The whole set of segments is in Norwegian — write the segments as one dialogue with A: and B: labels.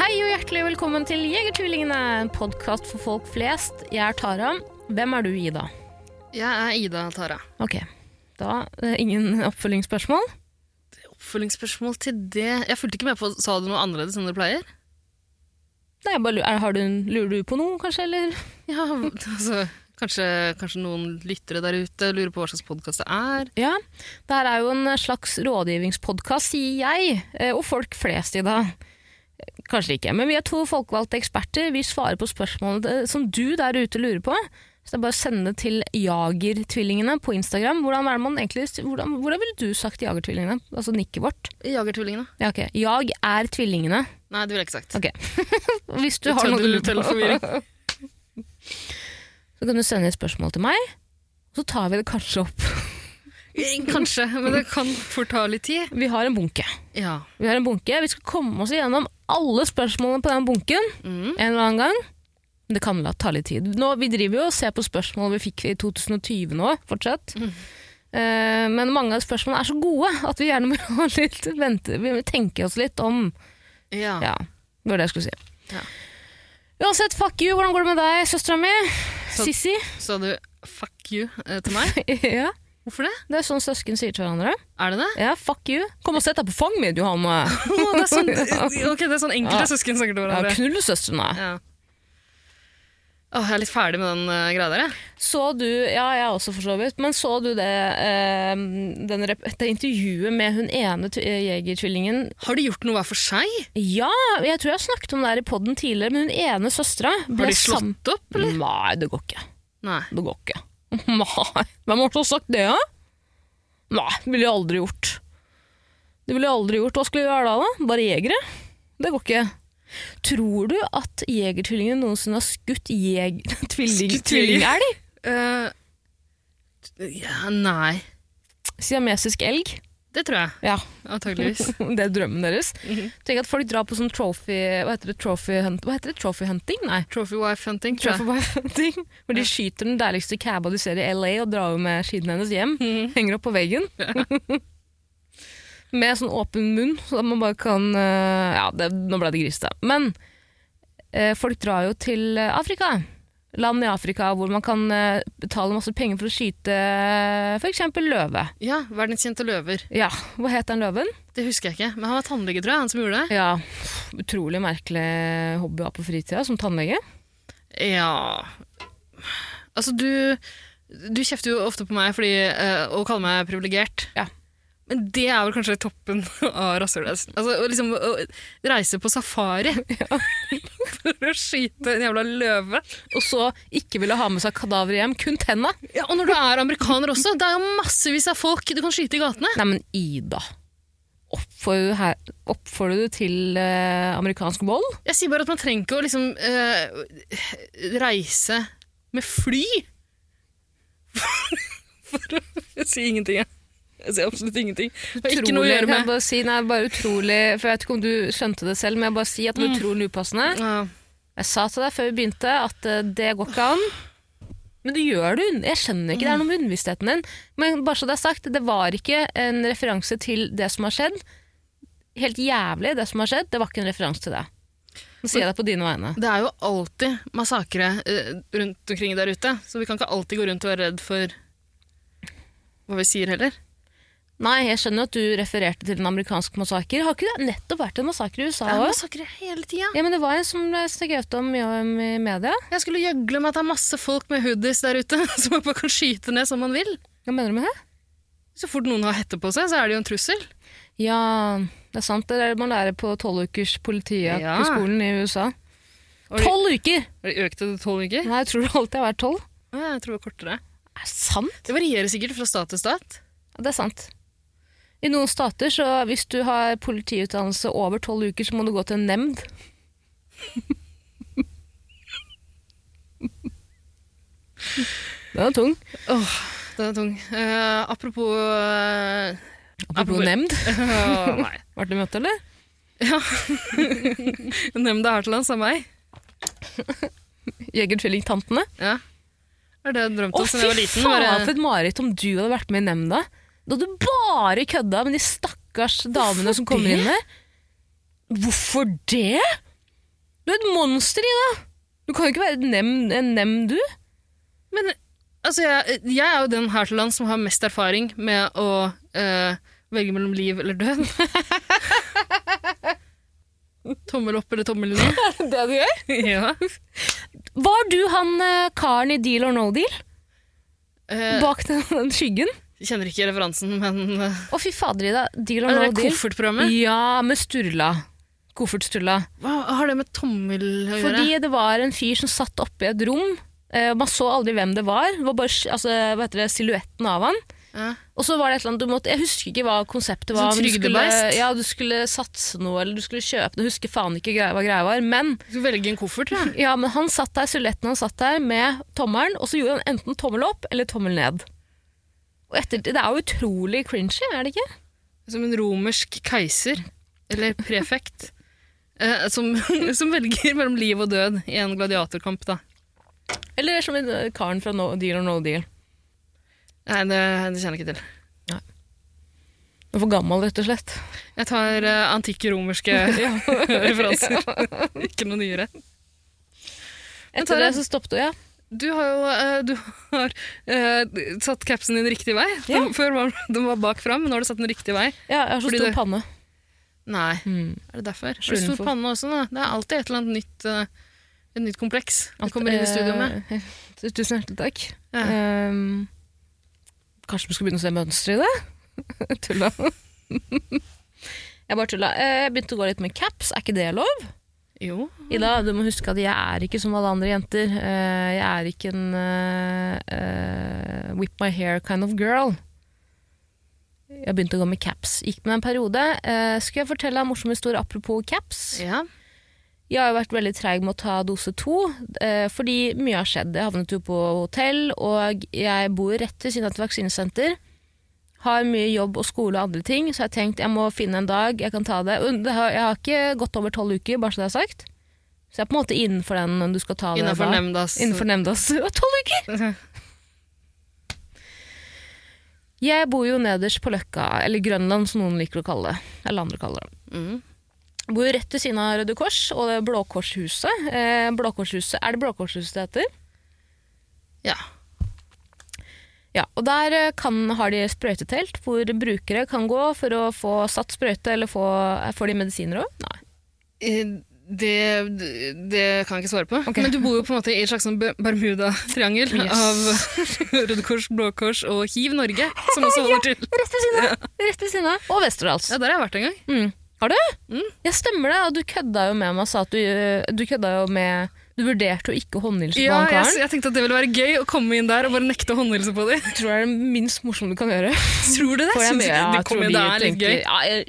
A: Hei og hjertelig velkommen til Jegertvillingene, en podkast for folk flest. Jeg er Tara. Hvem er du, Ida?
B: Jeg er Ida Tara.
A: Ok, da eh, ingen oppfølgingsspørsmål.
B: Oppfølgingsspørsmål til det Jeg fulgte ikke med på Sa du noe annerledes enn du pleier?
A: Nei, jeg bare, lu- er, har du, en- lurer du på noe, kanskje? Eller?
B: Ja, altså Kanskje, kanskje noen lyttere der ute lurer på hva slags podkast det er?
A: Ja, det her er jo en slags rådgivningspodkast, sier jeg, eh, og folk flest, Ida. Kanskje ikke, men vi er to folkevalgte eksperter. Vi svarer på spørsmålene eh, som du der ute lurer på. Så det er bare å sende det til Jagertvillingene på Instagram. Hvordan, er det man egentlig, hvordan, hvordan ville du sagt Jagertvillingene? Altså nikket vårt.
B: Jagertvillingene.
A: Ja, ok. Jag er tvillingene.
B: Nei, det ville jeg ikke sagt.
A: Ok. Hvis du har
B: Tøddel-
A: noe du lurer
B: tøddelforvirring.
A: på. Så kan du sende et spørsmål til meg, så tar vi det kanskje opp.
B: Kanskje, men det kan fort ta litt tid.
A: Vi har en bunke.
B: Ja.
A: Vi har en bunke. Vi skal komme oss igjennom alle spørsmålene på den bunken
B: Mm.
A: en eller annen gang. Men det kan la ta litt tid. Nå, vi driver jo og ser på spørsmål vi fikk i 2020 nå, fortsatt.
B: Mm.
A: Eh, men mange av spørsmålene er så gode at vi gjerne må ha litt vente. Vi må tenke oss litt om.
B: ja.
A: Ja, det var det jeg skulle si.
B: Ja.
A: Uansett, fuck you, hvordan går det med deg, søstera mi?
B: Så-
A: Sissy?
B: Sa du 'fuck you' eh, til meg?
A: ja,
B: Hvorfor det?
A: det er sånn søsken sier til hverandre.
B: Er det det?
A: Ja, fuck you. Kom og sett deg på fanget mitt, Johanne.
B: Å, det, er sånn, ok, det er sånn enkelte
A: Ja.
B: søsken snakker til
A: Ja,
B: hverandre.
A: Knull søstrene.
B: Ja. Åh, jeg er litt ferdig med den eh, greia der, jeg.
A: Så du Ja, jeg også, for så vidt. Men så du det, eh, den rep det intervjuet med hun ene tu- eh, jegertvillingen?
B: Har de gjort noe hver for seg?
A: Ja, jeg tror jeg snakket om det her i poden tidligere, men hun ene søstera
B: Har
A: ble
B: de slått opp?
A: sammen Nei, det går ikke.
B: Nei.
A: Det går ikke. Nei. Hvem har så sagt det, da? Nei, det ville jeg aldri gjort. Det ville jeg aldri gjort. Hva skulle vi gjøre da? da? Bare jegere? Det går ikke. Tror du at jegertvillingene noensinne har skutt jeg... tvilling...
B: Skutt tvilling.
A: tvillingelg?
B: Eh, ja, nei.
A: Siamesisk elg?
B: Det tror jeg,
A: Ja,
B: antageligvis.
A: det er drømmen deres.
B: Mhm.
A: Tenk at folk drar på sånn trophy... Hva heter det? Trophy, hunt, hva heter det? trophy hunting? Nei.
B: Trophy wife hunting, tror
A: Trophy
B: jeg.
A: wife hunting. Hvor de skyter den deiligste caba du ser i LA, og drar jo med skiden hennes hjem. Henger opp på veggen. med sånn åpen munn, så at man bare kan eh, Ja, det, nå ble det grisete. Men eh, folk drar jo til eh, Afrika. Land i Afrika hvor man kan eh, betale masse penger for å skyte f.eks. løve.
B: Ja, verdenskjente løver.
A: Ja, hva het den løven?
B: Det husker jeg ikke, men han var tannlege, tror jeg, han som gjorde det.
A: Ja, Utrolig merkelig hobby å ha på fritida, som tannlege.
B: Ja Altså, du Du kjefter jo ofte på meg fordi, eh, og kaller meg privilegert.
A: Ja.
B: Men det er vel kanskje toppen av rasshølet. Altså, å liksom, å reise på safari for å skyte en jævla løve.
A: Og så ikke ville ha med seg kadaver hjem, kun tenna.
B: Ja, og når du er amerikaner også, det er jo massevis av folk du kan skyte i gatene.
A: Nei, men Ida. Oppfordrer du, her, oppfordrer du til eh, amerikansk vold?
B: Jeg sier bare at man trenger ikke å liksom eh, reise med fly. For å Jeg sier ingenting, jeg. Jeg sier absolutt ingenting. Det har ikke noe å
A: Utrolig-
B: gjøre
A: kan jeg
B: med
A: bare si, nei, bare utrolig, for Jeg vet ikke om du skjønte det selv, men jeg bare sier at det
B: Mm.
A: var utrolig upassende.
B: Ja.
A: Jeg sa til deg før vi begynte at eh, det går ikke an. Men det gjør du. Jeg skjønner ikke. Det er noe med underbevisstheten din. Men bare så det er sagt, det var ikke en referanse til det som har skjedd. Helt jævlig, det som har skjedd. Det var ikke en referanse til det. Nå sier jeg det på dine vegne.
B: Det er jo alltid massakre eh, rundt omkring der ute, så vi kan ikke alltid gå rundt og være redd for hva vi sier heller.
A: Nei, jeg skjønner at du refererte til en amerikansk massaker. Har ikke det nettopp vært en massakre i USA
B: Det er
A: òg?
B: massakre hele tida.
A: Ja, men det var en som ble skrevet om mye om i media.
B: Jeg skulle gjøgle med at det er masse folk med hoodies der ute som man bare kan skyte ned som man vil.
A: Hva mener du med det?
B: Så fort noen har hette på seg, så er det jo en trussel.
A: Ja, det er sant. Det er det man lærer på tolvukers politiet
B: Ja.
A: på skolen i USA.
B: Og de-
A: Tolv uker!
B: Økte det tolv uker?
A: Nei, jeg tror det alltid har vært tolv.
B: Ja, jeg tror det var kortere.
A: Er det sant?
B: Det varierer sikkert fra stat til stat.
A: Ja, det er sant. I noen stater, så hvis du har politiutdannelse over tolv uker, så må du gå til en nemnd. Den er tung.
B: Åh, den er tung. Eh, apropos eh,
A: Apropos
B: Apropos-
A: nemnd.
B: åh, Nei.
A: Var det møte, eller?
B: Nemnda her til lands er meg.
A: Jegertvillingtantene.
B: Ja. Det er det jeg drømte
A: Å,
B: om da
A: fy
B: jeg var liten.
A: faen
B: Bare,
A: for et mareritt om du hadde vært med i nemnda. Da hadde du bare kødda med de stakkars damene som kommer
B: det?
A: inn der. Hvorfor det? Du er et monster, Ida! Du kan jo ikke være et nem- en nemnd, du.
B: men altså, jeg, jeg er jo den her til lands som har mest erfaring med å eh, velge mellom liv eller død. tommel opp eller tommel ned.
A: Det du gjør?
B: ja.
A: Var du han eh, karen i Deal or no deal?
B: Eh,
A: Bak den, den skyggen?
B: kjenner ikke referansen, men eh,
A: Å, fy fader, Ida. Deal or
B: Er det
A: no
B: det
A: deal.
B: koffertprogrammet?
A: Ja, med Sturla. Koffertsturla.
B: Hva har det med tommel å gjøre?
A: Fordi det var en fyr som satt oppe i et rom. eh, og Man så aldri hvem det var. Det var bare altså, hva heter det, silhuetten av han.
B: Ja.
A: Og så var det et eller annet du måtte, Jeg husker ikke hva konseptet
B: Sånn
A: var. men du skulle,
B: trygdebeist?
A: ja, du skulle satse noe, eller du skulle kjøpe noe. Jeg Husker faen ikke greia, hva greia var. Men,
B: Du skal velge en koffert, ja.
A: ja, men han satt der, silhuetten han satt der med tommelen, og så gjorde han enten tommel opp eller tommel ned. Og etter, det er jo utrolig cringy, er det ikke?
B: Som en romersk keiser, eller prefekt, eh, som, som velger mellom liv og død i en gladiatorkamp, da.
A: Eller som en, eh, karen fra no, Deal or No Deal.
B: Nei, det, det kjenner jeg ikke til.
A: Du er for gammel, rett og slett.
B: Jeg tar eh, antikke romerske referanser. ikke noe nyere. Men
A: Etter
B: Tara-
A: det så stoppet du, ja.
B: Du har jo eh, du har, eh, satt capsen din riktig vei.
A: Ja.
B: Den, før var den var bak fram, men nå har du satt den riktig vei.
A: ja. Jeg har så
B: Fordi
A: stor
B: det-
A: panne.
B: Nei,
A: Mm.
B: er det derfor? Er det
A: Skjulen
B: stor
A: for-
B: panne også, da? Det er alltid et eller annet nytt, eh, et nytt kompleks du
A: Alt-
B: kommer inn i studio med.
A: eh, tu- Tusen hjertelig takk.
B: Ja.
A: Ehm, kanskje vi skal begynne å se mønster i det? tulla. jeg bare tulla. Eh, Jeg begynte å gå litt med caps, er ikke det lov? eh,
B: Jo.
A: Ida, du må huske at jeg er ikke som alle andre jenter. Eh, Jeg er ikke en eh, eh, whip my hair kind of girl. Jeg begynte å gå med caps. Gikk med en periode. Eh, Skal jeg fortelle en morsom historie apropos caps?
B: Ja.
A: Jeg har jo vært veldig treig med å ta dose to, eh, fordi mye har skjedd. Jeg havnet jo på hotell, og jeg bor rett ved siden av et vaksinesenter. Har mye jobb og skole og andre ting, så jeg har tenkt jeg må finne en dag jeg kan ta det. Og det har- Jeg har ikke gått over tolv uker, bare så det er sagt. Så jeg er på en måte innenfor den du skal ta det.
B: Innenfor
A: da.
B: nemndas
A: Innenfor nemnda. så- Det var Tolv uker! Jeg bor jo nederst på Løkka, eller Grønland som noen liker å kalle det. Eller andre kaller det.
B: Mm.
A: Jeg Bor jo rett ved siden av Røde Kors og det Blå Kors-huset. Eh, Blå Kors-huset- Er det Blå Kors-huset det heter?
B: Ja.
A: Ja, og Der eh, kan, har de sprøytetelt, hvor brukere kan gå for å få satt sprøyte, eller få, eh, får de medisiner òg? Nei.
B: Eh, Det, det kan jeg ikke svare på.
A: Ok.
B: Men du bor jo på en måte i et slags sånn Ber- Bermuda-triangel av Røde Kors, Blå Kors og Hiv Norge, som også holder
A: Rett
B: til.
A: ved siden av! Rett ved siden av. Og Westerdals.
B: Ja, der har jeg vært en gang.
A: Mm. Har du?
B: Mm.
A: Ja, stemmer det. Og du kødda jo med meg og sa at du, eh, du kødda jo med Du vurderte å ikke håndhilse
B: Ja,
A: på han
B: jeg,
A: karen.
B: jeg tenkte at det ville være gøy å komme inn der og bare nekte å håndhilse på dem.
A: Jeg tror det er det minst morsomme du kan gjøre.
B: Tror du det?
A: Får jeg
B: Synes
A: med?
B: ikke-
A: Ja,
B: det
A: jeg tror
B: kommer-
A: de
B: det er litt
A: tenker-
B: gøy.
A: Ja, jeg,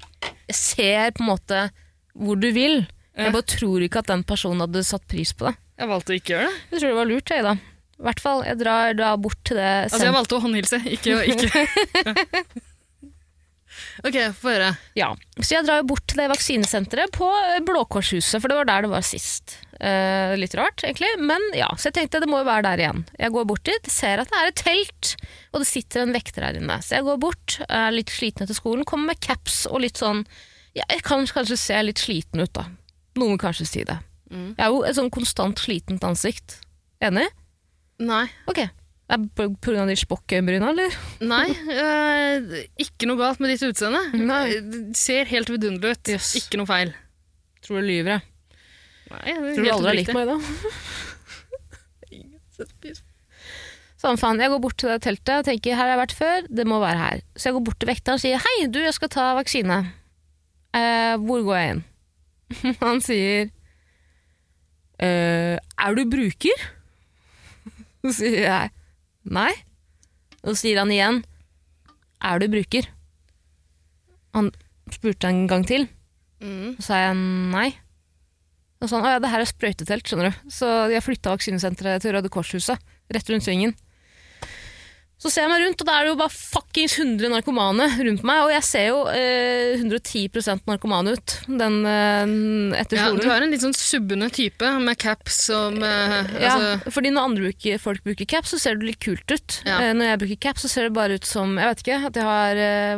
A: jeg ser på en måte hvor du vil.
B: Ja.
A: Jeg bare tror ikke at den personen hadde satt pris på det.
B: Jeg valgte å ikke gjøre det.
A: Jeg tror det var lurt, jeg, da. I hvert fall, jeg drar da bort til det
B: Altså, jeg
A: sent-
B: valgte å håndhilse, ikke å ikke. Ok, få høre.
A: ja. Så jeg drar jo bort til det vaksinesenteret på eh, Blåkorshuset, for det var der det var sist. Eh, litt rart, egentlig, men ja. Så jeg tenkte det må jo være der igjen. Jeg går bort dit, ser at det er et telt, og det sitter en vekter her inne. Så jeg går bort, er litt sliten etter skolen, kommer med caps og litt sånn ja, Jeg kan kanskje se litt sliten ut, da. Noen vil kanskje si det.
B: Mm.
A: Jeg er jo et sånn konstant slitent ansikt. Enig?
B: Nei.
A: Ok. Er det på på grunn av de spokkøyenbryna, eller?
B: Nei, eh, ikke noe galt med ditt utseende.
A: Nei.
B: Det ser helt vidunderlig ut.
A: Yes.
B: Ikke noe feil.
A: Tror du lyver, jeg.
B: Nei, det er
A: Tror du
B: helt
A: aldri har likt
B: oppriktig.
A: meg, da? Sånn, faen, jeg går bort til det teltet og tenker her har jeg vært før, det må være her. Så jeg går bort til vekteren og sier hei, du, jeg skal ta vaksine. «Eh, hvor går jeg inn? Han sier «Eh, er du bruker? Så sier jeg nei. Og så sier han igjen er du bruker? Han spurte en gang til,
B: Mm.
A: og sa jeg nei. Og sånn, «Å ja, det her er sprøytetelt, skjønner du. Så de har flytta vaksinesenteret til Røde Kors-huset, rett rundt svingen. Så ser jeg meg rundt, og da er det jo bare fuckings 100 narkomane rundt meg. Og jeg ser jo eh, 110 narkoman ut den, eh, etter
B: Ja,
A: skolen.
B: du er en litt sånn subbende type med caps og med
A: Ja,
B: altså,
A: fordi når andre bruker, folk bruker caps, så ser det litt kult ut.
B: Ja.
A: Eh, når jeg bruker caps, så ser det bare ut som Jeg vet ikke. At jeg har eh,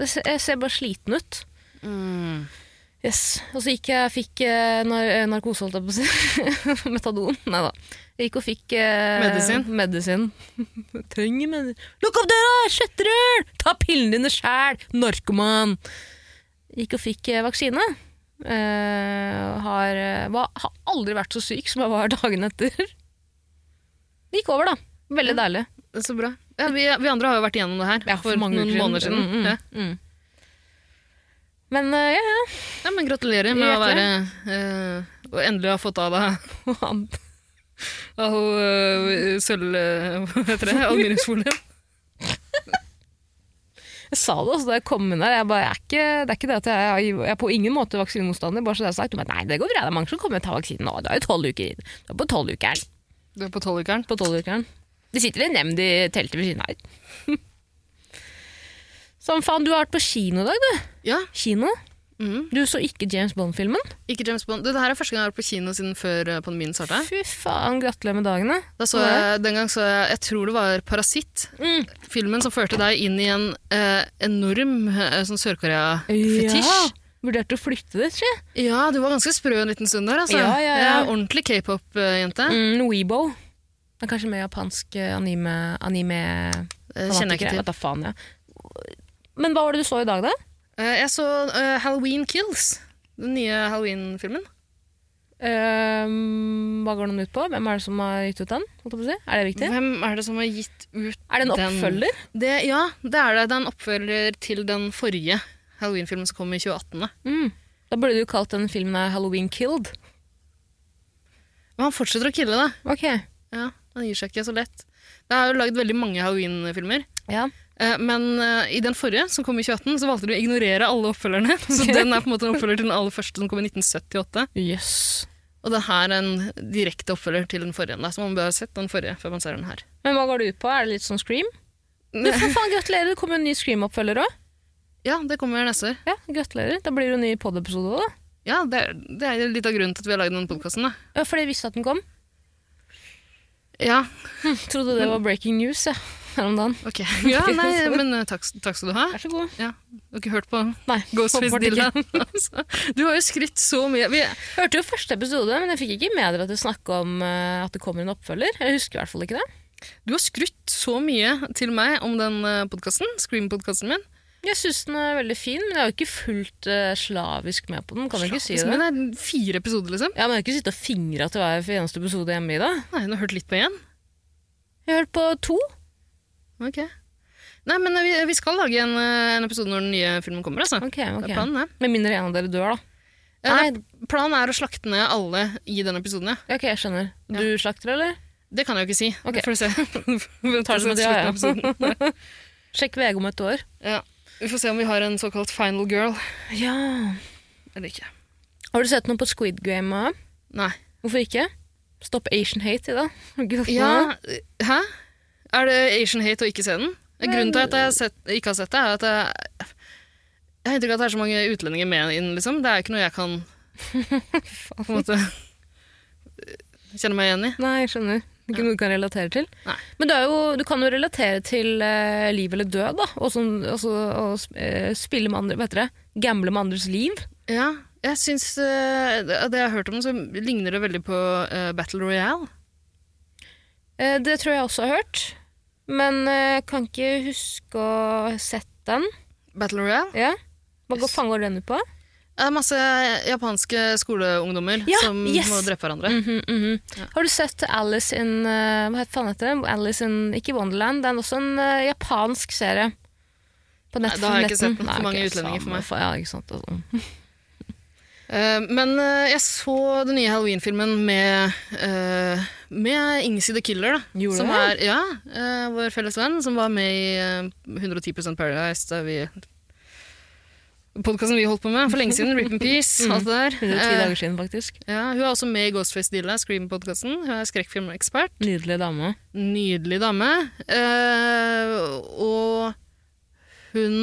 A: det ser- Jeg ser bare sliten ut.
B: mm.
A: Yes. Og så gikk jeg fikk eh, nar eh, narkose, holdt jeg på å si. Metadon. Nei da. Jeg gikk og fikk eh,
B: Medisin?
A: medisin. Jeg Trenger medisin. Lukk opp døra! Kjøttrør! Ta pillene dine sjæl! Narkoman! Gikk og fikk eh, vaksine. Eh, har, eh, var, har aldri vært så syk som jeg var dagen etter. Det gikk over, da. Veldig deilig.
B: Det er Så bra. Ja, vi, vi andre har jo vært igjennom det her for, noen måneder siden.
A: Mm, mm,
B: Ja.
A: mm. Men eh, ja, ja.
B: ja, men Gratulerer med å være
A: Hjertelig.
B: eh, Og endelig ha fått av deg all eh, sølv... eh, Hva heter det? Aluminiumsfolien.
A: Jeg sa det også da jeg kom inn her. Jeg bare, jeg er ikke, det er ikke det at jeg, jeg er på ingen måte vaksinemotstander. Bare så det er sagt. Du bare, nei, det går bra. Det er mange som kommer og tar vaksinen nå. Du er jo tolv uker inn. Du er på tolvukeren.
B: Du er på tolvukeren.
A: på tolvukeren. Det sitter en nemnd i teltet ved siden av her. Sånn, faen, du har vært på kino i dag, du.
B: Ja.
A: Kino?
B: Mm.
A: Du så ikke James Bond-filmen?
B: Ikke James Bond. Du, det her er første gang jeg har vært på kino siden før eh, pandemien starta.
A: Fy faen, gratulerer med dagene.
B: Da så jeg, den gang så jeg Jeg tror det var Parasitt.
A: Mm.
B: Filmen som førte deg inn i en eh, enorm eh, sånn Sør-Korea-fetisj.
A: Ja. Vurderte å flytte dit, si.
B: Ja. du var ganske sprø en liten stund der. Altså.
A: Ja, ja, ja.
B: Jeg er ordentlig eh, k-pop-jente.
A: Mm, Weibo. Det er kanskje mer japansk eh, anime... anime
B: Det kjenner jeg ikke til.
A: Vet da faen, ja. Men hva var det du så i dag, da?
B: Eh, jeg så eh, Halloween Kills. Den nye Halloween-filmen.
A: Ehm, hva går den ut på? Hvem er det som har gitt ut den? holdt jeg på å si? Er det riktig?
B: Hvem er det som har gitt ut
A: Er det en
B: den-
A: oppfølger?
B: Det, ja, det er det. Det er en oppfølger til den forrige Halloween-filmen som kom i 2018.
A: Mm. Da burde du kalt den filmen her Halloween Killed.
B: Men han fortsetter å kille, da.
A: Ok.
B: Ja, han gir seg ikke så lett. Det er jo lagd veldig mange Halloween-filmer.
A: Ja.
B: Eh, Men eh, i den forrige, som kom i 2018, så valgte de å ignorere alle oppfølgerne. Så
A: Ok.
B: den er på en måte en oppfølger til den aller første som kom i 1978.
A: Yes.
B: Og det her er en direkte oppfølger til den forrige. Da. Så man bør ha sett den forrige før man ser den her.
A: Men hva går det ut på? Er det litt sånn Scream? Du, for faen, gratulerer! Det kommer en ny Scream-oppfølger òg.
B: Ja, det kommer neste år.
A: Ja, gratulerer. Da blir det jo en ny pod-episode òg, da.
B: Ja, det er, det er litt av grunnen til at vi har lagd den podkasten.
A: Ja, For jeg visste at den kom.
B: Ja,
A: Trodde det var breaking news, ja. Her om dagen.
B: ok. Ja, nei, men eh, takk, takk skal du ha.
A: Vær så god.
B: Ja, du har ikke hørt på
A: Nei,
B: Ghostface
A: håper det
B: Dilla?
A: ikke.
B: Altså, du har jo skrytt så mye. Vi,
A: Hørte jo første episode, men jeg fikk ikke med dere at du snakka om eh, at det kommer en oppfølger. Jeg husker i hvert fall ikke det.
B: du har skrytt så mye til meg om den podkasten, Scream-podkasten min.
A: Jeg syns den er veldig fin, men jeg er jo ikke fullt eh, slavisk med på den. Kan jeg ikke si
B: Slavisk,
A: det?
B: Men det er fire episoder, liksom.
A: Ja, men jeg har ikke sittet og fingra til hver eneste episode hjemme i dag.
B: Nei, du har hørt litt på igjen.
A: Jeg har hørt på to.
B: Ok. Nei, men vi, vi skal lage en, eh, en episode når den nye filmen kommer, altså.
A: Ok,
B: Det
A: ok.
B: er planen, ja.
A: Med mindre en av dere dør, da.
B: Ja,
A: Nei,
B: Planen er å slakte ned alle i den episoden, ja.
A: ok, jeg skjønner. Du slakter, eller?
B: Det kan jeg jo ikke si.
A: Ok.
B: Det får vi se. Vi
A: Tar det som et ja, ja.
B: ja.
A: Sjekk VG om et år.
B: ja. Vi får se om vi har en såkalt final girl
A: Ja.
B: eller ikke.
A: Har du sett noe på Squid Game? Maja?
B: Nei.
A: Hvorfor ikke? Stopp Asian hate i dag.
B: Ja, hæ? Er det Asian hate å ikke se den? Grunnen til at jeg har sett, ikke har sett det, er at jeg, jeg har inntrykk av at det er så mange utlendinger med inn, liksom. Det er jo ikke noe jeg kan på en måte kjenne meg igjen i.
A: Nei, jeg skjønner. Ikke noe du kan relatere til.
B: Nei.
A: Men du, er jo, du kan jo relatere til eh, liv eller død, da. Og, sånn, og så, og, sp- eh, spille med andre, vet dere, gamble med andres liv.
B: Ja, jeg syns eh, det det jeg har hørt om, så ligner det veldig på eh, Battle Royale.
A: Eh, det tror jeg også har hørt. Men eh, kan ikke huske å ha sett den.
B: Battle Royale?
A: Ja. Hva går- faen går den ut på?
B: Det er masse japanske skoleungdommer
A: Ja,
B: som
A: yes!
B: må drepe hverandre.
A: Mhm, mhm. Har du sett Alice in eh, Hva het faen heter det? Alice in Ikke Wonderland. Det er også en eh, japansk serie. På nett,
B: Nei, da har jeg ikke
A: netten.
B: sett den. For
A: Nei,
B: mange
A: ok,
B: utlendinger for
A: samme
B: meg.
A: fa- Ja, ikke sant. Altså.
B: Eh, men eh, jeg så den nye Halloween-filmen med, eh, med Ingsi the Killer, da.
A: Gjorde
B: som
A: du
B: er, ja, eh, vår felles venn, som var med i eh, 110 Paradise, da vi podkasten vi holdt på med for lenge siden, Rip in Peace,
A: Mm.
B: alt det der.
A: 110
B: Eh,
A: dager siden, faktisk.
B: ja, hun er også med i Ghostface Dilla, Scream-podkasten. Hun er skrekkfilmekspert.
A: Nydelig dame.
B: Nydelig dame. Eh, og hun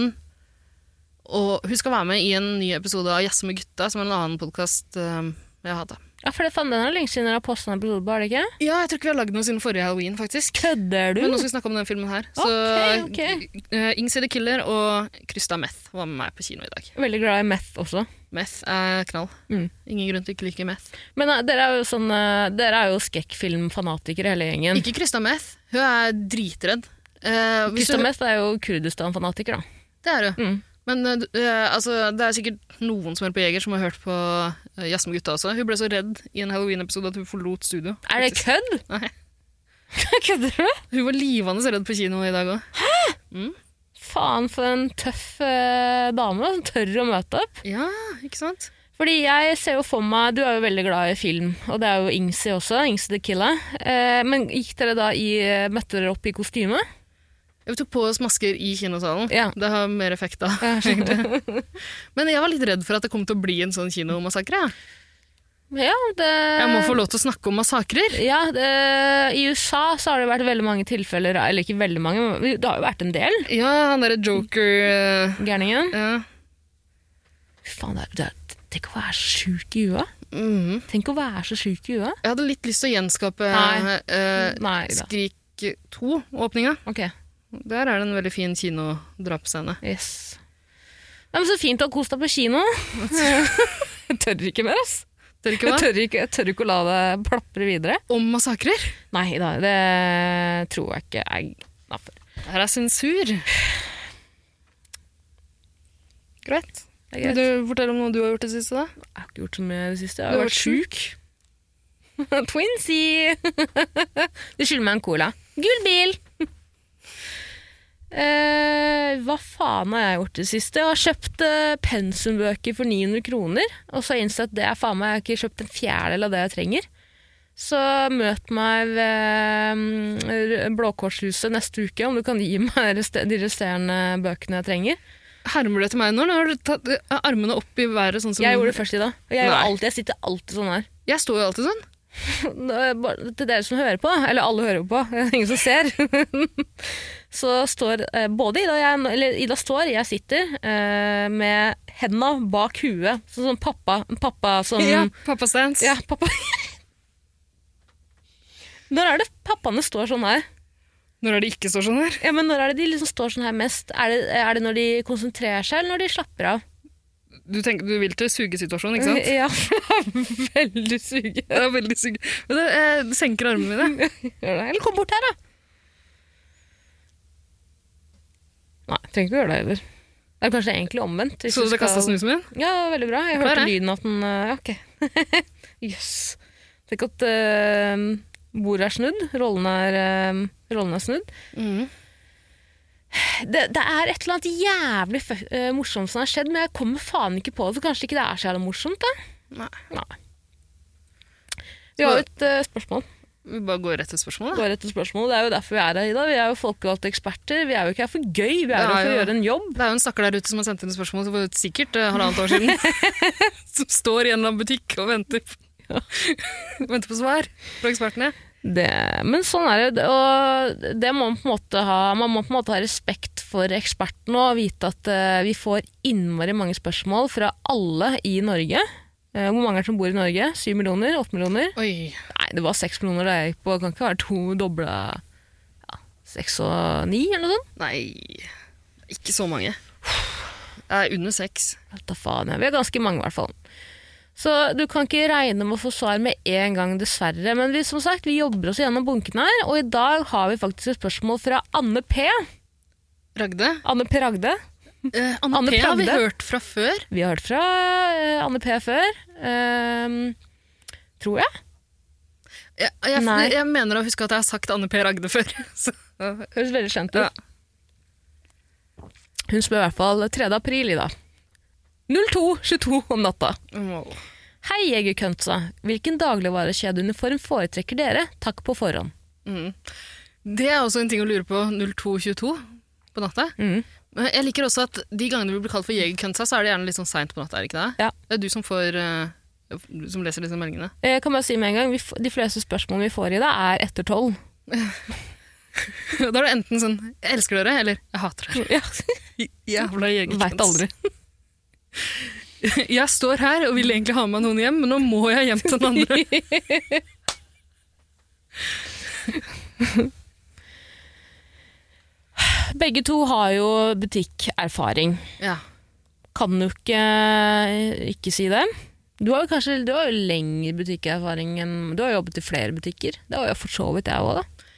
B: og hun skal være med i en ny episode av Jazze med gutta, som er en annen podkast jeg hadde.
A: Ja, for det faen, den er lenge siden dere har postet en episode, er det ikke?
B: Ja, jeg tror ikke vi har lagd noe siden forrige halloween, faktisk.
A: Kødder du?
B: Men nå skal vi snakke om den filmen her. Så
A: Ok, ok.
B: eh, Ingsi the Killer og Krysta Meth var med meg på kino i dag.
A: Veldig glad i meth også.
B: Meth er knall.
A: Mm.
B: Ingen grunn til ikke å like meth.
A: Men eh, dere er jo sånn eh, Dere er jo skrekkfilmfanatikere, hele gjengen.
B: Ikke Krysta Meth. Hun er dritredd. Eh, hvis
A: Gustav
B: du-
A: Meth er jo Kurdistan-fanatiker, da.
B: Det er hun.
A: Mm.
B: Men eh, du- eh, altså, det er sikkert noen som hører på Jeger som har hørt på eh, Jazz med gutta også. Hun ble så redd i en halloween-episode at hun forlot studio.
A: Er det
B: faktisk.
A: kødd?
B: Nei.
A: Kødder du?
B: Hun var livende redd på kino i dag òg.
A: Faen, for en tøff eh, dame som tør å møte opp.
B: Ja, ikke sant?
A: Fordi jeg ser jo for meg, Du er jo veldig glad i film, og det er jo Ingsi også. Ingsi the Killer. Eh, men gikk dere da i, eh, møtte dere opp i kostyme?
B: Vi tok på oss masker i kinosalen.
A: Ja.
B: Det har mer effekt da. egentlig. Men jeg var litt redd for at det kom til å bli en sånn kinomassakre. ja.
A: Ja, det
B: Jeg
A: Eh.
B: må få lov til å snakke om massakrer.
A: Ja, det, I USA så har det vært veldig mange tilfeller, eller ikke veldig mange, men det har jo vært en del.
B: Ja, han derre joker eh,
A: Gærningen.
B: ja.
A: Fy faen, det er, det er, tenk å være sjuk i huet.
B: Mhm.
A: Tenk å være så sjuk i huet.
B: Jeg hadde litt lyst til å gjenskape
A: Nei.
B: eh,
A: Nei da.
B: Skrik 2-åpninga.
A: Ok,
B: Der er det en veldig fin kinodrapsscene.
A: yes. Ja, men så fint å ha kost deg på kino. jeg tør ikke mer, ass.
B: Tør ikke
A: Jeg
B: hva?
A: tør ikke, jeg tør ikke å la det plapre videre.
B: Om massakrer?
A: Nei da, det tror jeg ikke jeg napper.
B: Her er sensur. Greit.
A: Det er
B: Vil
A: greit.
B: du fortelle om noe du har gjort det siste, da?
A: Jeg har ikke gjort så mye i det siste.
B: Du
A: Jeg har vært sjuk. Twinsy! du skylder meg en cola. Gul bil! Eh, hva faen har jeg gjort det siste? Jeg har kjøpt eh, pensumbøker for 900 kroner, og så har jeg innsett at det er faen meg, jeg har ikke kjøpt en fjerdedel av det jeg trenger. Så møt meg ved mm, R- Blå Kors-huset neste uke om du kan gi meg reste- de resterende bøkene jeg trenger.
B: Hermer du etter meg nå? eller Har du tatt eh, armene opp i været sånn som
A: Jeg gjorde det først i dag. og Jeg, gjør
B: Nei.
A: alltid, jeg sitter alltid sånn her.
B: Jeg står jo alltid sånn.
A: Nå, bare til dere som hører på, eller alle hører på, ingen som ser, så står eh, både Ida og jeg, eller Ida står, jeg sitter, eh, med hendene bak huet, sånn som pappa, pappa som...
B: Ja, pappa stands.
A: Ja, pappa. Når er det pappaene står sånn her?
B: Når er det ikke står sånn her?
A: Ja, men når er det de liksom står sånn her mest? Er det, er det når de konsentrerer seg, eller når de slapper av?
B: Du, tenker, du vil til sugesituasjonen, ikke sant?
A: Ja, veldig suge.
B: Det er veldig suge. Men det, eh, det senker armene mine.
A: Eller kom bort her, da. Nei, trenger ikke å gjøre det heller. Det er kanskje egentlig omvendt. hvis
B: Så
A: du
B: du kasta
A: skal-
B: snusen min?
A: Ja, veldig bra. Jeg
B: Klar,
A: hørte
B: jeg.
A: lyden av at den øh, ja, Ok. Jøss. Tenk at øh, bordet er snudd, rollen er, øh, rollen er snudd.
B: Mm.
A: Det, det er et eller annet jævlig fø- øh, morsomt som har skjedd, men jeg kommer faen ikke på det. så Kanskje ikke det er så jævla morsomt, da?
B: Nei.
A: Nei. Vi har jo et øh, spørsmål.
B: Vi bare går rett til spørsmålet. da.
A: Går etter spørsmål. Det er jo derfor vi er her i dag. Vi er jo folkevalgte eksperter. Vi er jo ikke her for gøy, vi er her
B: Det er
A: for å
B: jo-
A: gjøre en jobb.
B: Det er jo en stakkar der ute som har sendt inn et spørsmål for sikkert eh, halvannet år siden. som står i en eller annen butikk og venter på, venter på svar fra ekspertene.
A: Det, men sånn er det. Og det må man på en måte ha, man må på en måte ha respekt for ekspertene og vite at eh, vi får innmari mange spørsmål fra alle i Norge. Eh, hvor mange er det som bor i Norge? Syv millioner? Åtte millioner?
B: Oi.
A: Nei, det var seks millioner da jeg gikk på. Det kan ikke være to dobla ja, Seks og ni, eller noe sånt?
B: Nei, ikke så mange. Det er under seks.
A: Vet da faen, ja. Vi er ganske mange, i hvert fall. Så du kan ikke regne med å få svar med en gang, dessverre. Men vi, som sagt, vi jobber oss gjennom bunken her, og i dag har vi faktisk et spørsmål fra Anne P.
B: Ragde?
A: Anne P. Ragde.
B: Eh, Anne,
A: Anne
B: P har vi
A: Pragde.
B: hørt fra før.
A: Vi har hørt fra eh, Anne P før. Ehm, tror jeg.
B: Jeg, jeg,
A: Nei.
B: jeg mener å huske at jeg har sagt Anne P. Ragde før. Så, eh,
A: Høres veldig kjent ut.
B: Ja.
A: Hun spør i hvert fall 3. april i dag. 02.22 om natta.
B: wow.
A: Hei, Jegerkøntsa. Hvilken dagligvarekjedeuniform foretrekker dere? Takk på forhånd.
B: mm. Det er også en ting å lure på 02.22 på natta.
A: Mm.
B: Men Jeg liker også at de gangene vi blir kalt for jegerkønta, så er det gjerne litt sånn seint på natta. er Det ikke det?
A: Ja.
B: Det er du som får eh, du som leser disse meldingene.
A: Jeg Eh, kan bare si med en gang, vi f De fleste spørsmålene vi får i det, er etter tolv.
B: da er det enten sånn 'Jeg elsker dere', eller 'Jeg hater dere'.
A: Ja,
B: Jævla jegerkønt.
A: Veit aldri.
B: Jeg står her og vil egentlig ha med noen hjem, men nå må jeg hjem til den andre.
A: Begge to har jo butikkerfaring.
B: ja.
A: Kan jo ikke eh, ikke si det. Du har jo kanskje du har jo lengre butikkerfaring enn Du har jobbet i flere butikker. Det har jo for så vidt jeg òg, da.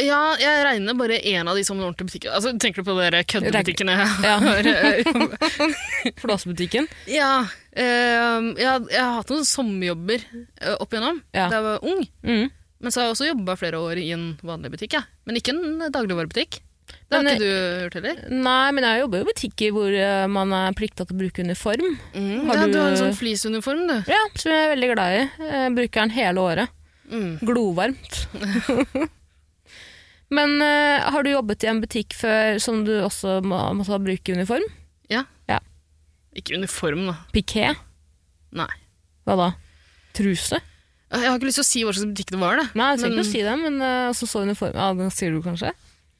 B: ja, jeg regner bare én av de som en ordentlig butikk. Altså, tenker du på dere køddebutikkene?
A: Ja.
B: jeg har?
A: Flåsebutikken.
B: Ja, ehm, jeg, had- jeg har hatt noen sommerjobber eh, opp igjennom
A: Ja.
B: da jeg var ung.
A: Mm.
B: Men så har jeg også jobba flere år i en vanlig butikk. Ja. Men ikke en dagligvarebutikk. Det har
A: Men,
B: ikke du gjort heller.
A: Nei, men jeg jobber jo i butikker hvor eh, man er plikta til å bruke uniform. Mm, har
B: ja,
A: du-
B: du har en sånn fleeceuniform, du.
A: Ja, Som jeg er veldig glad i. Jeg bruker den hele året.
B: Mm.
A: Glovarmt. men eh, har du jobbet i en butikk før som du også må, måtte bruke uniform?
B: Ikke uniform, da.
A: Piqué?
B: Nei.
A: Hva da? Truse?
B: Jeg har ikke lyst til å si hva slags butikk det var. Det.
A: Nei, jeg trenger
B: Men-
A: ikke å si det, men eh, så så uniform Ja, den sier du kanskje?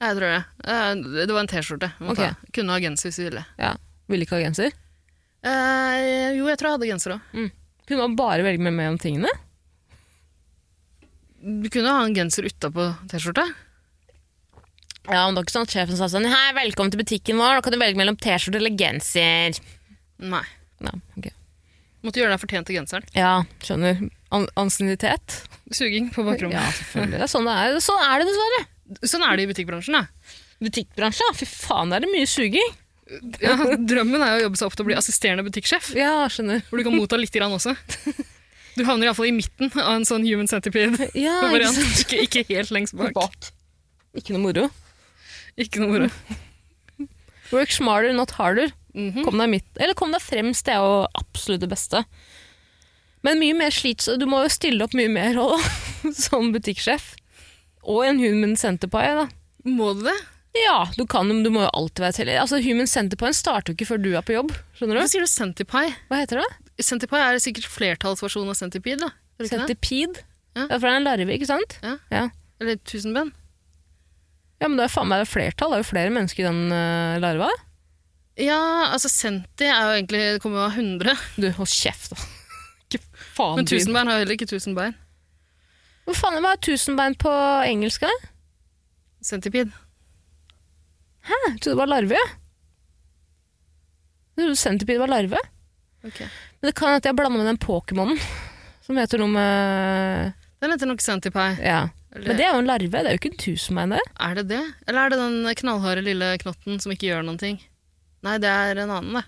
B: Jeg tror det. Eh, Det var en T-skjorte. jeg måtte
A: Ok.
B: ha. Kunne ha genser hvis du ville.
A: Ja. Ville ikke ha genser?
B: Eh, jo, jeg tror jeg hadde genser òg.
A: Kunne man bare velge med meg om tingene?
B: Du kunne ha en genser utapå T-skjorta.
A: Ja, men det var ikke sånn at sjefen sa sånn Hei, velkommen til butikken vår, nå kan du velge mellom T-skjorte eller genser.
B: Nei.
A: Ja, ok.
B: Måtte gjøre den fortjente genseren.
A: Ja, skjønner. An Ansiennitet?
B: Suging på bakrommet.
A: Ja, selvfølgelig. Det er sånn det er. Sånn er det dessverre.
B: Sånn er det i butikkbransjen. da.
A: Butikkbransjen, fy faen, det er det mye suging.
B: Ja, drømmen er jo å jobbe seg opp til å bli assisterende butikksjef,
A: Ja, skjønner.
B: hvor du kan motta litt grann også. Du havner iallfall i midten av en sånn human centipede.
A: Ja, ikke,
B: Variant.
A: sant?
B: Ikke, ikke helt lengst bak.
A: ikke noe moro.
B: Ikke noe moro.
A: Work smarter, not harder.
B: Mhm.
A: Kom deg, midt, eller kom deg fremst, det er jo absolutt det beste. Men mye mer slits, du må jo stille opp mye mer også, som butikksjef. Og en human centerpie, da.
B: Må du det?
A: Ja, du kan, men du må jo alltid være til. Altså, human centerpie starter jo ikke før du er på jobb, skjønner
B: Hvorfor
A: du?
B: sier du centipie?
A: Hva heter det?
B: Centipie er sikkert flertallsversjon av centipede. da. Er det ikke det?
A: Centipede?
B: Ja.
A: Ja. for det er en larve, ikke sant?
B: Ja.
A: Ja,
B: Eller tusenben?
A: Ja, men det er faen meg flertall, det er jo flere mennesker i den eh, larva.
B: Ja, altså centi er jo egentlig, det kommer jo av 100,
A: Du, hold kjeft, da. Ikke faen
B: men
A: du.
B: tusenbein har jo heller ikke tusen bein.
A: Hvor faen hva er tusenbein på engelsk? da?
B: Centipede.
A: Jeg trodde det var larve. ja. Jeg trodde centipede var larve. Men det kan at jeg blander med den Pokémonen som heter noe med
B: Den heter nok centipie.
A: Ja. Men
B: Eller,
A: det er jo en larve, det er jo ikke en tusenbein, det.
B: er det det? Eller er det den knallharde lille knotten som ikke gjør noen ting? Nei, det er en annen, det.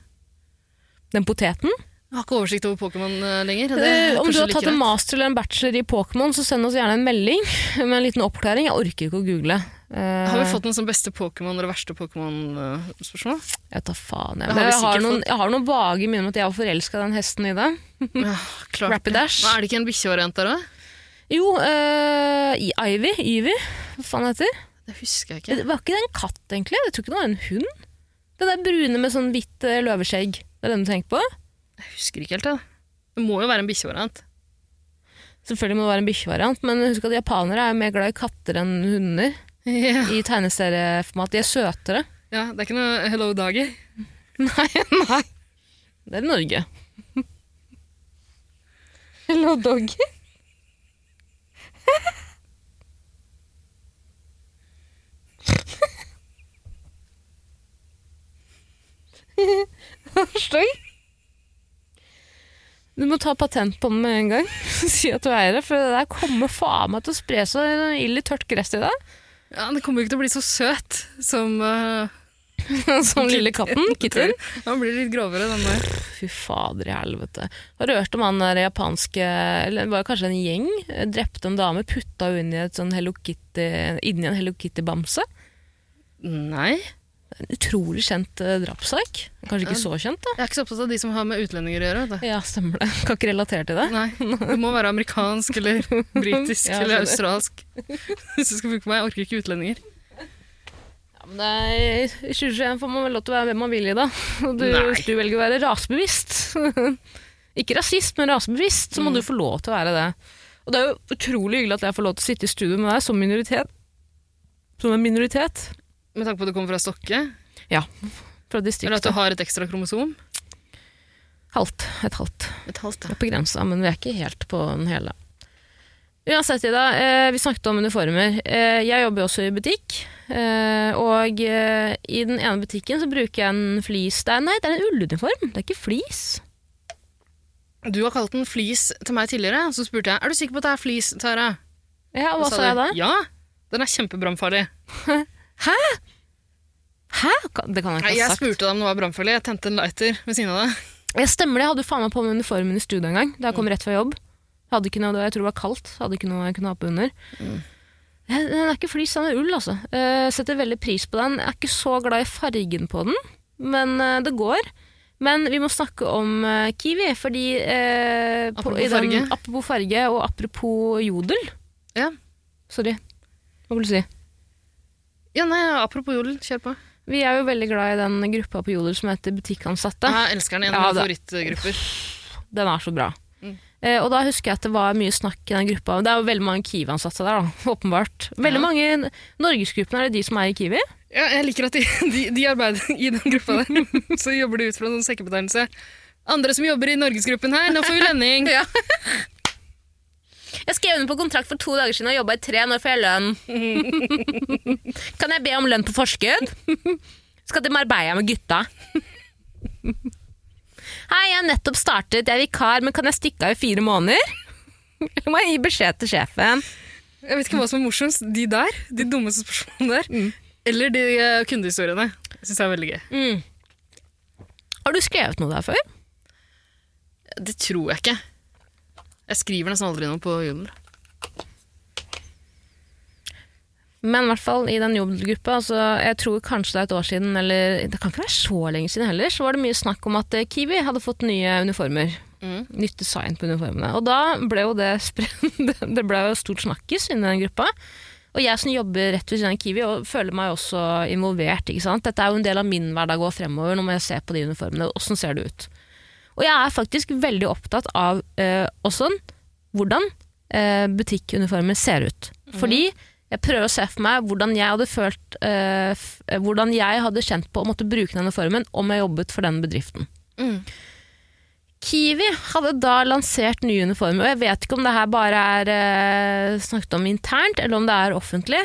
A: Den poteten.
B: Jeg har ikke oversikt over Pokémon eh, lenger. Det er
A: Eh, Om du
B: kanskje
A: har tatt
B: like
A: en
B: greit.
A: master eller en bachelor i Pokémon, så send oss gjerne en melding med en liten oppklaring. Jeg orker ikke å google. Eh,
B: Har vi fått noen sånn beste Pokémon eller verste Pokémon-spørsmål?
A: Eh, Jeg tar faen, jeg.
B: Det
A: Men
B: har vi
A: jeg, har
B: sikkert
A: noen, jeg har noen vage minner om at jeg var forelska i den hesten i det. Mm.
B: Ja, klart.
A: Rapidash.
B: Men er det ikke en bikkjevariant der òg?
A: Jo, eh, i Ivy. Ivy, hva faen heter det?
B: Det husker jeg ikke.
A: Det Var ikke det en katt, egentlig? Jeg tror ikke det var en hund. Den der brune med sånn hvitt eh, løveskjegg. Det er den du tenker på?
B: Jeg husker ikke helt det. Det må jo være en bikkjevariant.
A: Selvfølgelig må det være en bikkjevariant, men husk at japanere er jo mer glad i katter enn hunder.
B: Ja.
A: I tegneserieformat. De er søtere.
B: ja, det er ikke noe Hello Doggy.
A: Nei, nei. Det er Norge. Hello, doggy. Støy. Du må ta patent på den med en gang. Si at du eier det, for det der kommer faen meg til å spre seg ild i tørt gress i dag.
B: Ja, Det kommer jo ikke til å bli så søt som eh,
A: Som Sånn lille katten, kitten.
B: Den blir litt grovere, den der.
A: Fy fader i helvete. Har du hørt om han der japanske Eller det var kanskje en gjeng? eh, Drepte en dame, putta henne inn i et sånn Hello Kitty, inni en Hello Kitty-bamse.
B: Nei. Jeg
A: En utrolig kjent eh, drapssak. Kanskje ikke så kjent, da.
B: er ikke så opptatt av de som har med utlendinger å gjøre. vet du.
A: Ja, stemmer det. Kan ikke relatere til det.
B: Nei, Det må være amerikansk eller britisk
A: Ja,
B: eller
A: skjønner.
B: australsk. Hvis du skal bruke meg, jeg orker ikke utlendinger.
A: Ja, men det er, I 2021 får man vel lov til å være hvem man vil i, da. Og Du,
B: Nei.
A: hvis du velger å være rasebevisst Ikke rasist, men rasebevisst, så må du få lov til å være det. Og det er jo utrolig hyggelig at jeg får lov til å sitte i studio med deg som minoritet. Som en minoritet
B: Med tanke på at du kommer fra Stokke?
A: fra
B: Eller at
A: distriktet.
B: du har et ekstra kromosom?
A: Halvt. Et halvt.
B: Et halvt,
A: Vi
B: ja.
A: er på grensa, men vi er ikke helt på den hele. Uansett, Ida, eh, vi snakket om uniformer. Eh, Jeg jobber jo også i butikk. eh, Og eh, i den ene butikken så bruker jeg en flis. Det er, nei, det er en ulluniform, det er ikke flis.
B: Du har kalt den flis til meg tidligere, så spurte jeg er du sikker på at det er flis, Tara.
A: Ja,
B: Og
A: hva
B: så
A: sa jeg da?
B: du, Ja, den er kjempebrannfarlig.
A: Hæ? Kan- Det kan jeg
B: Nei,
A: ikke ha
B: Jeg
A: sagt.
B: spurte deg om den var brannfarlig. Jeg tente en lighter ved siden av deg.
A: Jeg stemmer det, jeg hadde jo faen meg på meg uniformen i studio en gang, da jeg kom
B: Mm.
A: rett fra jobb. Jeg Hadde ikke noe, jeg tror det var kaldt, så hadde ikke noe jeg kunne ha på under.
B: Mm.
A: Den den er ikke flis, den er ull, altså. Eh, setter veldig pris på den. Jeg er ikke så glad i fargen på den, men eh, det går. Men vi må snakke om eh, kiwi, fordi eh,
B: Apropos
A: i den,
B: farge.
A: apropos farge og apropos jodel.
B: Ja.
A: Sorry, hva vil du si?
B: Ja, nei, apropos jodel, kjør på.
A: Vi er jo veldig glad i den gruppa på jodel som heter Butikkansatte.
B: Jeg elsker den. En av
A: Ja,
B: mine
A: det-
B: favorittgrupper.
A: Den er så bra.
B: Mm.
A: Eh, og da husker jeg at det var mye snakk i den gruppa. Det er jo veldig mange Kiwi-ansatte der, da, åpenbart. Veldig
B: Ja.
A: mange Norgesgruppen, er det de som er i Kiwi?
B: Ja, jeg liker at de, de, de arbeider i den gruppa der. Så jobber de ut fra en sånn sekkebetegnelse. Andre som jobber i Norgesgruppen her, nå får vi lønning.
A: Jeg skrev under på kontrakt for to dager siden og jobba i tre. Når får jeg lønn? kan jeg be om lønn på forskudd? Skal til Marbella med gutta. Hei, jeg har nettopp startet. Jeg er vikar, men kan jeg stikke av i fire måneder? Eller må jeg gi beskjed til sjefen?
B: Jeg vet ikke hva som er morsomst. De der, de dummeste spørsmålene der.
A: Mm.
B: Eller de eh, kundehistoriene. Jeg synes det er veldig gøy.
A: Har du skrevet noe der før?
B: Det tror jeg ikke. Jeg skriver nesten aldri noe på jodel.
A: Men i hvert fall i den jobbgruppa, altså, jeg tror kanskje det er et år siden, eller det kan ikke være så lenge siden heller, så var det mye snakk om at eh, Kiwi hadde fått nye uniformer.
B: Mm.
A: Nytt design på uniformene. Og da ble jo det, spre- det ble jo stort snakkis inni den gruppa. Og jeg som jobber rett ved siden av Kiwi, og føler meg også involvert. ikke sant? Dette er jo en del av min hverdag og fremover, nå må jeg se på de uniformene. Åssen ser det ut? Og jeg er faktisk veldig opptatt av eh, åssen, hvordan eh, butikkuniformer ser ut. Fordi jeg prøver å se for meg hvordan jeg hadde følt eh, f eh, Hvordan jeg hadde kjent på å måtte bruke den uniformen om jeg jobbet for den bedriften.
B: Mm.
A: Kiwi hadde da lansert nye uniformer, og jeg vet ikke om det her bare er eh, snakket om internt, eller om det er offentlig.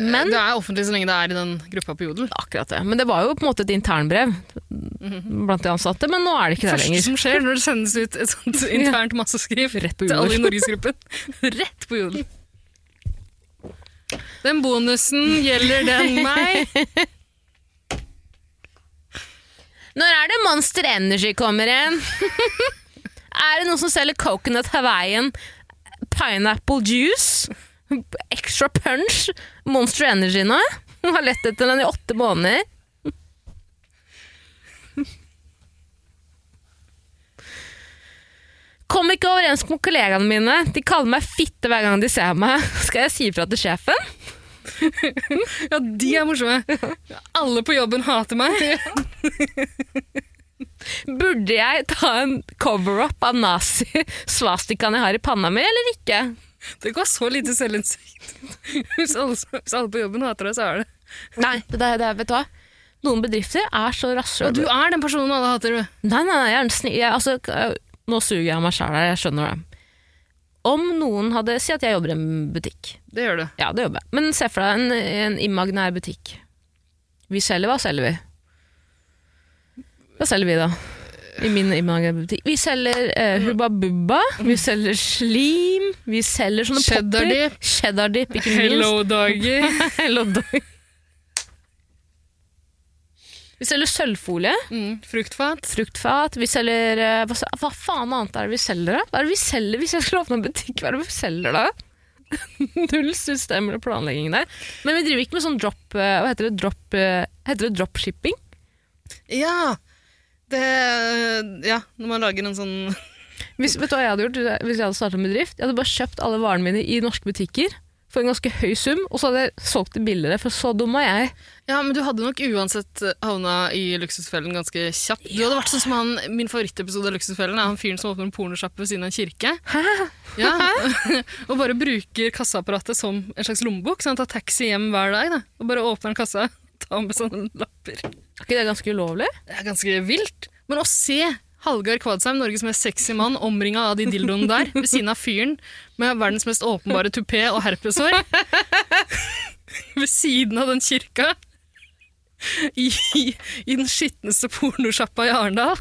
A: Men
B: Det er offentlig så lenge det er i den gruppa på jodel.
A: Akkurat det. Men det var jo på en måte et internbrev blant de ansatte, men nå er det ikke det
B: første
A: lenger.
B: som skjer når det sendes ut et sånt internt masseskriv
A: Rett på
B: til alle i
A: jodel.
B: Norgesgruppen. Rett på jodel. Den bonusen, gjelder den meg?
A: Når er det Monster Energy kommer igjen? er det noen som selger coconut hawaiian, pineapple juice, extra punch, Monster Energy nå? Har lett etter den i åtte måneder. Kom ikke overens med kollegaene mine. De kaller meg fitte hver gang de ser meg. Skal jeg si ifra til sjefen?
B: Ja, de er morsomme. Alle på jobben hater meg.
A: Burde jeg ta en cover-up av nazi-svastikaen jeg har i panna mi, eller ikke?
B: Det går så lite selvinnsikt. Hvis alle, hvis alle på jobben hater deg, så er det
A: Nei, det, det, det, vet du hva? Noen bedrifter er så rasshøl.
B: Og du er den personen alle hater, du.
A: Nei, nei, nei, jeg er en sni- jeg, altså, k- nå suger jeg meg sjæl her, jeg skjønner det. Om noen hadde Si at jeg jobber i en butikk.
B: Det gjør du.
A: Ja, det jobber jeg. Men se for deg en, en imaginær butikk. Vi selger, hva selger vi? Hva selger vi, da? I min imaginære butikk. Vi selger eh, Hubba Bubba, vi selger slim, vi selger sånne
B: Cheddar
A: popper.
B: dip.
A: Cheddar dip. ikke minst.
B: Hello, doggy.
A: Hello dog. Vi selger sølvfolie,
B: Mm, fruktfat.
A: fruktfat, vi selger eh, hva, sa- hva faen annet er det vi selger, da? Hva er det vi selger hvis jeg skulle åpne en butikk? Hva er det vi selger da? Null systemer og planlegging der. Men vi driver ikke med sånn drop... eh, Hva heter det? Drop, eh, heter det dropshipping?
B: Ja. Det Ja, når man lager en sånn
A: Hvis, vet du hva jeg hadde gjort hvis jeg hadde startet en bedrift? Jeg hadde bare kjøpt alle varene mine i norske butikker. for en ganske høy sum, og så hadde jeg solgt det billigere, for så dum var jeg.
B: Ja, men du hadde nok uansett havna i Luksusfellen ganske kjapt. Du hadde vært sånn som han, min favorittepisode av Luksusfellen er han fyren som åpner en pornosjappe ved siden av en kirke. Ja. og bare bruker kassaapparatet som en slags lommebok. Så han tar taxi hjem hver dag da. og bare åpner en kassa tar med sånn sånne lapper.
A: Er ikke det ganske ulovlig?
B: Det er ganske vilt. Men å se Hallgeir Kvadsheim, Norges mest sexy mann, omringa av de dildoene der, ved siden av fyren med verdens mest åpenbare tupé og herpeshår, ved siden av den kirka, i, i den skitneste pornosjappa i Arendal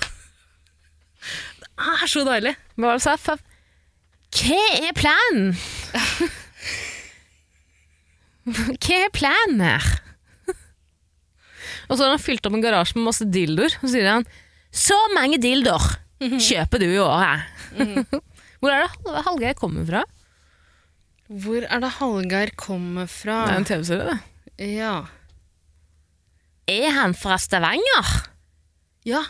B: Det er så deilig.
A: Hva var det jeg sa? Fa- Hva er planen? Hva er planen her? Og så har han fylt opp en garasje med masse dildoer, og så sier han Så mange dildoer kjøper du i året. Mhm. Hvor er det Hall- Hallgeir kommer fra?
B: Hvor er det Hallgeir kommer fra?
A: Det er en TV-serie, det.
B: Ja.
A: Er han fra Stavanger?
B: ja,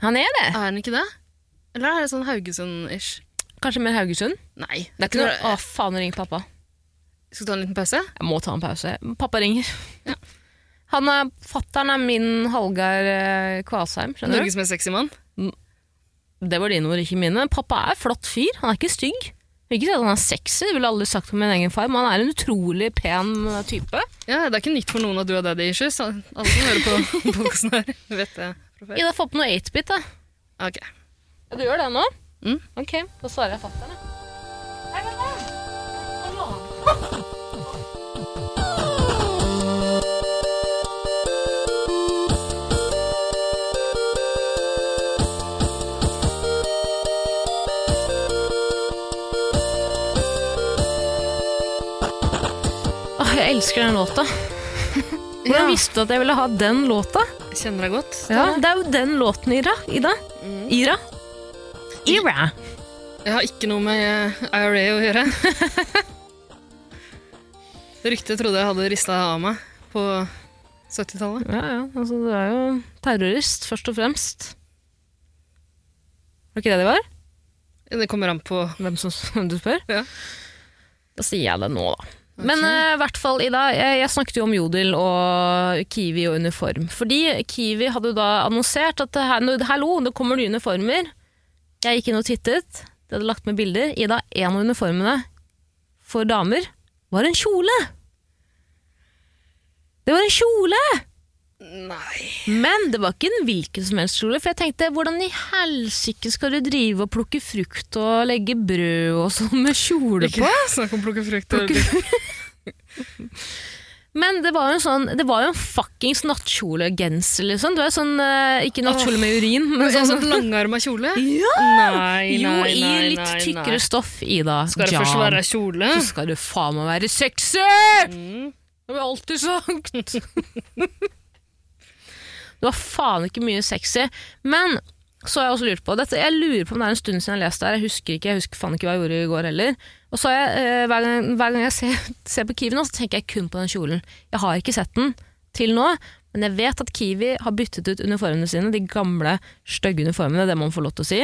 A: Han er det.
B: er han ikke det? Eller er det sånn Haugesund-ish?
A: Kanskje mer Haugesund?
B: Nei.
A: Det er ikke noe Å, faen, ring pappa.
B: Skal vi ta en liten pause?
A: Jeg må ta en pause. Pappa ringer. Han er Fattern er min Hallgeir eh, Kvasheim, skjønner du?
B: Norges mest sexy mann.
A: Det var dine ord, ikke mine. Pappa er flott fyr. Han er ikke stygg. Jeg vil Ikke si at han er sexy, det ville jeg aldri sagt om min egen far, men han er en utrolig pen eh, type.
B: Ja, Det er ikke nytt for noen at du har daddy issues. Alle som hører på podkasten her, vet det fra før.
A: Ida, få på noe 8-bit, da.
B: Ok.
A: Ja, du gjør det nå?
B: Mm.
A: Ok, da svarer jeg fatter'n, jeg. Hei, pappa. Hallo. Åh, jeg elsker den låta. Hvordan
B: Ja.
A: visste du at jeg ville ha den låta?
B: Jeg Kjenner deg godt.
A: Ja, det er jo den låten, Ira. Ida. Ira. Ira.
B: Jeg har ikke noe med eh, IRA å gjøre. Det ryktet trodde jeg hadde rista av meg på 70-tallet.
A: Ja, ja. Altså, du er jo terrorist, først og fremst. Var det ikke det det var?
B: Det kommer an på
A: Hvem som hvem du spør?
B: Ja.
A: Da sier jeg det nå, da. Men eh, i hvert fall, Ida, jeg, jeg snakket jo om Jodel og Kiwi og uniform. Fordi Kiwi hadde jo da annonsert at det her, nå- hallo, det kommer nye uniformer. Jeg gikk inn og tittet. De hadde lagt med bilder. Ida, en av uniformene for damer var en kjole. Det var en kjole!
B: Nei.
A: Men det var ikke en hvilken som helst kjole, for jeg tenkte hvordan i helsike skal du drive og plukke frukt og legge brød og sånn med kjole på?
B: Ikke snakk om plukke frukt. og-
A: Men det var jo en sånn, det var jo en fuckings nattkjolegenser, liksom. Det var jo sånn, eh, ikke nattkjole med urin, men
B: En
A: sånn
B: sånn langarma kjole?
A: Ja!
B: Nei,
A: Jo,
B: nei,
A: i
B: nei,
A: litt
B: nei,
A: tykkere
B: nei.
A: stoff, Ida.
B: Skal det først
A: Jan,
B: være kjole?
A: så skal du faen meg være sexy!
B: Mm.
A: Det har vi alltid sagt. det var faen ikke mye sexy. Men så har jeg også lurt på dette. Jeg lurer på om det er en stund siden jeg har lest det her. Jeg husker ikke, jeg husker faen ikke hva jeg gjorde i går heller. Og så har jeg, eh, hver, gang, hver gang jeg ser, ser på Kiwi nå, så tenker jeg kun på den kjolen. Jeg har ikke sett den til nå, men jeg vet at Kiwi har byttet ut uniformene sine. De gamle, stygge uniformene, det må man få lov til å si.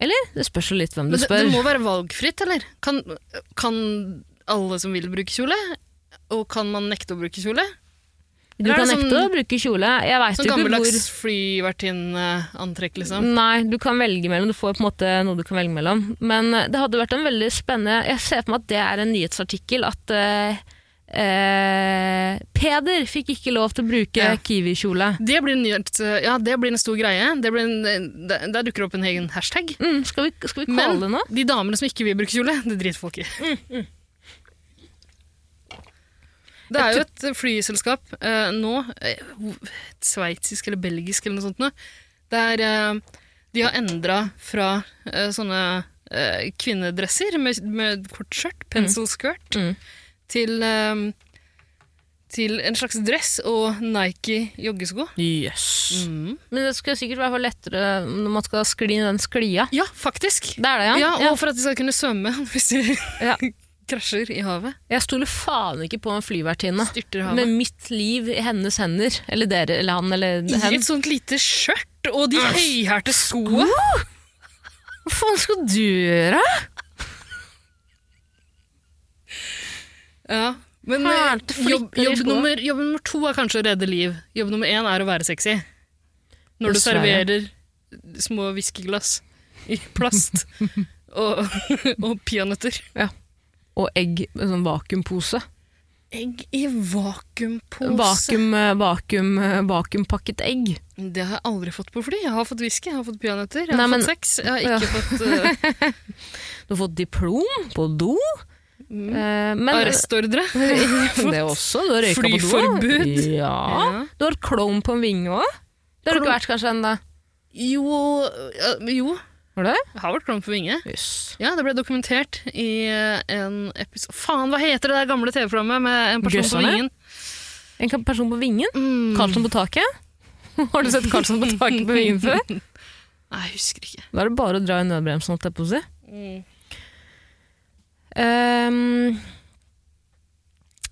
A: Eller? Det spørs jo litt hvem du
B: Men det,
A: spør.
B: det må være valgfritt, eller? Kan, kan alle som vil bruke kjole? Og kan man nekte å bruke kjole?
A: du
B: er
A: kan
B: det
A: nekte
B: sånn-
A: å bruke kjole. Jeg vet
B: Sånn
A: jo ikke hvor
B: gammeldags flyvertinneantrekk, liksom.
A: Nei, du kan velge mellom. Du får på en måte noe du kan velge mellom. Men eh, det hadde vært en veldig spennende Jeg ser for meg at det er en nyhetsartikkel at eh, eh, Peder fikk ikke lov til å bruke
B: Ja.
A: kiwi-kjole.
B: Det blir, en nyhet, ja, det blir en stor greie. Det blir en, der, der dukker det opp en egen hashtag.
A: Mm, skal, vi, skal vi kalle
B: Men
A: det noe?
B: de damene som ikke vil bruke kjole, det driter folk i. mm. Det er jo et flyselskap eh, nå, eh, et sveitsisk eller belgisk eller noe sånt, nå, der eh, de har endra fra eh, sånne eh, kvinnedresser med, med kort skjørt, pencil skirt,
A: Mm.
B: til, eh, til en slags dress og Nike joggesko.
A: Yes. Mm. Men det skal sikkert være lettere når man skal skli i den sklia.
B: Ja, faktisk!
A: Det er det, ja.
B: Ja,
A: ja.
B: og for at de skal kunne svømme hvis de
A: Ja.
B: krasjer i havet.
A: Jeg stoler faen ikke på en flyvertinne.
B: Styrter i havet.
A: Med mitt liv i hennes hender. Eller dere, eller han, eller
B: I
A: hen.
B: et sånt lite skjørt og de høyhælte skoene.
A: Hva faen skal du gjøre?
B: Ja. Men eh,
A: Hæl til
B: jobb,
A: flikker i
B: jobb,
A: skoa.
B: nummer, jobb nummer to er kanskje å redde liv. Jobb nummer én er å være sexy. Når du
A: Dessverre.
B: serverer små whiskyglass i plast og, og peanøtter.
A: Og egg med sånn vakuumpose.
B: Egg i vakuumpose.
A: Vakuum, eh, vakuum, eh, vakuumpakket egg.
B: Det har jeg aldri fått på fly. Jeg har fått whisky, jeg har fått peanøtter, jeg har
A: Nei, men-
B: fått sex. Jeg har ikke fått
A: Du har fått diplom på do.
B: eh,
A: eh, men-
B: arrestordre.
A: Det også. Du har røyka på do.
B: Flyforbud.
A: Ja.
B: Ja.
A: Du har klovn på en vinge òg. Det har du ikke
B: Klovn.
A: vært kanskje ennå.
B: Jo, ja, jo.
A: Har du det?
B: Jeg har vært klovn på vinge.
A: Jøss.
B: Ja, det ble dokumentert i eh, en episode Faen, hva heter det der gamle TV-programmet med en person på
A: Grøsserne?
B: vingen?
A: En ka- person på vingen?
B: Mm.
A: Karlsson på taket? har du sett Karlsson på taket på vingen før?
B: Nei, jeg husker ikke.
A: Da er det bare å dra i nødbremsen, holdt jeg på å si. Ehm,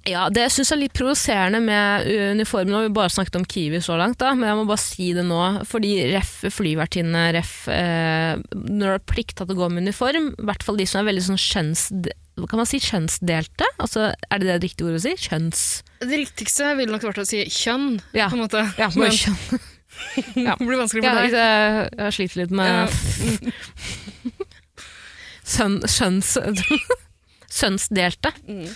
A: ja, det jeg syns er litt provoserende med uniformen Nå har vi bare snakket om Kiwi så langt, da, men jeg må bare si det nå. Fordi ref flyvertinne, ref eh, Når du har plikta til å gå med uniform, i hvert fall de som er veldig sånn kjønns... Kan man si kjønnsdelte? Altså, er det det riktige ordet å si? Kjønns...
B: Det riktigste ville nok vært å si kjønn,
A: Ja.
B: på en måte.
A: Ja, bare kjønn.
B: Men det blir vanskelig
A: Ja,
B: for
A: jeg,
B: deg.
A: jeg har slitt litt med Sønn- Sønns... Sønnsdelte.
B: Mm.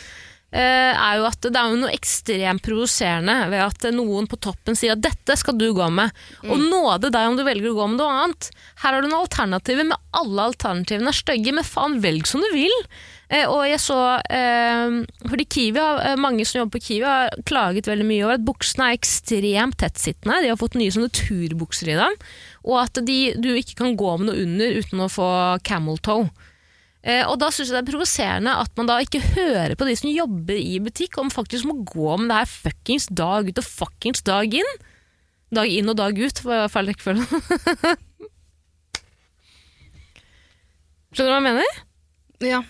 A: eh, er jo at det er jo noe ekstremt provoserende ved at noen på toppen sier at dette skal du gå med, og nåde deg om du velger å gå med noe annet. Her har du noen alternativer, men alle alternativene er stygge, men faen, velg som du vil. Eh, og jeg så, eh, fordi Kiwi har, eh, Mange som jobber på Kiwi, har klaget veldig mye over at buksene er ekstremt tettsittende. De har fått nye sånne turbukser i dem. Og at de, du ikke kan gå med noe under uten å få camel toe. Eh, og da syns jeg det er provoserende at man da ikke hører på de som jobber i butikk, om faktisk må gå med det her fuckings dag ut og fuckings dag inn. Dag inn og dag ut, var feil rekkefølge. Skjønner du hva jeg mener?
B: Ja.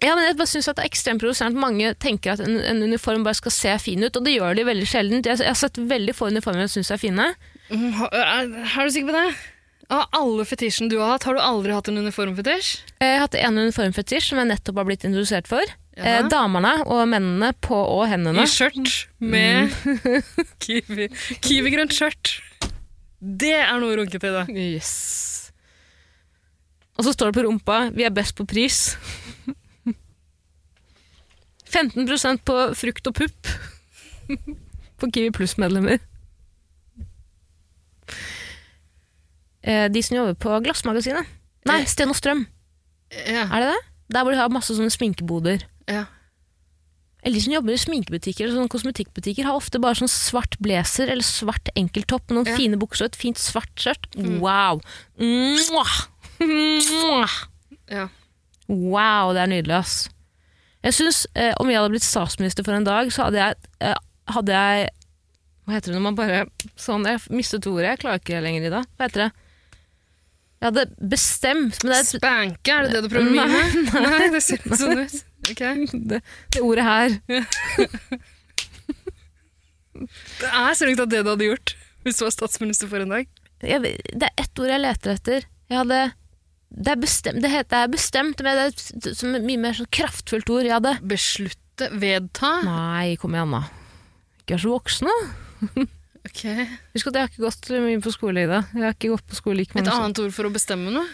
A: Ja, men jeg bare synes at Det er ekstremt provoserende at mange tenker at en, en uniform bare skal se fin ut, og det gjør de veldig sjelden. Jeg, jeg har sett veldig få uniformer jeg syns er fine.
B: Mm, ha- Er er du sikker på det? Av alle fetisjene du har hatt, har du aldri hatt en uniformfetisj?
A: Eh, Jeg har hatt en uniformfetisj som jeg nettopp har blitt introdusert for.
B: Ja.
A: Eh, damene og mennene på og hendene.
B: I skjørt med Mm. kiwi. kiwigrønt skjørt. Det er noe runket i det.
A: Yes. Og så står det på rumpa 'Vi er best på pris'. 15 på frukt og pupp for Kiwi Pluss-medlemmer. Eh, De som jobber på Glassmagasinet. Nei, Sten og Strøm.
B: Ja.
A: Er det det? Der hvor de har masse sånne sminkeboder.
B: ja.
A: Eller de som jobber i sminkebutikker eller sånne kosmetikkbutikker, har ofte bare sånn svart blazer eller svart enkelttopp med noen
B: Ja.
A: fine bukser og et fint svart skjørt. Wow! Mwah! Mwah!
B: ja.
A: Wow, det er nydelig, ass. Jeg synes, eh, Om jeg hadde blitt statsminister for en dag, så hadde jeg, eh, hadde jeg Hva heter det når man bare sånn, Jeg mistet ordet, jeg klarer ikke lenger i dag. Hva heter det? Jeg hadde bestemt men det, er et-
B: Spanke, er det det du prøver å
A: Nei,
B: mime? Nei, det ser ikke sånn ut. Ok.
A: det, det ordet her
B: Det er strengt tatt det du hadde gjort hvis du var statsminister for en dag.
A: jeg, Det er ett ord jeg leter etter. Jeg hadde Det er bestemt, det heter, det er bestemt men det er et s- som et mye mer sånn kraftfullt ord. Jeg hadde
B: Beslutte, vedta.
A: Nei, kom igjen, da. Ikke vær så voksen, da.
B: Ok.
A: Husk at jeg har ikke gått mye på skole, Ida. Jeg har ikke gått på skole like
B: Et
A: mange som-
B: annet ord for å bestemme noe.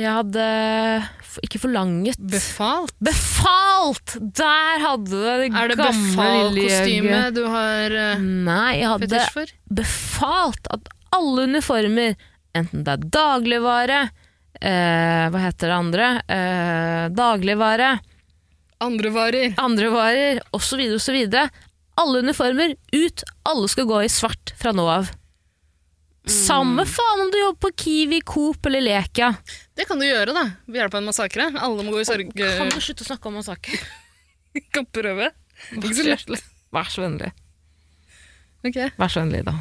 A: Jeg hadde f- ikke forlanget
B: Befalt.
A: Befalt! Der hadde du det, det
B: Er det
A: gamle
B: befal
A: lille
B: kostyme
A: jøget.
B: du har eh,
A: Nei, jeg hadde
B: fetisj for?
A: befalt at alle uniformer, enten det er dagligvare eh, Hva heter det andre? Eh, dagligvare,
B: Andre varer.
A: andre varer osv., osv. Alle uniformer ut! Alle skal gå i svart fra nå av. Samme faen om du jobber på Kiwi, Coop eller Leka.
B: Det kan du gjøre, da. Ved hjelp av en massakre. Alle må gå
A: Kan
B: i
A: du
B: sørgekamperøve.
A: slutte å snakke om massakre?
B: Ikke så lett.
A: Vær så vennlig.
B: Ok.
A: Vær så vennlig, da.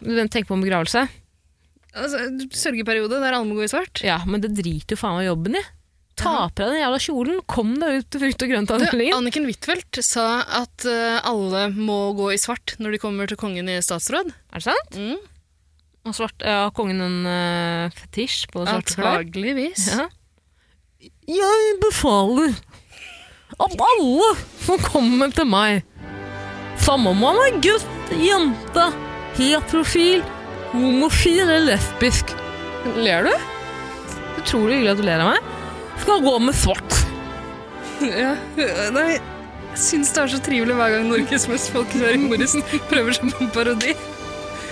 A: Du tenker på en begravelse?
B: Altså, sørgeperiode der alle må gå i svart.
A: Ja, men det driter jo faen meg jobben i. Ta på deg den jævla kjolen, kom deg ut til frukt- og grøntavdelingen.
B: Anniken Huitfeldt sa at eh, alle må gå i svart når de kommer til kongen i statsråd.
A: Er det sant?
B: Mm.
A: Og svart, ja, kongen en eh, fetisj på svarte klær.
B: Antageligvis.
A: Ja. Jeg befaler Av alle som kommer til meg. Samme om man er gutt, jente, heterofil, homofil eller lesbisk. Ler du? Utrolig hyggelig at du ler av meg. Skal gå med svart.
B: Ja. Nei, jeg syns det er så trivelig hver gang Norges mest folkekjære humorist prøver seg på en parodi.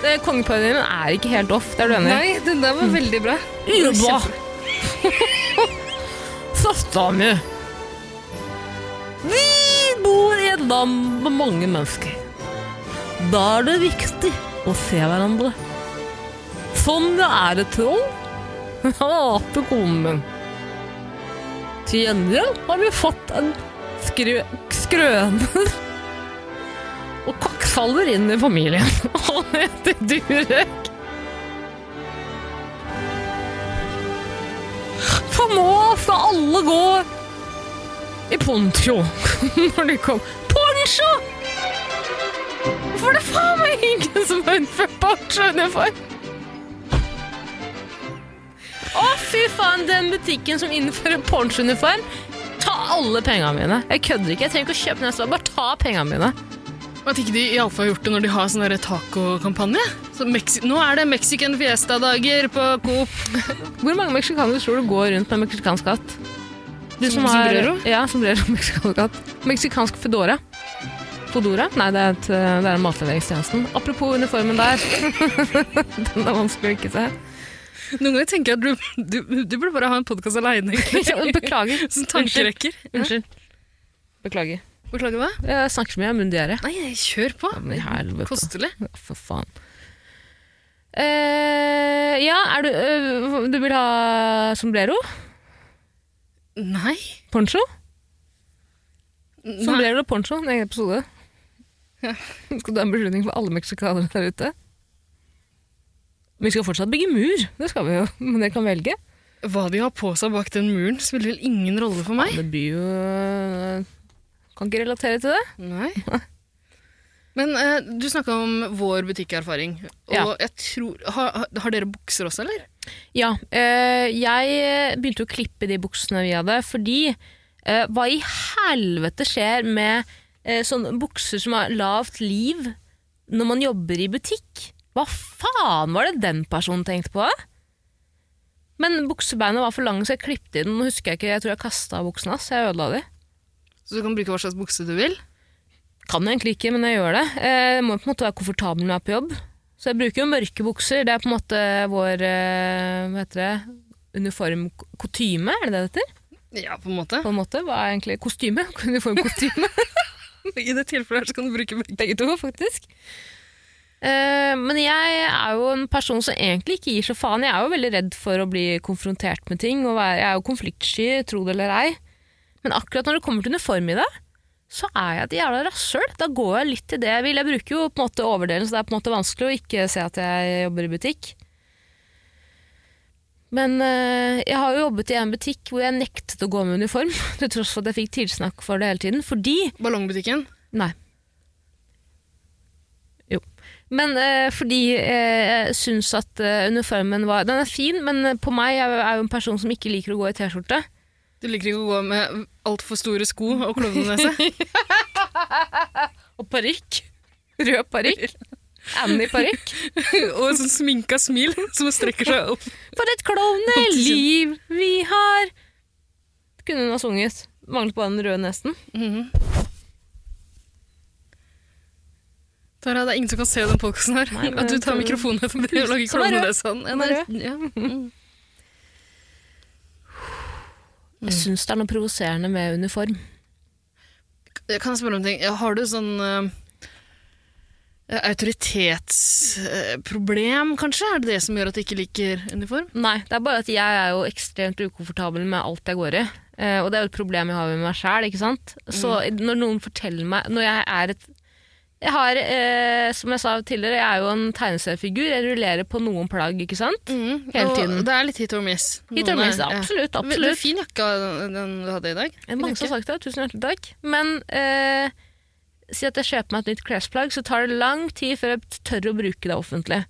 A: Det- Kongeparodien er ikke helt off, det er du enig i?
B: Nei, den der var veldig bra.
A: Ylva.
B: Kjempe-
A: Søstera mi. Vi bor i et land med mange mennesker. Da er det viktig å se hverandre. Sånn det er et troll. Han hater konen min. Til gjengjeld har vi fått en skrø skrøner og kakkfaller inn i familien. Han heter Durek. For nå skal alle gå i poncho når de kom. Poncho! For det er faen meg ingen som har innført ponchouniform. Å, fy faen, den butikken som innfører ponchouniform, ta alle pengene mine. Jeg kødder ikke, jeg trenger ikke å kjøpe neste år, bare ta pengene mine.
B: At ikke de iallfall har gjort det når de har sånn der tacokampanje. Så Mexi- Nå er det Mexican Fiesta-dager på Coop.
A: Hvor mange meksikanere tror du går rundt med meksikansk hatt? Du
B: Som- sombrero?
A: Ja, sombrero og meksikansk hatt. Meksikansk fedora. Fodora? Nei, det er, et, eh, det er en matleveringstjenesten. Apropos uniformen der. Den er vanskelig å ikke se.
B: Noen ganger tenker jeg at du, du, du burde bare ha en podkast aleine.
A: Beklager.
B: Sånn tankerekker.
A: Unnskyld. Beklager.
B: Beklager hva?
A: Jeg snakker så mye, jeg har munndiaré.
B: Nei, kjør på.
A: Men i helvete.
B: Kostelig.
A: For faen. Eh, ja, er du eh, Du vil ha sombrero?
B: Nei.
A: Poncho?
B: Nei.
A: Sombrero og poncho, en egen episode. Skal du ha en beslutning for alle meksikanere der ute? Vi skal fortsatt bygge mur, det skal vi jo, men dere kan velge.
B: Hva de har på seg bak den muren, spiller vel ingen rolle for meg.
A: Det blir jo Kan ikke relatere til det.
B: Nei. Men eh, du snakka om vår butikkerfaring. Og
A: Ja.
B: jeg tror, har, har- har dere bukser også, eller?
A: Ja, eh, jeg begynte å klippe de buksene vi hadde, fordi eh, hva i helvete skjer med eh, sånne bukser som har lavt liv når man jobber i butikk? Hva faen var det den personen tenkte på? Men buksebeina var for lange, så jeg klippte i den. Nå husker jeg ikke, jeg tror jeg kasta buksene hans. Jeg ødela de.
B: Så du kan bruke hva slags bukse du vil.
A: Kan jo egentlig ikke, men jeg gjør det. Eh, Jeg må på en måte være komfortabel når jeg er på jobb. Så jeg bruker jo mørke bukser. Det er på en måte vår eh, hva heter det, uniformkutyme, er det det det heter?
B: Ja, på en måte.
A: På en måte, Hva er egentlig kostyme? Uniformkostyme,
B: I det tilfellet her så kan du bruke begge.
A: begge to, faktisk. Eh, men jeg er jo en person som egentlig ikke gir så faen. Jeg er jo veldig redd for å bli konfrontert med ting. Og være, jeg er jo konfliktsky, tro det eller ei. Men akkurat når det kommer til uniform i det, så er jeg et jævla rasshøl. Da går jeg litt til det jeg vil. Jeg bruker jo på en måte overdelen, så det er på en måte vanskelig å ikke se at jeg jobber i butikk. Men eh, jeg har jo jobbet i en butikk hvor jeg nektet å gå med uniform, til tross for at jeg fikk tilsnakk for det hele tiden, fordi
B: Ballongbutikken.
A: Nei. Jo. Men eh, fordi eh, jeg syns at eh, uniformen var Den er fin, men eh, på meg jeg er jo- er jo en person som ikke liker å gå i T-skjorte.
B: Du liker ikke å gå med altfor store sko og klovnenese.
A: Og parykk. Rød parykk. Annie-parykk.
B: og sånn sminka smil som strekker seg opp.
A: For et klovneliv vi har! Kunne hun ha sunget. Manglet bare den røde nesten.
B: Tara, det er ingen som kan se den podkasten her.
A: Nei, men
B: At du
A: jeg
B: tar
A: tror-
B: mikrofonen og lager
A: Som er rød.
B: klovnenese. Ja,
A: Som er
B: nei,
A: rød.
B: ja.
A: Jeg syns det er noe provoserende med uniform.
B: Jeg Kan jeg spørre om en ting? Har du sånn eh, autoritetsproblem, kanskje? Er det det som gjør at du ikke liker uniform?
A: Nei, det er bare at jeg er jo ekstremt ukomfortabel med alt jeg går i. Eh, og det er jo et problem jeg har med meg sjæl, ikke sant. Så
B: Mm.
A: når noen forteller meg Når jeg er et Jeg har, eh, som jeg sa tidligere, jeg er jo en tegneseriefigur. Jeg rullerer på noen plagg, ikke sant. Mm, Hele
B: Og
A: tiden.
B: Det er litt hit or miss.
A: Hit or
B: Noen er-
A: miss, absolutt,
B: Ja. Veldig
A: absolutt.
B: fin jakka den den du hadde i dag.
A: Det er Mange som
B: Fin
A: har sagt det, tusen hjertelig takk. Men eh, si at jeg kjøper meg et nytt klesplagg, så tar det lang tid før jeg tør å bruke det offentlig.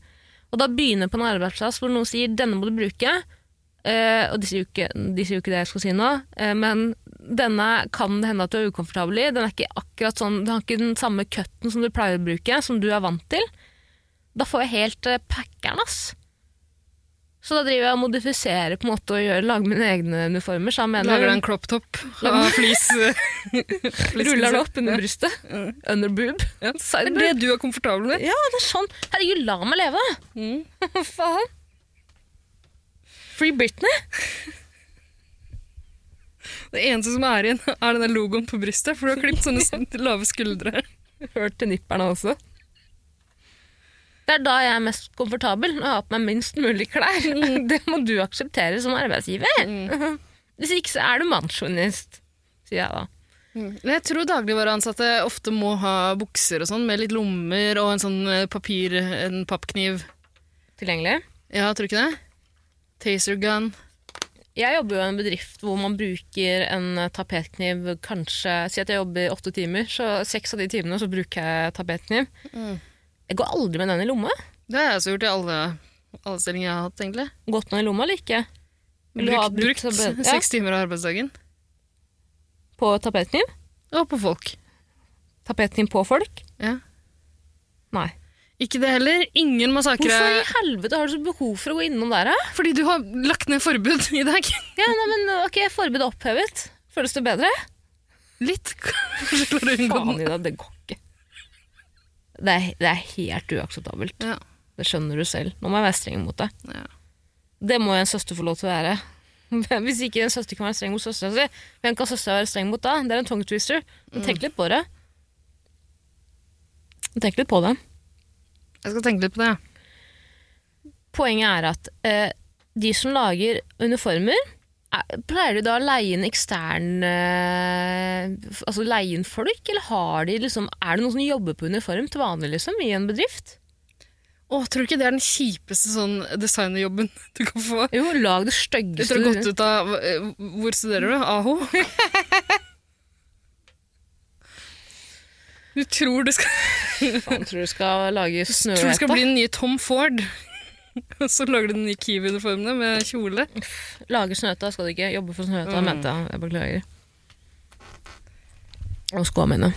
A: Og da begynner jeg på en arbeidsplass hvor noen sier 'denne må du bruke', eh, og de sier, jo ikke, de sier jo ikke det jeg skal si nå, eh, men denne kan det hende at du er ukomfortabel i. Den er ikke akkurat sånn, den har ikke den samme cutten som du pleier å bruke, som du er vant til. Da får jeg helt eh, packeren, ass. Så da driver jeg og modifiserer på en måte og gjør, lager mine egne uniformer. Så jeg mener,
B: Lager deg en crop top av flis. flis-
A: ruller det opp under brystet. Under boob.
B: Ja.
A: Side
B: Det
A: boob.
B: er det du er komfortabel med.
A: Mm. Ja, det er sånn. Herregud, la meg leve, da!
B: Mm.
A: Faen. Free Britney.
B: Det eneste som er igjen, er den der logoen på brystet, for du har klippet sånne s- lave skuldre.
A: Hørt til nipperne også. Det er da jeg er mest komfortabel, når jeg har på meg minst mulig klær. Det må du akseptere som arbeidsgiver. Hvis ikke så er du mannssjåvinist, sier jeg da.
B: Mm. Men Jeg tror dagligvareansatte ofte må ha bukser og sånn, med litt lommer og en sånn eh, papir, en pappkniv.
A: Tilgjengelig.
B: Ja, tror du ikke det? Taser gun.
A: Jeg jobber jo i en bedrift hvor man bruker en tapetkniv kanskje Si at jeg jobber i åtte timer, så seks av de timene så bruker jeg tapetkniv.
B: Mm.
A: Jeg går aldri med den i lomma.
B: Det har jeg også gjort i alle, alle stillinger jeg har hatt, egentlig.
A: Gått med den i lomma eller ikke? Eller du har
B: Brukt,
A: brukt
B: brukt
A: tabell-
B: seks timer av arbeidsdagen.
A: På tapetkniv?
B: Og på folk.
A: Tapetkniv på folk?
B: Ja.
A: Nei.
B: Ikke det heller. Ingen massakre.
A: Hvorfor i helvete har du så behov for å gå innom der, da?
B: Fordi du har lagt ned forbud i dag.
A: Ja, nei, men ok, forbudet er opphevet. Føles det bedre?
B: Litt. Kanskje klarer du å unngå
A: Faen,
B: den.
A: Ida, det går ikke. Det er, det er helt uakseptabelt.
B: Ja.
A: Det skjønner du selv. Nå må jeg være streng mot deg.
B: Ja.
A: Det må en søster få lov til å være. Hvis ikke en søster kan være streng mot søstera si, hvem kan søstera være streng mot da? Det er en tongue twister.
B: Mm.
A: Men tenk litt på det. Tenk litt på det.
B: Jeg skal tenke litt på det.
A: Poenget er at eh, de som lager uniformer, er, pleier de da å leie inn ekstern eh, f- Altså leie inn folk, eller har de liksom, er det noen som jobber på uniform til vanlig liksom, i en bedrift?
B: Å, tror du ikke det er den kjipeste sånn designerjobben du kan få?
A: Jo, lag det
B: Etter å ha
A: styggeste
B: gått ut av eh, Hvor studerer du? AHO? Du tror du skal,
A: Faen, tror du skal lage
B: tror du
A: snøhette.
B: skal bli den nye Tom Ford, og så lager du den nye Kiwi-uniformene med kjole.
A: Lage Snøhetta skal du ikke. Jobbe for Snøhetta,
B: Mm.
A: mente jeg. Jeg beklager. Og skoa mine.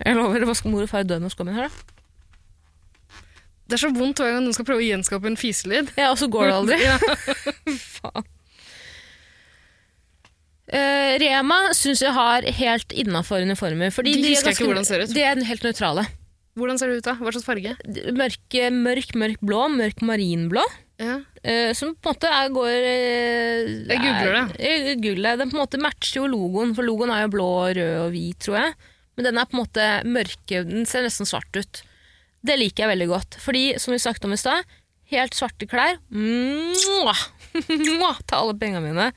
A: Jeg lover å vaske mor og far i døden med skoa mine her, da.
B: Det er så vondt hver gang noen skal prøve å gjenskape en fiselyd.
A: Ja, og så går det aldri.
B: Ja.
A: Eh, Rema syns jeg har helt innafor uniformer. Fordi
B: De
A: de,
B: husker
A: er
B: jeg ikke hvordan det ser ut.
A: De er helt nøytrale.
B: Hvordan ser det ut, da? Hva slags farge?
A: D- Mørk, mørk, mørk blå, mørk marinblå.
B: Ja.
A: eh, som på en måte er, går eh,
B: Jeg googler det.
A: Er, jeg googler det. Den på en måte matcher jo logoen, for logoen er jo blå, rød og hvit, tror jeg. Men den er på en måte mørke, den ser nesten svart ut. Det liker jeg veldig godt. Fordi, som vi snakket om i stad, helt svarte klær Mwah! Mwah! Ta alle pengene mine.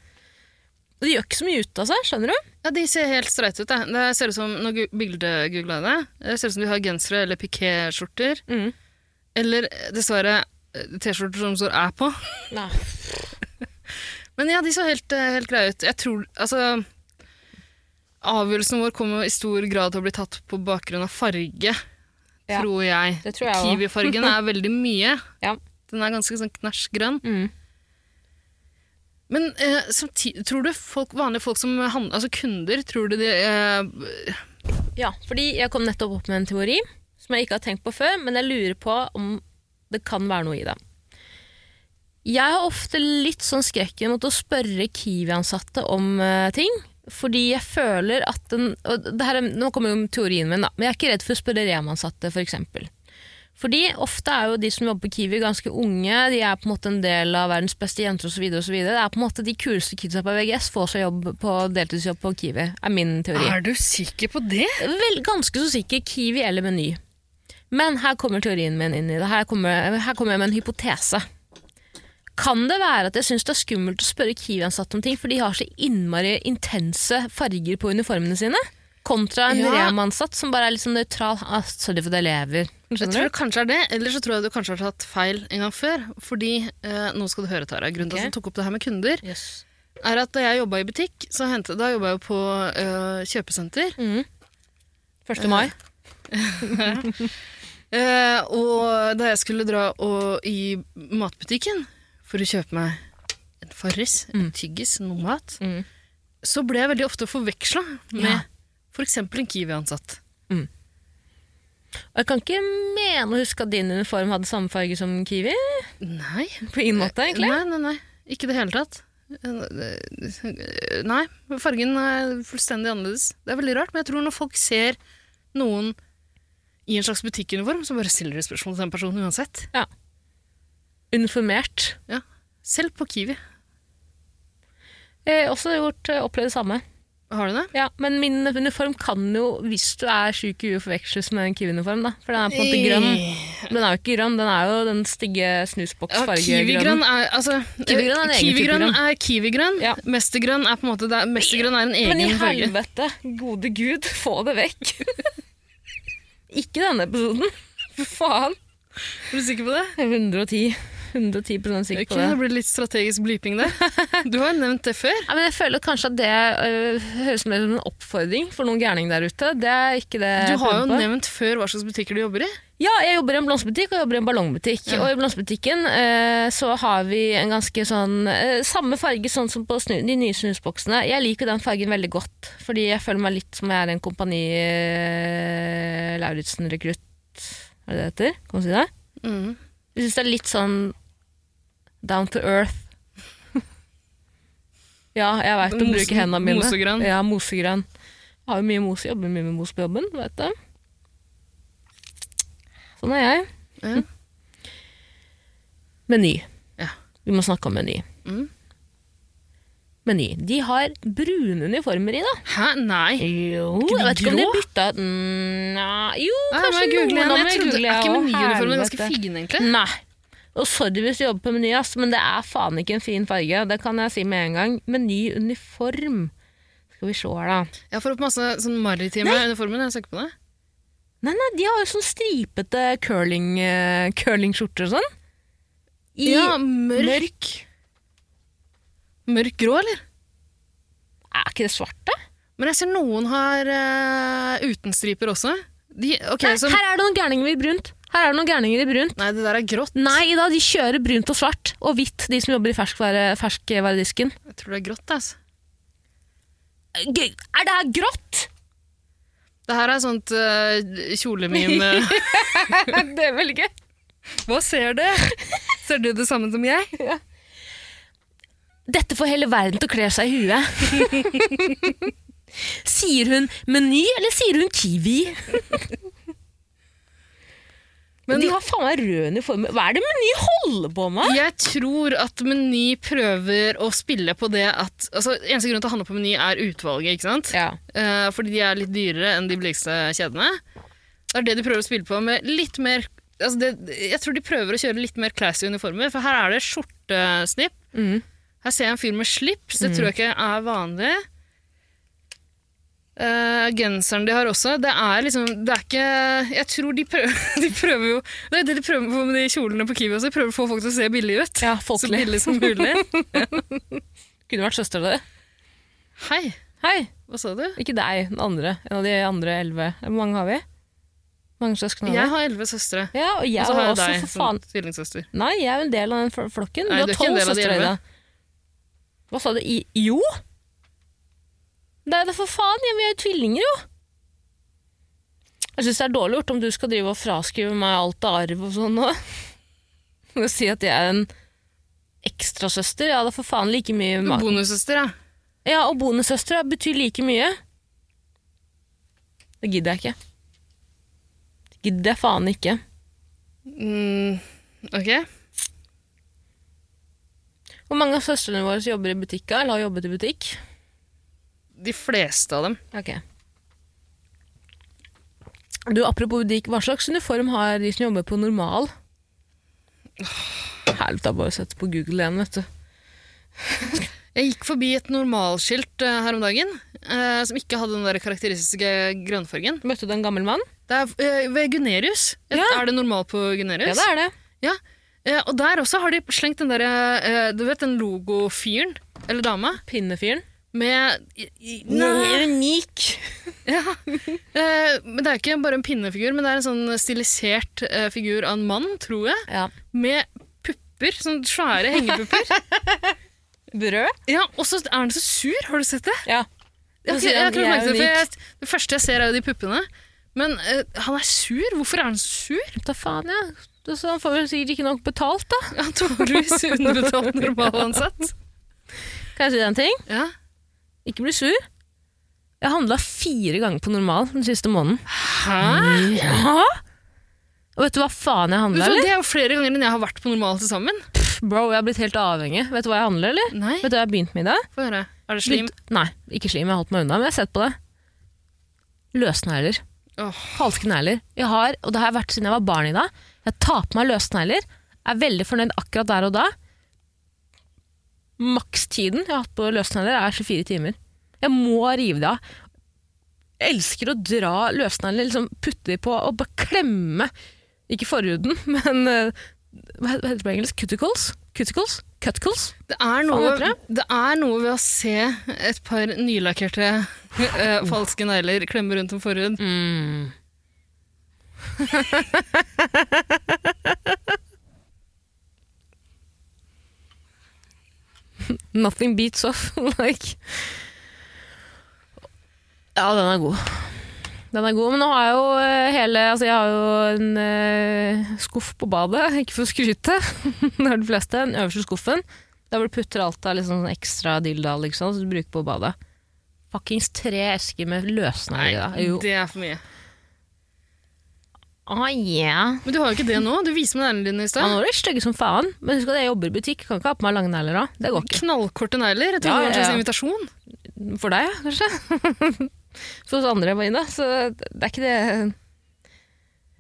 A: Og de gjør ikke så mye ut av seg, skjønner du?
B: ja, de ser helt streite ut. da. Det ser ut som, Nå gu- bildegoogla jeg det. Det ser ut som de har gensere eller piké-skjorter.
A: Mm.
B: Eller eh, dessverre eh, T-skjorter som står 'æ' på.
A: Nei.
B: Men ja, de så helt, eh, helt greie ut. Jeg tror, altså Avgjørelsen vår kommer i stor grad til å bli tatt på bakgrunn av farge,
A: Ja,
B: tror jeg.
A: det tror jeg også.
B: Kiwi-fargen er veldig mye.
A: Ja.
B: Den er ganske sånn knæsj grønn.
A: Mm.
B: Men eh, samti- tror du folk, vanlige folk som handler, altså kunder, tror du de eh,
A: Ja, fordi jeg kom nettopp opp med en teori som jeg ikke har tenkt på før, men jeg lurer på om det kan være noe i det. Jeg har ofte litt sånn skrekken mot å spørre Kiwi-ansatte om eh, ting, fordi jeg føler at den og det her, er- Nå kommer jo teorien min, da, men jeg er ikke redd for å spørre Rema-ansatte, f.eks. eksempel. Fordi ofte er jo de som jobber på Kiwi ganske unge, de er på en måte en del av verdens beste jenter osv. Det er på en måte de kuleste kidsa på VGS får seg jobb på deltidsjobb på Kiwi, er min teori.
B: Er du sikker på det?
A: Vel, ganske så sikker Kiwi eller Meny. Men her kommer teorien min inn i det. Her kommer, her kommer jeg med en hypotese. Kan det være at jeg syns det er skummelt å spørre Kiwi-ansatte om ting, for de har så innmari intense farger på uniformene sine? Kontra en
B: Ja.
A: Rema-ansatt som bare er litt sånn nøytral. Ah, sorry for at jeg lever.
B: Jeg
A: Skjønner
B: tror
A: du?
B: det kanskje er det, eller så tror jeg du kanskje har tatt feil en gang før. Fordi, eh, nå skal du høre, Tara, grunnen til
A: Ok.
B: at du tok opp det her med kunder,
A: Yes.
B: er at da jeg jobba i butikk, så hentet, da jobba jeg jo på eh, kjøpesenter.
A: Mm. 1. mai.
B: Eh, og da jeg skulle dra og, i matbutikken for å kjøpe meg en Farris, en tyggis, noe mat,
A: Mm.
B: så ble jeg veldig ofte forveksla med
A: Ja.
B: for f.eks. en Kiwi-ansatt.
A: Og jeg kan ikke mene å huske at din uniform hadde samme farge som Kiwi.
B: Nei.
A: På ingen måte, egentlig.
B: Eh, Nei, nei, nei. Ikke i det hele tatt. Eh, Nei, fargen er fullstendig annerledes. Det er veldig rart, men jeg tror når folk ser noen i en slags butikkuniform, så bare stiller de spørsmål til den personen uansett.
A: Uniformert.
B: Ja. Selv på Kiwi.
A: Jeg har også gjort, eh, opplevd det samme.
B: Har du det?
A: Ja, men min uniform kan jo, hvis du er syk i huet, forveksles med en Kiwi-uniform. da. For den er på en måte grønn. Men den er jo ikke grønn, den er jo den stygge
B: Ja,
A: snusboksfargegrønnen.
B: Kiwi-grønn er altså, eh,
A: Kiwi-grønn er en egen type
B: Kiwi-grønn
A: grønn.
B: er Kiwi-grønn.
A: Ja.
B: Mestergrønn er på en måte det er, Mestergrønn er en egen
A: men i
B: farge.
A: helvete, gode gud, få det vekk! ikke denne episoden. For faen.
B: Er du sikker på det?
A: Jeg er 110 110 sikker
B: Ikke,
A: på det.
B: det blir litt strategisk bliping der. Du har jo nevnt det før.
A: Ja, men jeg føler kanskje at det øh, høres mer ut som en oppfordring for noen gærning der ute. Det er ikke det jeg
B: Du har jo
A: prøver på.
B: nevnt før hva slags butikker du jobber i.
A: Ja, jeg jobber i en blomsterbutikk og jeg jobber i en ballongbutikk.
B: Ja.
A: Og i blomsterbutikken eh, så har vi en ganske sånn eh, Samme farge sånn som på snu, de nye snusboksene. Jeg liker den fargen veldig godt, fordi jeg føler meg litt som jeg er en Kompani eh, Lauritzen-rekrutt. Er det det heter? Kan man si det?
B: Mm.
A: Jeg syns det er litt sånn down to earth. ja, jeg veit å
B: Mose-
A: bruke hendene mine.
B: mosegrønn.
A: Ja, mosegrønn. Har jo mye mos, jobber mye med mos på jobben, veit du. Sånn er jeg.
B: Ja.
A: Meny.
B: Ja.
A: Vi må snakke om Meny.
B: Mm.
A: Meny. De har brune uniformer i, da.
B: Hæ? Nei.
A: Jo,
B: Ikke
A: jeg vet ikke om de
B: grå?
A: bytta mm, nei, Jo,
B: Nei, må
A: kanskje
B: jeg google
A: noen
B: igjen?
A: av
B: Jeg
A: dem
B: trodde,
A: googler
B: er
A: jeg
B: ikke
A: også.
B: menyuniformen ganske
A: Helvete.
B: fin, egentlig?
A: Nei. Og sorry hvis du jobber på Meny, ass, men det er faen ikke en fin farge. Det kan jeg si med en gang. Meny uniform. Skal vi se her, da.
B: Jeg får opp masse sånn maritime uniformer når jeg søker på det.
A: Nei, nei, de har jo sånn stripete curling, eh, curlingskjorter og sånn. I
B: ja,
A: mørk.
B: mørk. mørk grå, eller?
A: Er ikke det svart, da?
B: Men jeg ser noen har eh, uten striper også. De, ok,
A: Nei,
B: så,
A: Her er det noen gærninger i brunt. Her er det noen gærninger i brunt.
B: nei, det der er grått.
A: Nei, da, de kjører brunt og svart og hvitt, de som jobber i ferskvare, ferskvaredisken.
B: Jeg tror det er grått, altså.
A: Gøy. Er det her grått?
B: Det her er sånt uh, kjolemime...
A: det er veldig gøy.
B: Hva ser det? Ser du det samme som jeg?
A: Dette får hele verden til å kle seg i huet. sier hun Meny, eller sier hun Kiwi?
B: Men-
A: de har faen meg rød uniform. Hva er det Meny holder på med?
B: Jeg tror at Meny prøver å spille på det at altså, Eneste grunn til å handle på Meny er utvalget, ikke sant?
A: Ja.
B: Eh, fordi de er litt dyrere enn de billigste kjedene. Det er det de prøver å spille på med litt mer altså det, Jeg tror de prøver å kjøre litt mer classy uniformer, for her er det skjortesnipp.
A: Mm.
B: Her ser jeg en fyr med slips, det tror jeg ikke er vanlig. Eh, genseren de har også, det er liksom Det er ikke Jeg tror de prøver, de prøver jo Det er det de prøver på med de kjolene på Kiwi også, de prøver å få folk til å se billige ut.
A: ja,
B: Så
A: folkelig.
B: billig som mulig.
A: Kunne vært søstera di.
B: Hei,
A: Hei,
B: hva sa du?
A: ikke deg, den andre. En av de andre elleve. Hvor mange har vi? Mange søsken har vi?
B: Jeg har elleve søstre.
A: Ja, og jeg
B: Og så har
A: har
B: jeg
A: også,
B: deg
A: for
B: som
A: faen.
B: tvillingsøster.
A: Nei, jeg er jo en del av den fl- flokken.
B: Nei,
A: du har
B: du er ikke en
A: tolv
B: del av de
A: søstre i
B: elleve.
A: deg. Hva sa du? I, jo? Nei, det er for faen, ja, vi er jo tvillinger, jo. Jeg syns det er dårlig gjort om du skal drive og fraskrive meg alt av arv og sånn nå. Og si at jeg er en ekstrasøster. Ja, det er for faen like mye ma-
B: Bonussøster, ja.
A: Ja, og bonussøster ja, betyr like mye. Det gidder jeg ikke. Det gidder jeg faen ikke.
B: Mm, ok.
A: Hvor mange av søstrene våre som jobber i butikka, eller har jobbet i butikk?
B: De fleste av dem.
A: Ok. Du, apropos butikk, hva slags uniform har de som jobber på normal? Helvete, jeg har bare sett på Google igjen, vet du.
B: Jeg gikk forbi et normalskilt eh, her om dagen, eh, som ikke hadde den der karakteristiske grønnfargen.
A: Møtte du en gammel mann?
B: Det er eh, ved Gunerius.
A: Ja.
B: Er det normal på Gunerius?
A: Ja, det er det.
B: Ja. Eh, og der også har de slengt den derre eh, Du vet den logofyren, eller dama,
A: Pinnefyren.
B: med i- i-
A: unik.
B: Ja. Eh, men det er ikke bare en pinnefigur, men det er en sånn stilisert eh, figur av en mann, tror jeg.
A: Ja.
B: med pupper, sånn svære hengepupper.
A: brød.
B: Ja, og så er den så sur, har du sett det?
A: Ja.
B: Jeg, har ikke- jeg, har ikke lagt merke til det, for jeg, det første jeg ser, er jo de puppene. Men eh, han er sur. Hvorfor er han så sur?
A: Da faen, ja. Det- Så han får vel sikkert ikke nok betalt, da.
B: Ja, Antakeligvis underbetalt normalansatt.
A: Kan jeg si deg en ting?
B: Ja.
A: Ikke bli sur. Jeg handla fire ganger på normal den siste måneden.
B: Hæ?
A: Ja. Og vet du hva faen jeg
B: Vet du
A: handla,
B: hva,
A: eller?
B: Det er jo flere ganger enn jeg har vært på normal til sammen.
A: Bro, jeg har blitt helt avhengig. Vet du hva jeg handler, eller?
B: Nei,
A: Vet du hva jeg har begynt med i dag?
B: få høre. Er det slim?
A: Begynt- Nei, ikke slim. Jeg har holdt meg unna, men jeg har sett på det. Løsnegler.
B: Åh,
A: Falske negler. Jeg har, og det har jeg vært siden jeg var barn i dag, jeg tar på meg løsnegler, er veldig fornøyd akkurat der og da. Makstiden jeg har hatt på løsnegler er 24 timer. Jeg må rive det av. Jeg elsker å dra løsnegler, liksom putte de på og bare klemme. Ikke forhuden, men eh, hva heter det på engelsk? Cuticles? Cuticles? Cuticles?
B: Det er,
A: Faen,
B: noe,
A: heter
B: det er noe ved å se et par nylakkerte eh, falske negler klemme rundt en forhud.
A: Mm. Nothing beats off like Ja, den er god. Den er god, men nå har jeg jo eh, hele Altså, jeg har jo en eh, skuff på badet, ikke for å skryte. det har de fleste. Den øverste skuffen. Der hvor du putter alt av liksom, sånn ekstra dilda liksom, som du bruker på badet. Fuckings tre esker med løsninger i det. Jo.
B: det er for mye.
A: Ah, yeah.
B: Men du har jo ikke det nå. Du viser meg neglene dine i
A: Ja,
B: stad.
A: nå er de stygge som faen, men husk at jeg jobber i butikk. Kan ikke ha på meg lange negler da. Det går ikke.
B: Knallkorte negler. Jeg tror
A: Ja,
B: det var en
A: ja,
B: slags
A: ja.
B: invitasjon.
A: For deg, ja, kanskje. For oss andre var inne, så det er ikke det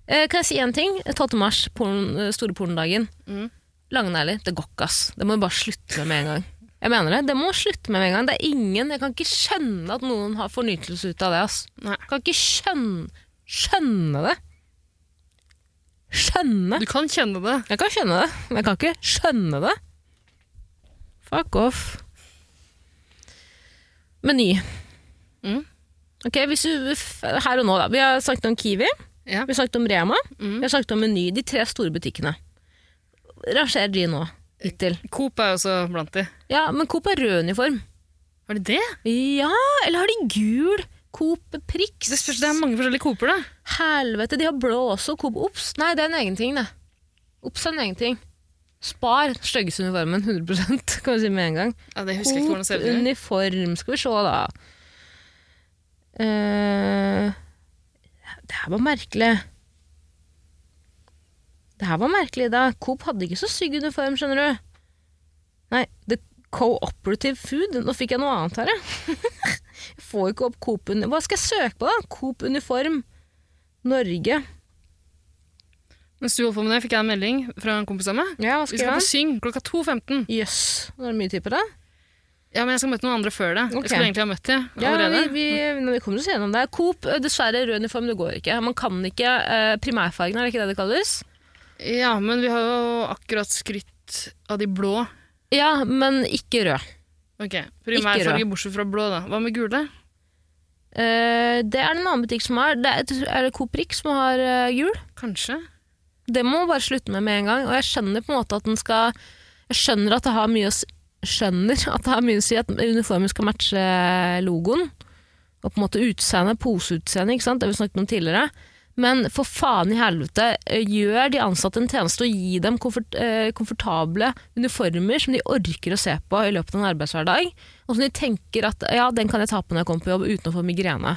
A: eh, Kan jeg si én ting? 12. mars, porn, eh, store pornodagen.
B: Mm.
A: Lange negler, det går ikke, ass. Det må vi bare slutte med med en gang. Jeg mener det. Det må slutte med med en gang. Det er ingen Jeg kan ikke skjønne at noen har fornytelse ut av det, ass.
B: Nei.
A: Jeg kan ikke skjønne Skjønne det. Skjønne.
B: Du kan kjenne det.
A: Jeg kan skjønne det, men jeg kan ikke skjønne det. Fuck off. Meny.
B: Mm.
A: Ok, hvis du, f- Her og nå, da. Vi har snakket om Kiwi,
B: Ja.
A: vi har snakket om Rema,
B: Mm.
A: vi har snakket om Meny. De tre store butikkene. Rangerer de nå, hittil?
B: Coop er jo også blant de.
A: Ja, men Coop har rød uniform.
B: Har de det?
A: Ja, eller har de gul? Coop Prix?
B: Det spørs, det er mange forskjellige Cooper, da.
A: Helvete, de har blå også. Coop Ops? Nei, det er en egen ting, det. Ops er en egen ting. Spar, styggeste uniformen. 100 kan vi si med en gang.
B: Ja, det husker jeg ikke hvordan det ser
A: Coop
B: ut. engang.
A: uniform. Skal vi se, da. Eh, det her var merkelig. Det her var merkelig, da. Coop hadde ikke så stygg uniform, skjønner du. Nei, The Cooperative Food. Nå fikk jeg noe annet her, jeg. jeg får ikke opp Coop uni- Hva skal jeg søke på, da? Coop uniform Norge.
B: Mens du holdt på med det, fikk jeg en melding fra en kompis av meg.
A: Ja, hva skal
B: Vi skal
A: jeg
B: på
A: ha?
B: Syng klokka 2.15.
A: Jøss. Nå er det mye typer, da.
B: Ja, men jeg skal møte noen andre før det.
A: Ok.
B: Jeg skulle egentlig ha møtt de
A: Ja,
B: allerede.
A: vi, vi, men vi kommer oss gjennom det. Coop, eh, dessverre, rød uniform, det går ikke. Man kan ikke eh, primærfargen, er det ikke det det kalles?
B: Ja, men vi har jo akkurat skrytt av de blå.
A: Ja, men ikke rød.
B: Ok,
A: Ikke
B: Primærfarge bortsett fra blå, da. Hva med gule?
A: Eh, det er det en annen butikk som har. Det er, er det Coop Rix som har eh, jul?
B: Kanskje?
A: Det må man bare slutte med med en gang. Og jeg skjønner på en måte at den skal Jeg skjønner at det har mye å si, skjønner at det har mye å si at uniformen skal matche eh, logoen. Og på en måte utseende, poseutseende, ikke sant? det har vi snakket om tidligere. Men for faen i helvete, eh, gjør de ansatte en tjeneste og gi dem komfort, eh, komfortable uniformer som de orker å se på i løpet av en arbeidshverdag, og som de tenker at ja, den kan jeg ta på når jeg kommer på jobb uten å få migrene.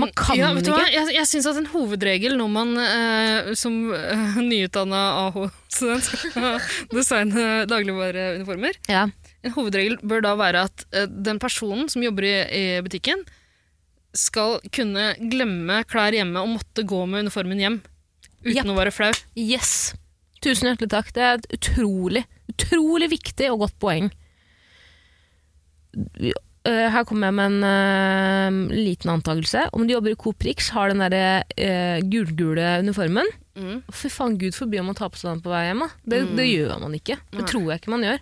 A: Man kan
B: ja, vet du
A: ikke
B: hva? Jeg, jeg syns at en hovedregel når man eh, som eh, nyutdanna AH-student skal designe dagligvareuniformer,
A: Ja.
B: en hovedregel bør da være at eh, den personen som jobber i, i butikken, skal kunne glemme klær hjemme og måtte gå med uniformen hjem. Uten
A: Japp.
B: å være flau.
A: Yes. Tusen hjertelig takk. Det er et utrolig, utrolig viktig og godt poeng. Vi- øh, Her kommer jeg med en øh, liten antakelse. Om du jobber i Coop Rix, har den derre øh, gulgule uniformen.
B: Mm.
A: Fy faen, gud forby om man tar på seg den på vei hjem. da. Det, det gjør man ikke. Det
B: Nei.
A: tror jeg ikke man gjør.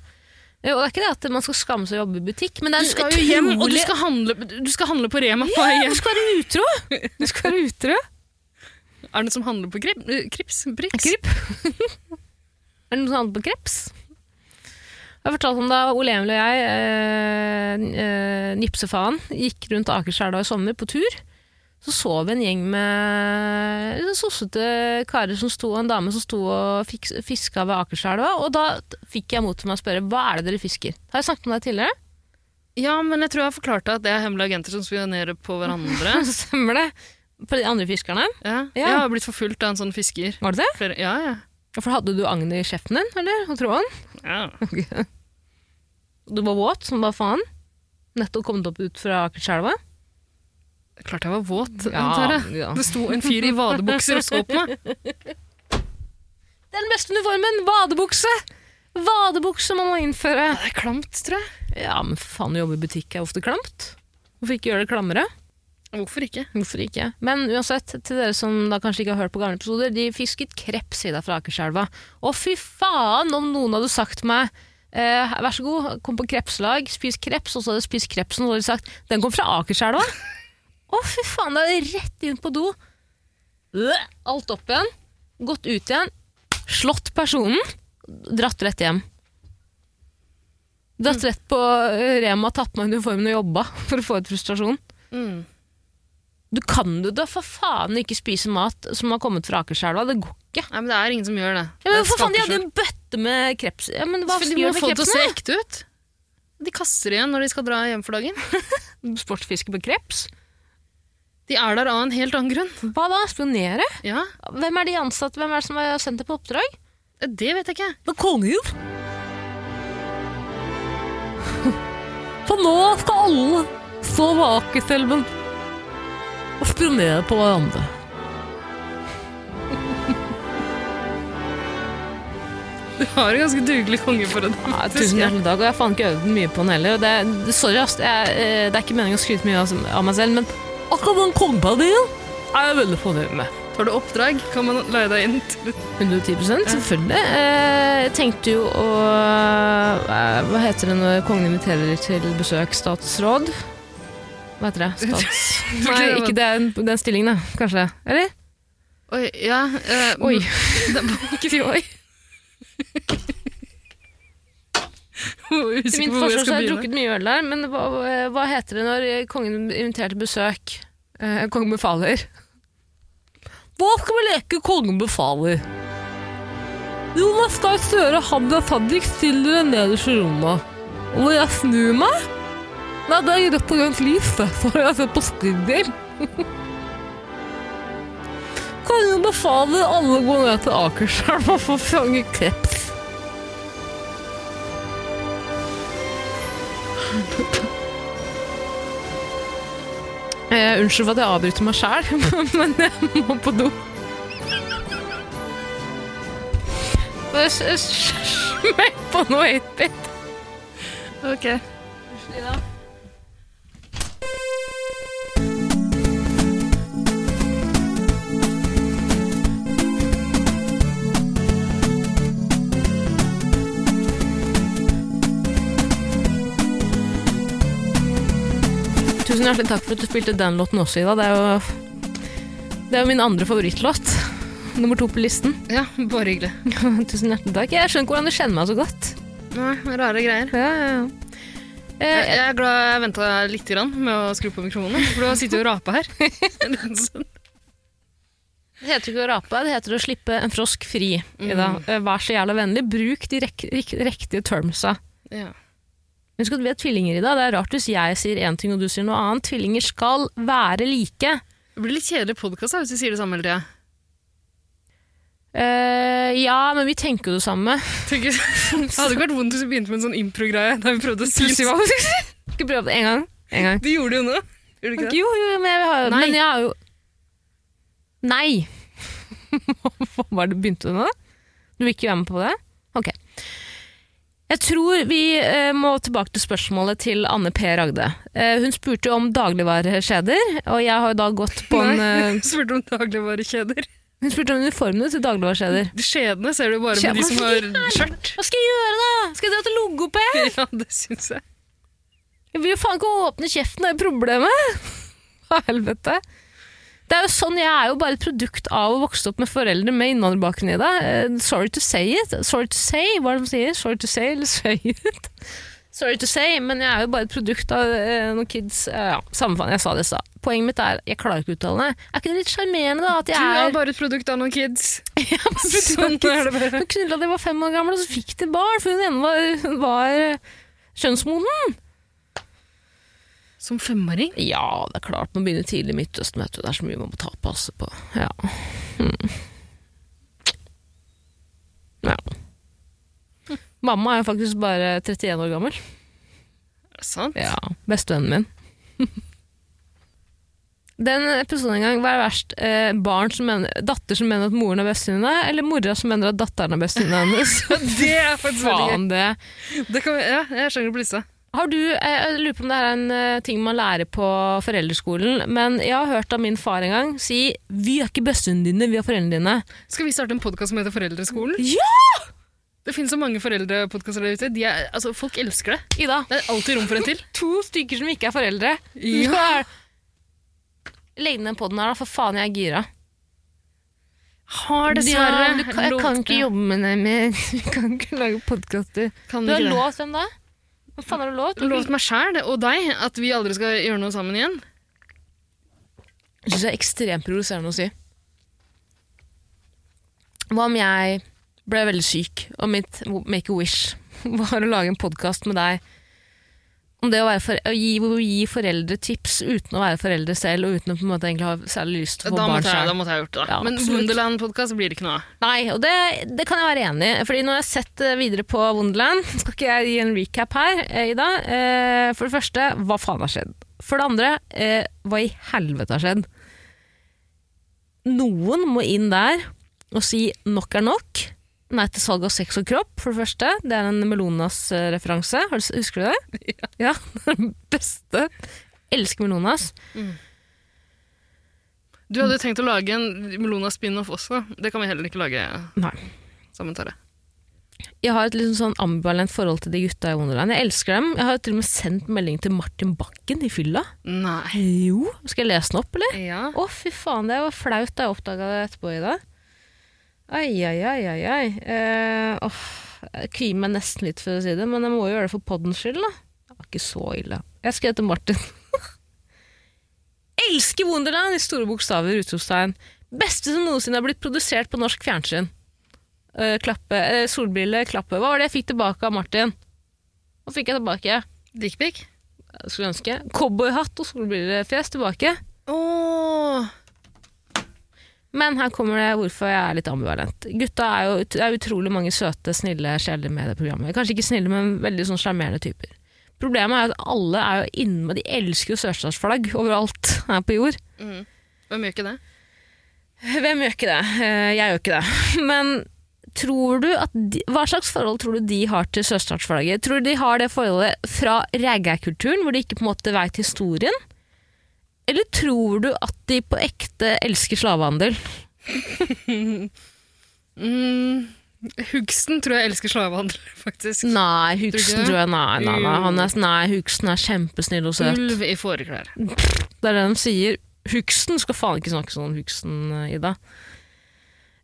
A: Eh, Og det er ikke det at man skal skamme seg å jobbe i butikk, men det
B: Du
A: er en
B: skal jo hjem, og du
A: utrolig-
B: skal handle, du skal handle på Rema på vei
A: Du
B: hjem.
A: skal være utro! Du skal være utro.
B: Er det noen som handler på krip, Krips? Brix?
A: Kripp. Er det noe annet på kreps? Jeg har fortalt om da Ole Emil og jeg, eh, eh, nipsefaen, gikk rundt Akerselva i sommer på tur. Så så vi en gjeng med litt sossete karer som sto, og en dame som sto og fiks- fiska ved Akerselva. Og da fikk jeg mot til meg å spørre hva er det dere fisker. Har jeg snakket om det tidligere?
B: Ja, men jeg tror jeg forklarte at det er hemmelige agenter som spionerer på hverandre.
A: Stemmer det? På de andre fiskerne?
B: Ja.
A: Ja.
B: Jeg har blitt forfulgt av en sånn fisker.
A: Var det det?
B: Flere, ja, ja.
A: For hadde du agnet i kjeften din, eller? Og tråden?
B: ja.
A: Du var våt som bare faen. Nettopp kommet opp ut fra Akerselva.
B: Klart jeg var våt, antar jeg.
A: ja.
B: Det sto en fyr i vadebukser og så på meg.
A: Det er den beste uniformen! Vadebukse! Vadebukse man må innføre.
B: Det er klamt, tror jeg.
A: Ja, men for faen, å jobbe i butikk er ofte klamt. Hvorfor ikke gjøre det klammere?
B: Hvorfor ikke?
A: Hvorfor ikke? Men uansett, til dere som da kanskje ikke har hørt på gamle episoder, de fisket kreps i deg fra Akerselva. Å fy faen om noen hadde sagt til meg eh, vær så god, kom på krepslag, spis kreps, og så hadde jeg spist krepsen, og så hadde de sagt den kom fra Akerselva. Å fy faen, da er det rett inn på do. Øh, Alt opp igjen, gått ut igjen, slått personen, dratt rett hjem. Dratt rett på eh, Rema, tatt meg uniformen og jobba for å få ut frustrasjon.
B: Mm.
A: Du kan jo da for faen ikke spise mat som har kommet fra Akerselva. Det går ikke.
B: Nei, men det er ingen som gjør det.
A: Ja,
B: Det
A: men
B: er
A: for faen, De
B: skaper
A: hadde
B: selv.
A: en bøtte med kreps. Ja, men hva
B: For
A: skal
B: De
A: de
B: må
A: gjøre med
B: få det til å
A: krepsene?
B: se ekte ut. De kaster igjen når de skal dra hjem for dagen.
A: Sportsfiske på kreps?
B: De er der av en helt annen grunn.
A: Hva da? Spionere?
B: Ja,
A: Hvem er de ansatte? Hvem er det som har sendt det på oppdrag?
B: Det vet jeg ikke.
A: Det er konger! For nå skal alle stå ved Akerselven og spionere på hverandre.
B: Du har en ganske dugelig konge for en
A: Ja, tusen hjertelig takk, og jeg har faen ikke øvd mye på den heller. og Det, det- sorry, ass, jeg, eh, det er ikke meningen å skryte mye av, av meg selv, men akkurat den kompadien er jeg veldig fornøyd med.
B: Tar du oppdrag, kan man leie deg inn til
A: 110 selvfølgelig. Eh, Jeg tenkte jo å eh, Hva heter det når kongen inviterer til besøk? Statsråd? Hva heter det? Stats... Nei, ikke den, den stillingen, da. Kanskje. Eller?
B: Oi, ja. eh,
A: Oi.
B: Det er
A: Ikke si oi.
B: bare
A: Til
B: usikker
A: min
B: på hvor jeg
A: forsvar så har
B: skal
A: jeg
B: begynne.
A: drukket mye øl der, men hva, hva heter det når kongen inviterer til besøk? Eh, kongen befaler. Hva skal vi leke kongen befaler? Jonas Gahr Støre og Hadia Tajik stiller dere nederst i rommet. Og når jeg snur meg Nei, det er rødt og grønt lys, det, for jeg har sett på Squidder. Kongen befaler alle gå ned til Akerselva for å fange kreps. Eh, unnskyld for at jeg avbryter meg sjæl, men jeg må på do. Bare s- s- Smekk på noe 8-bit.
B: Ok.
A: Tusen hjertelig takk for at du spilte den låten også, Ida. Det er jo, det er jo min andre favorittlåt. Nummer to på listen.
B: Ja, bare hyggelig.
A: Tusen hjertelig takk. Jeg skjønner ikke hvordan du kjenner meg så godt.
B: Nei, rare greier.
A: Ja, ja, ja.
B: Jeg,
A: Eh,
B: jeg er glad jeg venta litt grann med å skru på mikrofonen, for du har sittet og rapa her.
A: Det heter ikke å rape, det heter å slippe en frosk fri. Ida. Eh, Vær så jævla vennlig, bruk de rek rik- riktige termsa.
B: ja.
A: Husk at vi er tvillinger i dag. Det er rart hvis jeg sier én ting og du sier noe annet. Tvillinger skal være like.
B: Det blir litt kjedelig podkast hvis vi sier det samme hele tida.
A: Eh, ja, men vi tenker jo det samme.
B: Tenker- Det hadde ikke vært vondt hvis vi begynte med en sånn impro-greie der vi prøvde å si
A: Skal vi prøve det en gang? En gang.
B: De gjorde det jo nå. Gjorde de ikke det?
A: Jo, jo, men jeg har jo
B: Nei.
A: Men jeg har jo Nei! Hva var det begynte du nå? Du vil ikke være med på det? Ok. Jeg tror vi eh, må tilbake til spørsmålet til Anne P. Ragde. Eh, hun spurte jo om dagligvarekjeder, og jeg har jo da gått på en eh,
B: Nei, spurte om dagligvarekjeder.
A: Hun spurte om uniformene til dagligvarekjeder.
B: Skjedene ser du bare
A: Skje-
B: med de som
A: Hva
B: har skjørt.
A: Hva skal jeg gjøre, da? Skal jeg dra til logoped?
B: Ja, det syns jeg.
A: Jeg vil jo faen ikke åpne kjeften, det er jo problemet. Hva i helvete? Det er jo sånn, Jeg er jo bare et produkt av å vokse opp med foreldre med innvandrerbakgrunn. i det. Eh, sorry to say it. Sorry to say, hva er det de sier? Sorry to say eller say it? Sorry to say, men jeg er jo bare et produkt av eh, noen kids eh, ja, Samme faen, jeg sa det i stad. Poenget mitt er jeg klarer ikke å uttale det. Er ikke det litt sjarmerende, da? At
B: Du
A: jeg
B: er
A: er,
B: bare et produkt av noen kids.
A: Jeg er bare et produkt av
B: Sånn
A: kids.
B: er det bare.
A: Hun knulla da de var fem år gamle, og så fikk de barn, for hun ene var, var eh, kjønnsmoden.
B: Som femåring?
A: Ja, det er klart, man begynner tidlig i Midtøsten, vet du. Det er så mye man må ta passe på. Ja. Mm. ja. Mamma er jo faktisk bare 31 år gammel.
B: Er det sant?
A: Ja, Bestevennen min. Den episoden en gang, hva er verst? Eh, barn som mener, datter som mener at moren er bestevenninna, eller mora som mener at datteren er bestevenninna hennes?
B: Det er faktisk veldig gøy.
A: Faen, det.
B: Det kan, vi- ja, jeg skjønner på lista.
A: Har du, jeg jeg lurer på om det her er en eh, ting man lærer på foreldreskolen, men jeg har hørt av min far en gang si 'vi er ikke bestevenn dine, vi er foreldrene dine'.
B: Skal vi starte en podkast som heter Foreldreskolen?
A: Ja!
B: Det finnes så mange foreldrepodkaster der ute. De er, altså, folk elsker det.
A: Ida,
B: Det er alltid rom for en til.
A: to stykker som ikke er foreldre.
B: Ja.
A: Hva er- Legg ned den podden her, da, for faen, jeg er gira.
B: Har dessverre
A: Ja, du kan, jeg kan ikke jobbe med det mer. Jeg kan ikke lage podkaster.
B: Kan
A: Du har
B: ikke det.
A: lovt hvem da? Hva faen har du lovt? Du
B: Lovt meg sjæl og deg at vi aldri skal gjøre noe sammen igjen.
A: Jeg synes det er ekstremt provoserende å si. Hva om jeg ble veldig syk, og mitt make a wish var å lage en podkast med deg om det å, være for, å, gi, å gi foreldre tips uten å være foreldre selv, og uten å på en måte egentlig ha særlig lyst til å
B: Da
A: få barn
B: måtte, jeg, da
A: selv.
B: måtte jeg ha gjort det. da.
A: Ja,
B: Men
A: absolutt.
B: Wonderland-podkast blir det ikke noe av.
A: Nei, og det, det kan jeg være enig i. Fordi når jeg har sett eh, videre på Wonderland, skal ikke jeg gi en recap her, eh, Ida. Eh, For det første, hva faen har skjedd? For det andre, eh, hva i helvete har skjedd? Noen må inn der og si nok er nok. Nei til salg av sex og kropp, for det første. Det er en Melonas-referanse. Har du- Husker du det? Ja. det er den beste. Elsker Melonas.
B: Du hadde jo tenkt å lage en Melona spin-off også. Det kan vi heller ikke lage
A: Nei.
B: sammen, Tare.
A: jeg har et liksom sånn ambivalent forhold til de gutta i Wonderland. Jeg elsker dem. Jeg har jo til og med sendt melding til Martin Bakken i fylla.
B: Nei.
A: Jo. Skal jeg lese den opp, eller?
B: Ja.
A: Å, fy faen, det var flaut da jeg oppdaga det etterpå i dag. Ai, ai, ai, ai, ai. Eh, åh, jeg kvier meg nesten litt for å si det, men jeg må jo gjøre det for poddens skyld, da. Det var ikke så ille. Jeg skrev til Martin. Elsker Wonderland! I store bokstaver, utropstegn. Beste som noensinne har blitt produsert på norsk fjernsyn. Eh, klappe, eh, solbrille, klappe. Hva var det jeg fikk tilbake av Martin? Hva fikk jeg tilbake?
B: Dickpic?
A: Jeg skulle ønske. Cowboyhatt og solbrillefjes tilbake.
B: Åh.
A: Men her kommer det hvorfor jeg er litt ambivalent. Gutta er jo ut- det er utrolig mange søte, snille sjeler med det programmet. Kanskje ikke snille, men veldig sånn sjarmerende typer. Problemet er jo at alle er jo inne, de elsker jo sørstatsflagg overalt her på jord.
B: Mm. Hvem gjør ikke det?
A: Hvem gjør ikke det? Eh, Jeg gjør ikke det. Men tror du at de, hva slags forhold tror du de har til sørstatsflagget? Tror du de har det forholdet fra reggae-kulturen, hvor de ikke på en måte veit historien? Eller tror du at de på ekte elsker slavehandel?
B: Mm. Hugsten tror jeg elsker slavehandlere, faktisk.
A: Nei,
B: Tror du
A: Hugsten
B: ikke? Mm.
A: tror jeg Nei, nei, nei. Han er, sånn, nei Hugsten er kjempesnill og søt.
B: Ulv i fåreklær.
A: Det er det de sier. Hugsten skal faen ikke snakke sånn om Hugsten, eh, Ida.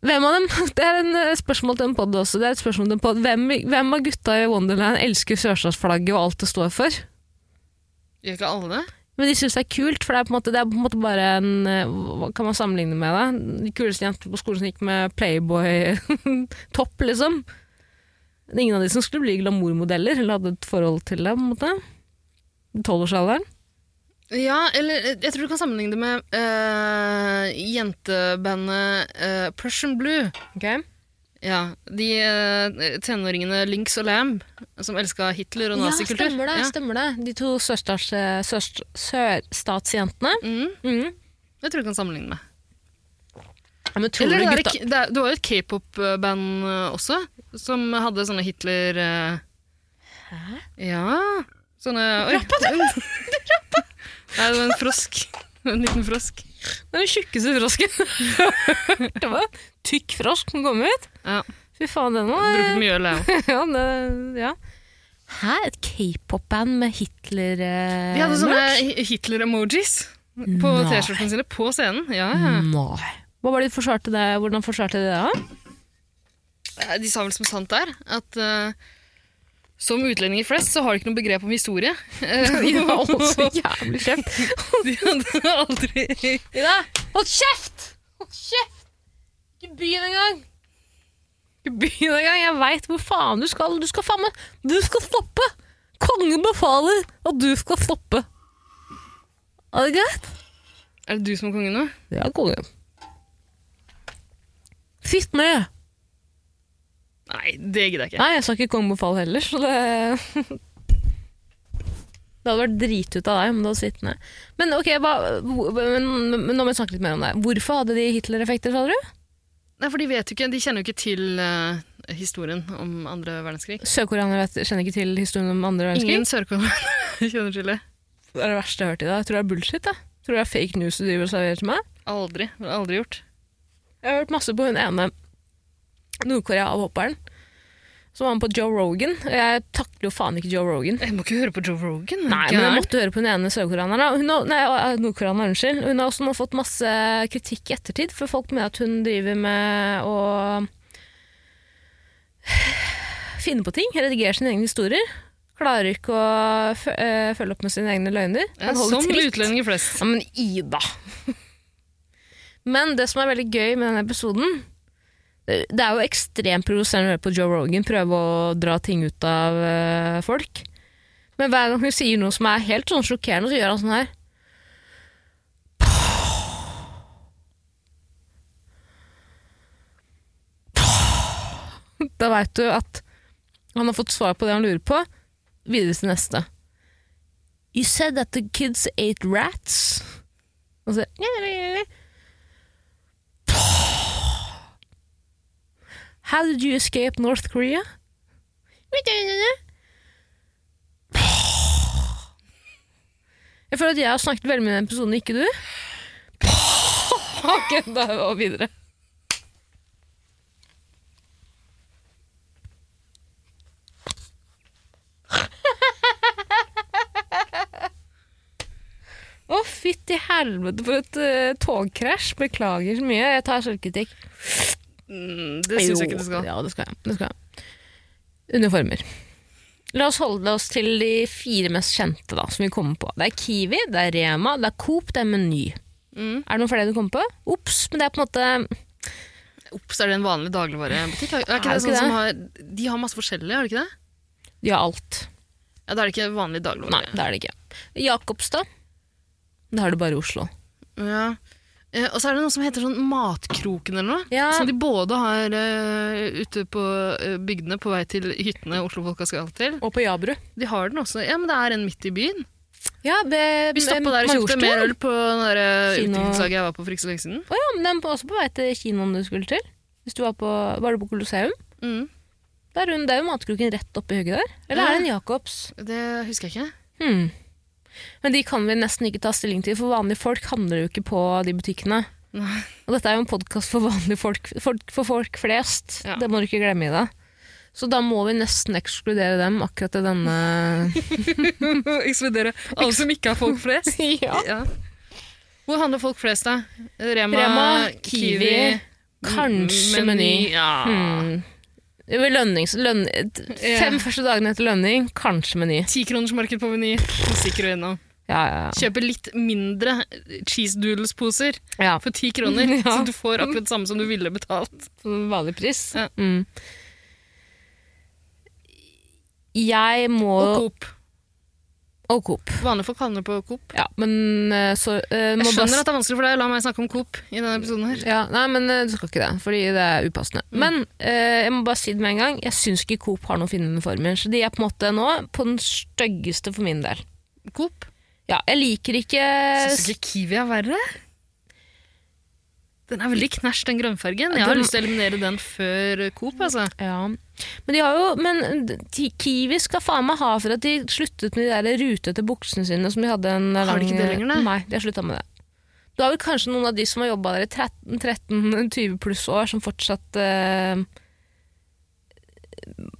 A: Hvem av dem? Det er en eh, spørsmål til en podd også. Det er et spørsmål til en podd. Hvem, hvem av gutta i Wonderland elsker sørstatsflagget og alt det står for?
B: Gjør ikke alle det?
A: Men de syns det er kult, for det er på en måte, det er på en måte bare en eh, Hva kan man sammenligne med det? De kuleste jentene på skolen som gikk med Playboy-topp, liksom. Det er Ingen av de som skulle bli glamourmodeller, eller hadde et forhold til det, på en måte. I Tolvårsalderen.
B: Ja, eller eh, jeg tror du kan sammenligne det med eh, jentebandet eh, Prussian Blue.
A: Okay.
B: Ja, De eh, tenåringene Lynx og Lamb, som elska Hitler og
A: Ja,
B: nazikultur.
A: stemmer det. stemmer det. De to sørstats, sørst, sørstatsjentene.
B: Mm,
A: Mm.
B: jeg tror du kan sammenligne med.
A: Ja, men tror
B: Eller
A: du
B: det,
A: gutta
B: der, det, er, det var jo et k-pop-band eh, også, som hadde sånne Hitler eh,
A: Hæ?
B: Ja. Sånne Oi. Nei, det var en frosk. En liten frosk.
A: Den tjukkeste frosken. det var tykk frosk som kom ut.
B: Ja,
A: Fy faen, den var
B: Drukket mye øl, jeg òg.
A: ja, det, ja. Hæ? Et k-pop-band med Hitler eh,
B: De hadde sånne Hitler-emojis. På
A: Nei.
B: T-skjortene sine på scenen. Ja, ja.
A: Nei. Hva var det de forsvarte det? Hvordan forsvarte de det? da?
B: Eh, De sa vel som sant er, at eh, som utlendinger flest så har de ikke noe begrep om historie. Eh,
A: De var også jævlig kjeft.
B: de hadde aldri
A: Ida, hold kjeft! Hold kjeft! Ikke begynn engang! Ikke begynn engang, jeg veit hvor faen du skal. Du skal faen meg Du skal stoppe! Kongen befaler at du skal stoppe. Er det greit?
B: Er det du som er kongen nå?
A: Det er kongen. Sitt ned!
B: Nei, det gidder jeg ikke.
A: Nei, jeg sa ikke kongen befaler heller, så det Det hadde vært drit ut av deg om du hadde sittet ned. Men ok, hva, hvor- men, men nå må vi snakke litt mer om det. Hvorfor hadde de Hitler-effekter, sa du?
B: Nei, for de vet jo ikke, de kjenner jo ikke til eh, historien om andre verdenskrig.
A: Sørkoreanere vet- kjenner ikke til historien om andre verdenskrig.
B: Ingen sørkoreanere kjenner til det.
A: Det er det verste jeg har hørt i dag. Jeg tror det er bullshit. Jeg. jeg tror det er fake news du driver og serverer til meg.
B: Aldri. Det har jeg Aldri gjort.
A: Jeg har hørt masse på hun ene Nord-Korea-hopperen. Som var med på Joe Rogan. Og Jeg takler jo faen ikke Joe Rogan.
B: Jeg må ikke høre på Joe Rogan. er
A: Nei,
B: du
A: men jeg
B: gæren?
A: måtte høre på hun ene sørkoreaneren. da. Hun har, nei, eh, nordkoreaneren, unnskyld. Hun har også nå fått masse kritikk i ettertid, for folk mener at hun driver med å finne på ting, redigere sine egne historier. Klarer ikke å fø- eh, følge opp med sine egne løgner.
B: Ja,
A: Kan holde
B: som
A: tritt.
B: utlendinger flest.
A: Ja, men Ida! men det som er veldig gøy med denne episoden Det det er jo ekstremt provoserende å høre på Joe Rogan prøve å dra ting ut av eh, folk. Men hver gang hun sier noe som er helt sånn sjokkerende, så gjør han sånn her. Da veit du at han har fått svar på det han lurer på. Videre til neste. You said that the kids ate rats. Og så How did you escape North Korea? Jeg føler at jeg har snakket veldig mye i den episoden, ikke du? Ok, da er vi over videre. Å, fytti helvete for et eh, togkrasj. Beklager så mye. Jeg tar selvkritikk.
B: Mm, Det syns jeg ikke du skal.
A: Ja, det skal jeg. Det skal jeg. Uniformer. La oss holde oss til de fire mest kjente da, som vi kommer på. Det er Kiwi, det er Rema, det er Coop, det er Meny.
B: Mm.
A: Er det noen flere du kommer på? Ops, men det er på en måte
B: Ops, er det en vanlig dagligvarebutikk? Er
A: Er
B: er ikke det
A: det
B: sånn
A: ikke
B: som har, de har masse forskjellig, er det ikke det?
A: De har alt.
B: Ja, Da er det ikke vanlig dagligvare.
A: Nei, det er det ikke. Jakobstad. Det har du bare i Oslo.
B: Ja. Eh, Og så er det noe som heter sånn Matkroken eller noe.
A: Ja.
B: Som de både har eh, ute på eh, bygdene på vei til hyttene Oslo-folka skal til.
A: Og på Jabru.
B: De har den også. Ja, men det er en midt i byen.
A: Ja, ved,
B: Vi stoppa der og kjøpte mer øl på det der, eh,
A: Kino.
B: utviklingslaget jeg var på for ikke så lenge siden.
A: Å ja, men den var også på vei til kinoen du skulle til. Hvis du var, på, var du på Colosseum?
B: Mm.
A: Der hun, det er jo matkroken rett oppi hugget der. Eller er det en Jacobs?
B: Det husker jeg ikke.
A: Hmm. Men de kan vi nesten ikke ta stilling til, for vanlige folk handler jo ikke på de butikkene.
B: Nei.
A: Og dette er jo en podkast for vanlige folk, for, for folk flest.
B: Ja.
A: Det må du ikke glemme i det. Så da må vi nesten ekskludere dem akkurat i denne
B: Ekskludere alle som ikke er folk flest.
A: ja.
B: ja. Hvor handler folk flest, da? Rema,
A: Rema, Kiwi, kanskje Meny.
B: Ja.
A: Hmm. Det var Lønnings, lønn, fem
B: Ja.
A: første dagene etter lønning, kanskje Meny.
B: Tikronersmarked på Meny. Sikker og innom.
A: Ja, ja,
B: Kjøpe litt mindre cheese doodles-poser
A: ja. ja.
B: for ti kroner,
A: Ja.
B: så du får akkurat det samme som du ville betalt.
A: På vanlig pris.
B: Ja.
A: Mm. Jeg må
B: Og Coop.
A: Og Coop.
B: Vanlige folk handler på Coop.
A: Ja, men eh, så eh,
B: Jeg
A: må bare-
B: skjønner at det er vanskelig for deg å la meg snakke om Coop i denne episoden her.
A: ja, Nei, men eh, du skal ikke det, fordi det er upassende.
B: Mm.
A: Men eh, jeg må bare si det med en gang, jeg syns ikke Coop har noen fine uniformer. Så de er på en måte nå på den styggeste for min del.
B: Coop?
A: Ja, jeg liker ikke
B: Syns ikke Kiwi er verre? Den er veldig knæsj, den grønnfargen. Jeg har
A: Den-
B: lyst til å eliminere den før Coop, altså.
A: ja. Men de har jo Men de- Kiwi skal faen meg ha for at de sluttet med de der rutete buksene sine som de hadde en
B: Har de ikke det lenger, nei?
A: Nei, de har slutta med det. Du har vel kanskje noen av de som har jobba der i 13-20 pluss år, som fortsatt eh,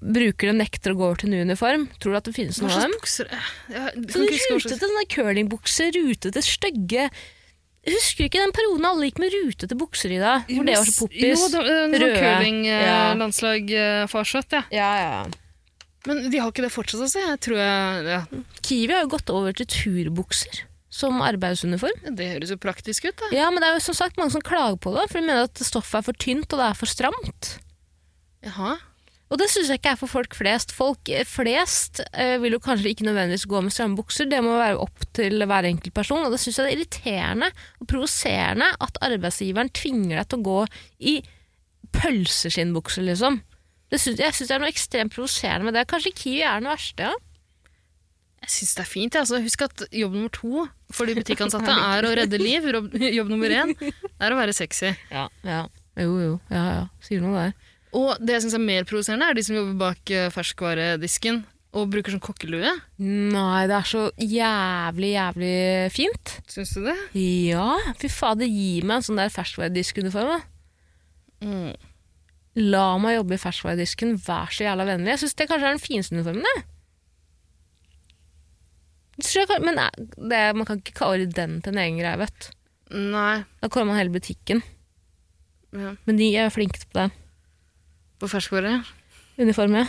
A: bruker dem nekter å gå over til ny uniform. Tror du at det finnes
B: Hva
A: noen av dem?
B: slags bukser eh, jeg kan
A: Sånne
B: ikke huske hva slags-
A: Sånn rutete sånne curlingbukser, rutete, stygge Husker du ikke den perioden alle gikk med rutete bukser i da? Hvor det var så poppis.
B: Jo, det var
A: Røde.
B: eh,
A: Ja.
B: curling-landslag-farsott, eh, ja.
A: Ja, ja.
B: Men de har ikke det fortsatt, altså. Jeg tror jeg ja.
A: Kiwi har jo gått over til turbukser som arbeidsuniform.
B: Det høres jo praktisk ut, da.
A: Ja, men det er jo som sagt mange som klager på det, for de mener at stoffet er for tynt og det er for stramt.
B: Jaha.
A: Og det syns jeg ikke er for folk flest. Folk eh, flest eh, vil jo kanskje ikke nødvendigvis gå med stramme bukser, det må være opp til hver enkelt person. Og det syns jeg det er irriterende og provoserende at arbeidsgiveren tvinger deg til å gå i pølseskinnbukser, liksom. Det syns- jeg syns det er noe ekstremt provoserende med det. Kanskje Kiwi er den verste, ja.
B: Jeg syns det er fint. jeg, Altså. Husk at jobb nummer to for de butikkansatte er å redde liv. Jobb, jobb nummer én er å være sexy.
A: Ja. Jo, jo. Ja, ja. Sier noe der.
B: Og det jeg syns er mer provoserende, er de som jobber bak eh, ferskvaredisken og bruker sånn kokkelue.
A: Nei, det er så jævlig, jævlig fint.
B: Syns du det?
A: Ja, fy faen, det gir meg en sånn der ferskvarediskunderform. da.
B: Mm.
A: La meg jobbe i ferskvaredisken, vær så jævla vennlig. Jeg syns det kanskje er den fineste uniformen, jeg. Det tror jeg kan- Men nei, det, man kan ikke kalle den til en egen greie, vet du.
B: Nei.
A: Da kaller man hele butikken.
B: Ja.
A: Men de er flinke på det.
B: På ferskvare.
A: Uniform, ja.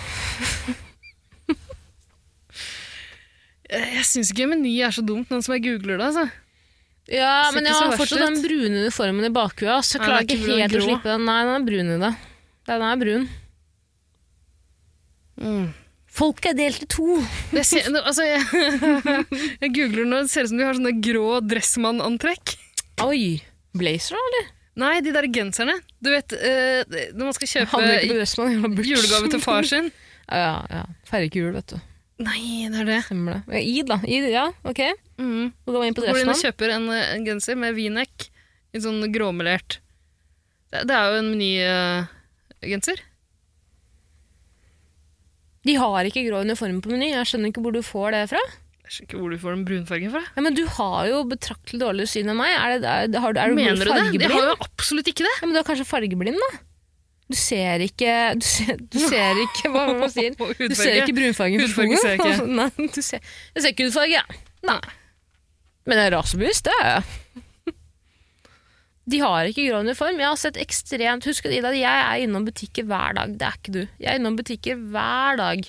B: Eh, Jeg syns ikke Meny er så dumt, noen som jeg googler det. altså.
A: Ja,
B: Ser
A: men
B: ikke
A: jeg
B: så
A: har
B: verst
A: fortsatt den brune uniformen i bakhua. Så jeg
B: Nei,
A: klarer
B: det er
A: ikke
B: ikke
A: helt å
B: grå.
A: slippe den. Nei, den er brun i det. Den er brun.
B: Mm.
A: Folk er delt i to.
B: Det ser, nå, altså, jeg, jeg googler nå, det ser ut som de har sånne grå dressmann-antrekk.
A: Oi. Blazer, da, eller?
B: Nei, de der genserne. Du vet, eh, når man skal
A: Handler ikke på
B: kjøpe
A: Dressmann. jævla butch.
B: julegave til far sin.
A: Ja, ja. Feirer ikke jul, vet du.
B: Nei, det er det.
A: Stemmer det. I, da. I, ja, ok.
B: Mm.
A: Så går man inn på
B: Går inn og
A: Dressmann.
B: kjøper en, eh, en genser med V-neck, en sånn gråmelert. Det, det er jo en eh, Meny-genser.
A: De har ikke grå uniformer på Meny. Jeg skjønner ikke hvor du får det fra.
B: Jeg skjønner ikke hvor du får den brunfargen fra.
A: Ja, men du har jo betraktelig dårligere syn enn meg. Er, det, er, har du, er du
B: Mener du det? Jeg
A: fargeblind?
B: har jo absolutt ikke det.
A: Ja, men du er kanskje fargeblind, da? Du ser ikke Du ser, du ser ikke Hva var det man sier?
B: Og
A: Du ser
B: hudfarge.
A: ikke brunfargen på
B: Hudfarge ser jeg ikke.
A: skoen. Nei, du ser, jeg ser ikke hudfarge, jeg. Nei. Men jeg er rasebevisst, det er jeg. De har ikke grå uniform. Jeg har sett ekstremt Husk at Ida, jeg er innom butikker hver dag. Det er ikke du. Jeg er innom butikker hver dag.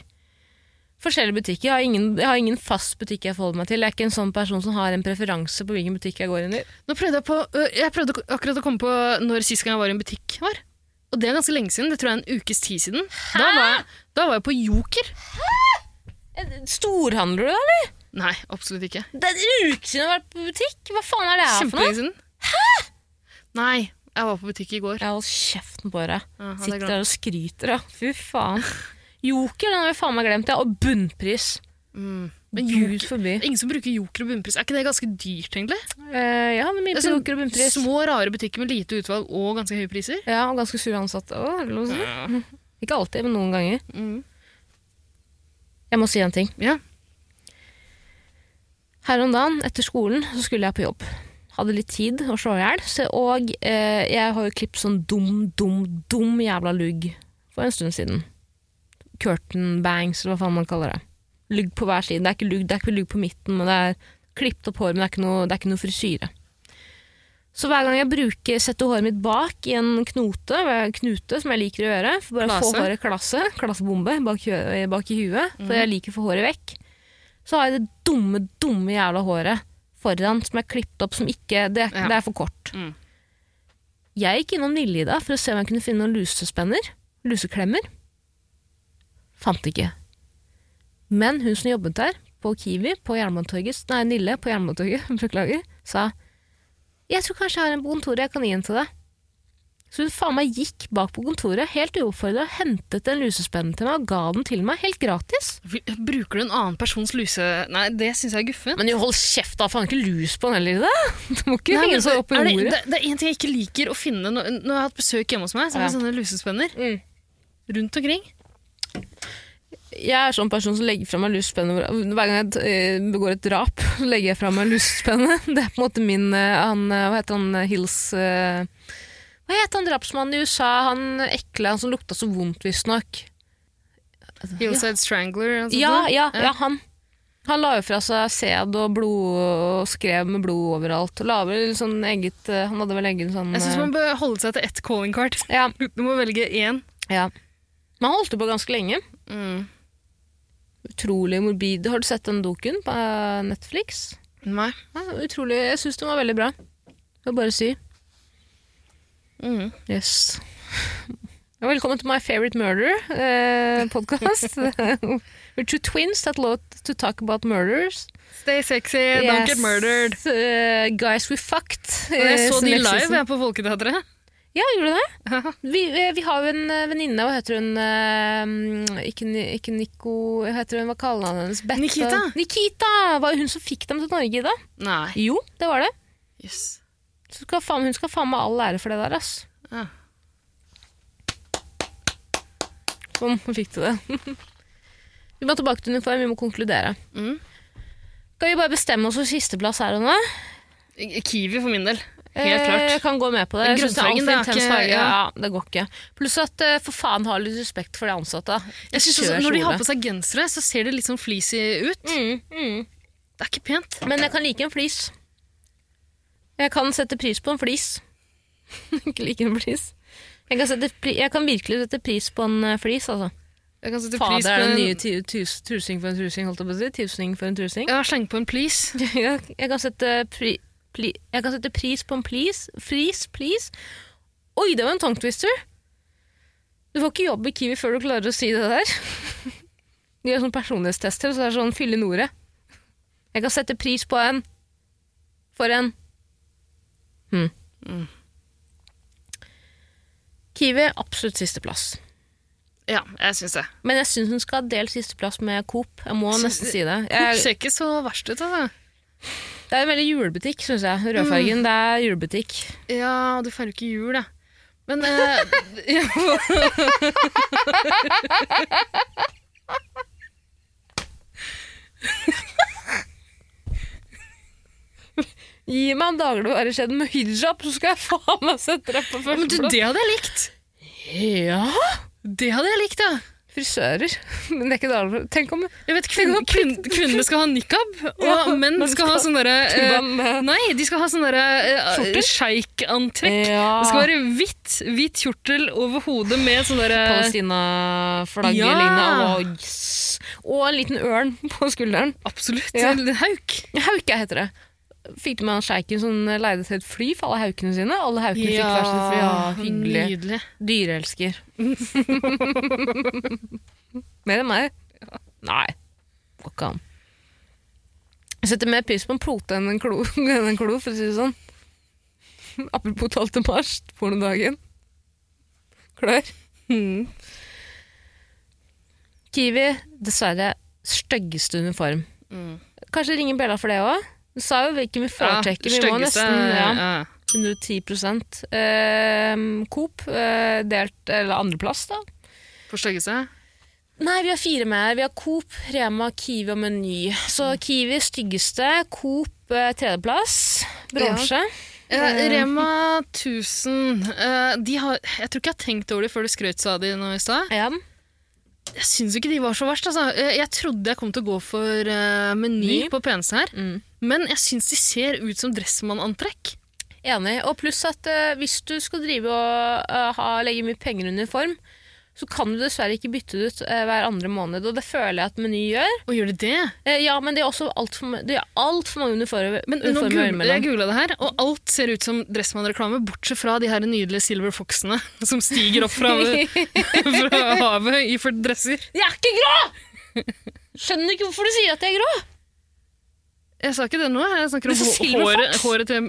A: Forskjellige butikker. Jeg har ingen, jeg har ingen fast butikk jeg forholder meg til. Jeg er ikke en sånn person som har en preferanse på hvilken butikk jeg går inn i.
B: Nå prøvde jeg på øh, Jeg prøvde ak- akkurat å komme på når sist gang jeg var i en butikk var. Og det er ganske lenge siden. Det tror jeg er en ukes tid siden. Da var, jeg, da var jeg på Joker.
A: Storhandler du, da, eller?
B: Nei, absolutt ikke.
A: Det er en uke siden jeg har vært på butikk! Hva faen er det her for noe?
B: Kjempelenge siden. Nei, jeg var på butikk i går.
A: Jeg holder kjeften på deg.
B: Ja, hadde jeg
A: Sitter
B: glemt.
A: der og skryter, da. Fy faen. Joker, den har vi faen meg glemt, ja. Og bunnpris.
B: Mm. Men
A: Gud
B: Joker,
A: forbi.
B: det er ingen som bruker Joker og bunnpris. Er ikke det ganske dyrt, egentlig?
A: Eh, ja, det er mye
B: Det
A: på
B: er sånn
A: Joker og bunnpris.
B: Små, rare butikker med lite utvalg og ganske høye priser.
A: Ja, og ganske sure ansatte. Å, er det lov å si? Ikke alltid, men noen ganger.
B: Mm.
A: Jeg må si en ting.
B: Ja.
A: Her om dagen, etter skolen, så skulle jeg på jobb. Hadde litt tid å slå i hjel. så- Og eh, jeg har jo klippet sånn dum, dum, dum jævla lugg for en stund siden. Curtain bangs, eller hva faen man kaller det. Lugg på hver side. Det er ikke lugg, det er ikke lugg på midten, men det er klippet opp hår, men det er ikke noe, det er ikke noe frisyre. Så hver gang jeg bruker, setter håret mitt bak i en knote, knute, som jeg liker å gjøre, for bare å få
B: Klase.
A: håret klasse, klassebombe bak, i hø- bak i huet,
B: Mm.
A: for jeg liker å få håret vekk, så har jeg det dumme, dumme jævla håret foran som er klippet opp, som ikke Det,
B: Ja.
A: det er for kort.
B: Mm.
A: Jeg gikk innom Nille i dag for å se om jeg kunne finne noen lusespenner. Luseklemmer. Fant ikke. Men hun som jobbet der, på Kiwi, på Jernbanetorget, nei, Nille på Jernbanetorget, beklager, sa jeg tror kanskje jeg har en på kontoret jeg kan gi en til deg. Så hun faen meg gikk bak på kontoret, helt uoppfordra, hentet en lusespenn til meg og ga den til meg, helt gratis.
B: Bruker du en annen persons luse... Nei, det syns jeg er guffen.
A: Men jo, hold kjeft, da! Faen, ikke lus på den heller, da! Du må ikke
B: Nei, men
A: henge seg opp i
B: er det,
A: ordet.
B: det, det er én ting jeg ikke liker å finne når, når jeg har hatt besøk hjemme hos meg. Så er
A: Ja.
B: det sånne lusespenner
A: Mm.
B: rundt omkring.
A: Jeg er sånn person som legger fra meg lusspenner hvor- hver gang jeg eh, begår et drap. så legger jeg fra meg lusspennet. Det er på en måte min eh, han, eh, Hva heter han eh, Hills eh, Hva het han drapsmannen i USA? Han ekle, han som lukta så vondt, visstnok.
B: Hillside Strangler. eller noe sånt
A: Ja,
B: da.
A: ja, ja, han. Han la jo fra seg sæd og blod og skrev med blod overalt. Og la vel sånn eget eh, Han hadde vel egen sånn
B: Jeg syns
A: eh,
B: man bør holde seg til ett calling card.
A: ja,
B: Du må velge én.
A: ja. Men han holdt jo på ganske lenge.
B: Mm.
A: Utrolig morbid. Har du sett den doken på eh, Netflix?
B: Nei.
A: Ja, utrolig. Jeg syns den var veldig bra. Får bare si.
B: Mm.
A: Yes. Ja, Velkommen til My Favorite Murder-podkast. We're two twins that love to talk about murders.
B: Stay sexy, don't get murdered.
A: Uh, guys we fucked.
B: Og jeg
A: eh,
B: så
A: som
B: de
A: next
B: live
A: season.
B: jeg, på Folketeatret.
A: Ja, gjorde du det? Vi, eh, vi har jo en eh, venninne, hva heter hun eh, ikke, Ni- ikke Nico hva heter hun, Hva kaller han hennes? Bette?
B: Nikita.
A: Nikita! Var jo hun som fikk dem til Norge, da?
B: Nei.
A: Jo, det var det.
B: Yes.
A: Så skal faen, hun skal faen meg all ære for det der, ass.
B: Ah.
A: Sånn, nå fikk du det. vi må tilbake til uniform, vi må konkludere.
B: Mm.
A: Skal vi bare bestemme oss for sisteplass her og nå?
B: Kiwi for min del. Helt
A: Eh, Jeg
B: klart.
A: kan gå med på det. Jeg
B: Den
A: synes det er
B: grønnfargen,
A: altfor
B: det er
A: intens
B: ikke-
A: farge. Ja.
B: ja.
A: det går ikke. Pluss at eh, for faen ha litt respekt for de ansatte.
B: Jeg synes også,
A: Kjør
B: når de har
A: kjole.
B: på seg gensere, så ser det litt sånn fleecy ut.
A: Mm, mm.
B: Det er ikke pent.
A: Men jeg kan like en flis. Jeg kan sette pris på en flis. ikke like en flis. Jeg kan, sette pri jeg kan virkelig sette pris på en eh, flis, altså.
B: Jeg kan sette
A: Fader,
B: pris
A: er
B: på
A: det
B: en
A: nye ti- tus- trusing for en trusing, holdt jeg på å si. Tusning for en trusing.
B: Ja, sleng på en please.
A: jeg, jeg, kan sette pri pli jeg kan sette pris på en please. Fris, please. Oi, det var en tongue twister! Du får ikke jobb i Kiwi før du klarer å si det der. De gjør sånn personlighetstester, så det er sånn fyll inn ordet. Jeg kan sette pris på en For en hm. Kiwi er absolutt sisteplass.
B: Ja, jeg syns det.
A: Men jeg syns hun skal ha delt sisteplass med Coop. Jeg må nesten si det.
B: Coop
A: Jeg,
B: ser ikke så verst ut, altså.
A: Det er en veldig julebutikk, syns jeg. Rødfargen, det er julebutikk.
B: Ja, du feirer jo ikke jul, da. Men eh, ja,
A: Gi meg en dagligvarekjede med hijab, så skal jeg faen meg sette deg på
B: men du,
A: førsteplass.
B: det hadde jeg likt.
A: Ja!
B: Det hadde jeg likt, ja.
A: Frisører. Men det er ikke dagligvare. Tenk om
B: Jeg vet, kvin kvin kvinnene skal ha nikab, og
A: Ja,
B: menn
A: men
B: skal ha sånn derre eh,
A: Turban med-
B: Nei, de skal ha sånn derre eh,
A: Skjorter?
B: sjeikantrekk.
A: Ja.
B: Det skal være hvitt hvit kjortel over hodet med sånn derre
A: Palestina-flagget
B: Ja.
A: lignende, og, yes. og en liten ørn på skulderen.
B: Absolutt.
A: Ja.
B: en Hauk.
A: Hauke heter det. Fikk du med han sjeiken som leide til et fly for alle haukene sine? Alle haukene fikk hver sitt fly. Ja, hyggelig.
B: Nydelig.
A: Dyreelsker. Mer enn meg? Nei. Går ikke an. Jeg setter mer pris på en plote enn en klo, enn en klo for å si det sånn. Apropos 12. mars, pornodagen. Klør.
B: Mm.
A: Kiwi, dessverre styggeste uniform. Kanskje ringe bjella for det òg? Du sa jo hvilken vi foretrekker. vi må
B: styggeste, eh,
A: nesten ja,
B: ja.
A: 110 Ehm, Coop, eh, delt, eller andreplass, da.
B: For styggeste?
A: Nei, vi har fire med her. Vi har Coop, Rema, Kiwi og Meny. Så Kiwi styggeste, Coop eh, tredjeplass, bronse.
B: Eh, Rema 1000 eh, de har, Jeg tror ikke jeg har tenkt over det før du skrøt av de nå i stad.
A: Ja.
B: Jeg syns ikke de var så verst. Altså. Eh, Jeg trodde jeg kom til å gå for eh, Meny
A: Meny?
B: på peneste her,
A: Mm.
B: men jeg syns de ser ut som dressmannantrekk.
A: Enig. Og pluss at eh, hvis du skal drive og eh, ha, legge mye penger i uniform, så kan du dessverre ikke bytte det ut eh, hver andre måned, og det føler jeg at Meny gjør.
B: Og gjør de det?
A: Eh, ja, men det er også altfor ma- det er altfor mange uniformer,
B: Men nå
A: uniformer
B: googlet- jeg
A: mellom.
B: googla det her, og alt ser ut som dressmannreklame, bortsett fra de her nydelige Silver Foxene som stiger opp fra, fra havet iført dresser.
A: Jeg er ikke grå! Skjønner ikke hvorfor du sier at jeg er grå.
B: Jeg sa ikke det nå, jeg snakker om
A: Det er så
B: hå-
A: Silver
B: håret,
A: Fox.
B: håret til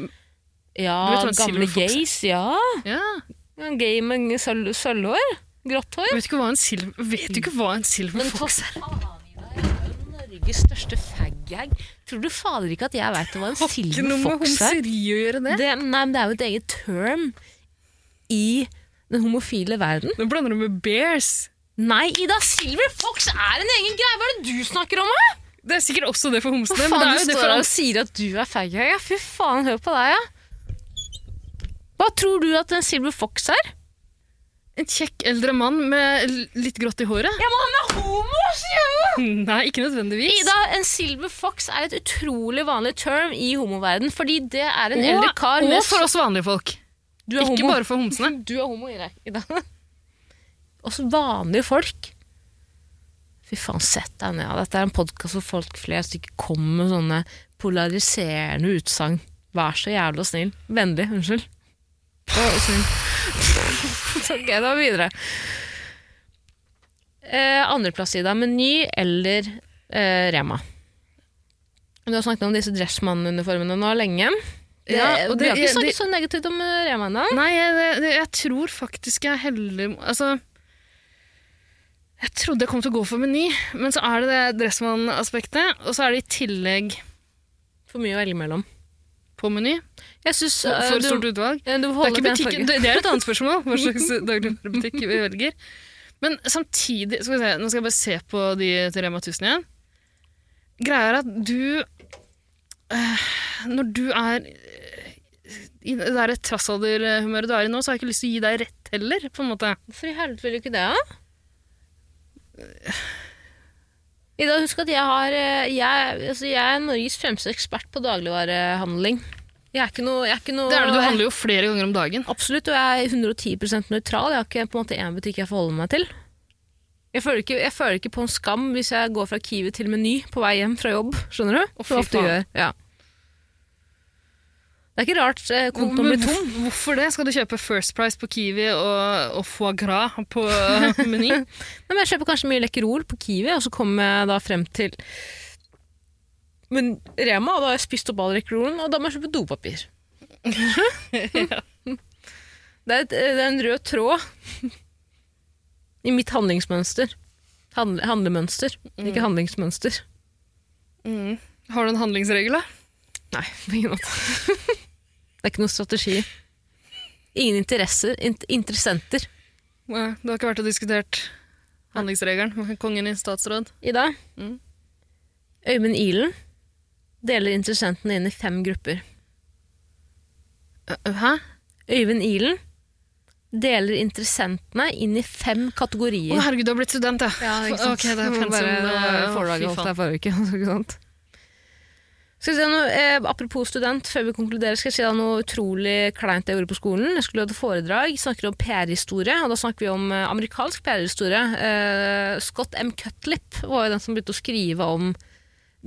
A: Ja,
B: Du vet hva en
A: gamle
B: silver fox er?
A: gays, ja.
B: Ja.
A: En gay med sølv- sølvhår. Grått hår.
B: Vet du ikke hva en silver, vet du ikke hva en silver
A: Men hva
B: Fox er?
A: faen i deg? Jeg er jo Norges største faghag. Tror du fader ikke at jeg veit hva en
B: Ikke noe
A: silver
B: med
A: fox er?
B: homseri å gjøre det.
A: Det, nei, men det er jo et eget term i den homofile verden.
B: Nå blander du med bears.
A: Nei, Ida, silver fox er en egen greie! Hva er det du snakker om? da?
B: Det er sikkert også det for homsene.
A: Hva
B: men det
A: faen,
B: er
A: du
B: jo det
A: står
B: for
A: her og
B: oss.
A: sier at du er faghag? Ja, fy faen, hør på deg, ja. Hva tror du at en silver fox er?
B: En kjekk eldre mann med l- litt grått i håret?
A: Ja, men han er homo! sier jeg!
B: Nei, ikke nødvendigvis.
A: Ida, en silver fox er et utrolig vanlig term i homoverden, fordi det er en
B: Og-
A: eldre kar med
B: Og for oss vanlige folk.
A: Du
B: Ikke bare for homsene.
A: Du er homo, Ida. Ida. Oss vanlige folk. Fy faen, sett deg ned. Dette er en podkast hvor folk flest ikke kommer med sånne polariserende utsagn. Vær så jævla snill. Vennlig. Unnskyld. Vær så snill. ok, da videre. Eh, andreplass, Ida. Meny eller eh, Rema. Du har snakket om disse dressmann-uniformene nå lenge. Det,
B: Ja, og
A: du
B: det-
A: har ikke
B: det-
A: snakket så negativt om eh, Rema ennå.
B: Nei, jeg, det- det- jeg tror faktisk jeg heller Altså Jeg trodde jeg kom til å gå for Meny, men så er det det Dressmann-aspektet. Og så er det i tillegg
A: For mye å velge mellom.
B: på Meny.
A: Jeg synes,
B: For
A: eh,
B: for
A: du,
B: stort utvalg.
A: eh, du
B: Det
A: holder
B: er, ikke
A: den
B: butikken-
A: fargen.
B: det, det er et annet spørsmål, hva slags dagligvarebutikk vi velger. Men samtidig skal vi se, Nå skal jeg bare se på de til Rema 1000 igjen. Greia er at du eh, Når du er i det der trassalderhumøret du er i nå, så har jeg ikke lyst til å gi deg rett heller. på en måte.
A: Hvorfor i helvete vil du ikke det, da? Ida, husk at jeg, har, eh, jeg, altså jeg er Norges fremste ekspert på dagligvarehandling. Jeg er ikke noe, jeg er ikke noe
B: Det er det, Du handler jo flere ganger om dagen.
A: Absolutt, og jeg er 110 nøytral. Jeg har ikke på en måte én butikk jeg forholder meg til. Jeg føler, ikke, jeg føler ikke på en skam hvis jeg går fra Kiwi til Meny på vei hjem fra jobb. Skjønner du?
B: fy
A: Som ofte
B: faen.
A: gjør. Ja. Det er ikke rart eh, kontoen
B: Men
A: blir tom.
B: hvorf- Hvorfor det? Skal du kjøpe First Price på Kiwi og, og foie gras på eh, Meny?
A: Nei, men jeg kjøper kanskje mye Lekkerol på Kiwi, og så kommer jeg da frem til men Rema, og da har jeg spist opp all Lekkerolen, og da må jeg kjøpe dopapir. det, er et, det er en rød tråd i mitt handlingsmønster. Handle, handlemønster, ikke handlingsmønster.
B: Mm. Har du en handlingsregel, da?
A: Nei, på ingen måte. det er ikke noen strategi. Ingen interesser, int- interessenter.
B: Nei, Du har ikke vært og diskutert handlingsregelen? Kongen i statsråd?
A: Ida.
B: Mm.
A: Øyvind Ilen deler interessentene inn i fem grupper.
B: Hæ?
A: Øyvind Ilen deler interessentene inn i fem
B: Å,
A: kategorier.
B: herregud, du har blitt student, ja. Ok, det er pensum. det- fy faen.
A: forrige uke. ikke sant? Skal jeg si noe, eh, apropos student, før vi konkluderer, skal jeg si da noe utrolig kleint jeg gjorde på skolen. Jeg skulle ha et foredrag, snakker om PR-historie, og da snakker vi om eh, amerikansk PR-historie. Eh, Scott M. Cutlip var jo den som begynte å skrive om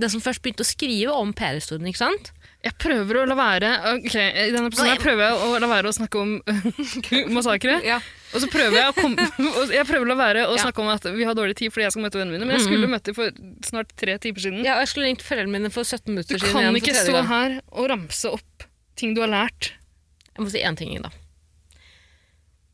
A: den som først begynte å skrive om PR-historien, ikke sant?
B: Jeg prøver å la være Ok, I denne episoden her prøver jeg å la være å snakke om massakre.
A: Ja.
B: Og så prøver jeg å komme og Jeg prøver å la være å
A: Ja. Mm-hmm.
B: snakke om at vi har dårlig tid fordi jeg skal møte vennene mine, men jeg skulle møtt dem for snart tre timer siden.
A: og jeg skulle ringt foreldrene mine for 17
B: Du
A: minutter siden.
B: kan
A: igjen for
B: ikke
A: tredje
B: stå
A: gang.
B: her og ramse opp ting du har lært.
A: Jeg må si én ting, da.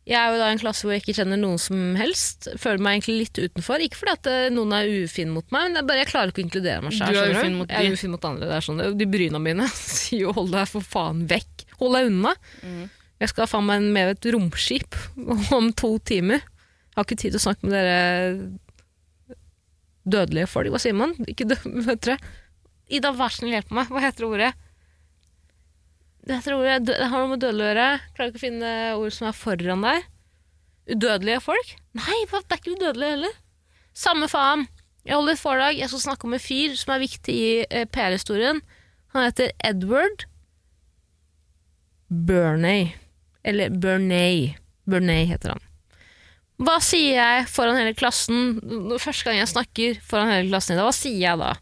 A: Jeg er jo da i en klasse hvor jeg ikke kjenner noen som helst. Føler meg egentlig litt utenfor. Ikke fordi at eh, noen er ufin mot meg, men det er bare jeg klarer ikke å inkludere meg selv,
B: Du er
A: skjønner
B: ufin mot
A: Jeg
B: de.
A: er ufin mot andre. Det er sånn, de bryna mine sier jo 'hold deg for faen vekk'. Hold deg unna.
B: Mm.
A: Jeg skal faen meg med et romskip om to timer. Jeg har ikke tid til å snakke med dere dødelige folk. Hva sier man? Ikke dø døtre. Ida, vær så snill, hjelp meg. Hva heter ordet? Det heter ordet dø- Det har noe med dødelig å gjøre. Klarer ikke å finne ord som er foran der. Udødelige folk? Nei, hva? det er ikke udødelige heller. Samme faen. Jeg holder et foredrag. Jeg skal snakke om en fyr som er viktig i eh, PR-historien. Han heter Edward Bernay. Eller Bernay. Bernay heter han. Hva sier jeg foran hele klassen Nå- første gang jeg snakker foran hele klassen i dag? Hva sier jeg da?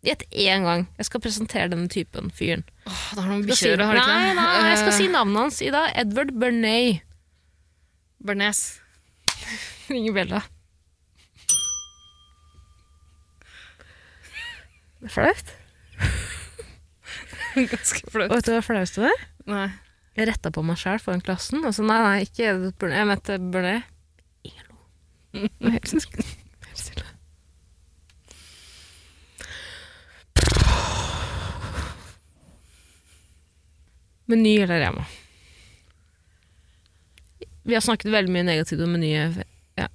A: Gjett én gang. Jeg skal presentere denne typen fyren.
B: Åh, det har noen
A: Skal si-
B: bikkjer, har det ikke
A: Nei,
B: det?
A: nei, jeg skal
B: Eh,
A: si navnet hans i dag. Edward Bernay.
B: Bernes.
A: Ringer bjella. Det er flaut.
B: Ganske flaut.
A: Vet du hva flaut det er?
B: Nei.
A: Jeg retta på meg sjæl foran klassen. Og så nei, nei, ikke Edward Bernay. Jeg mente Bernay. Ingen lo. Det var helt stille. Helt stille. Meny eller Rema? Vi har snakket veldig mye negativt om Meny ja,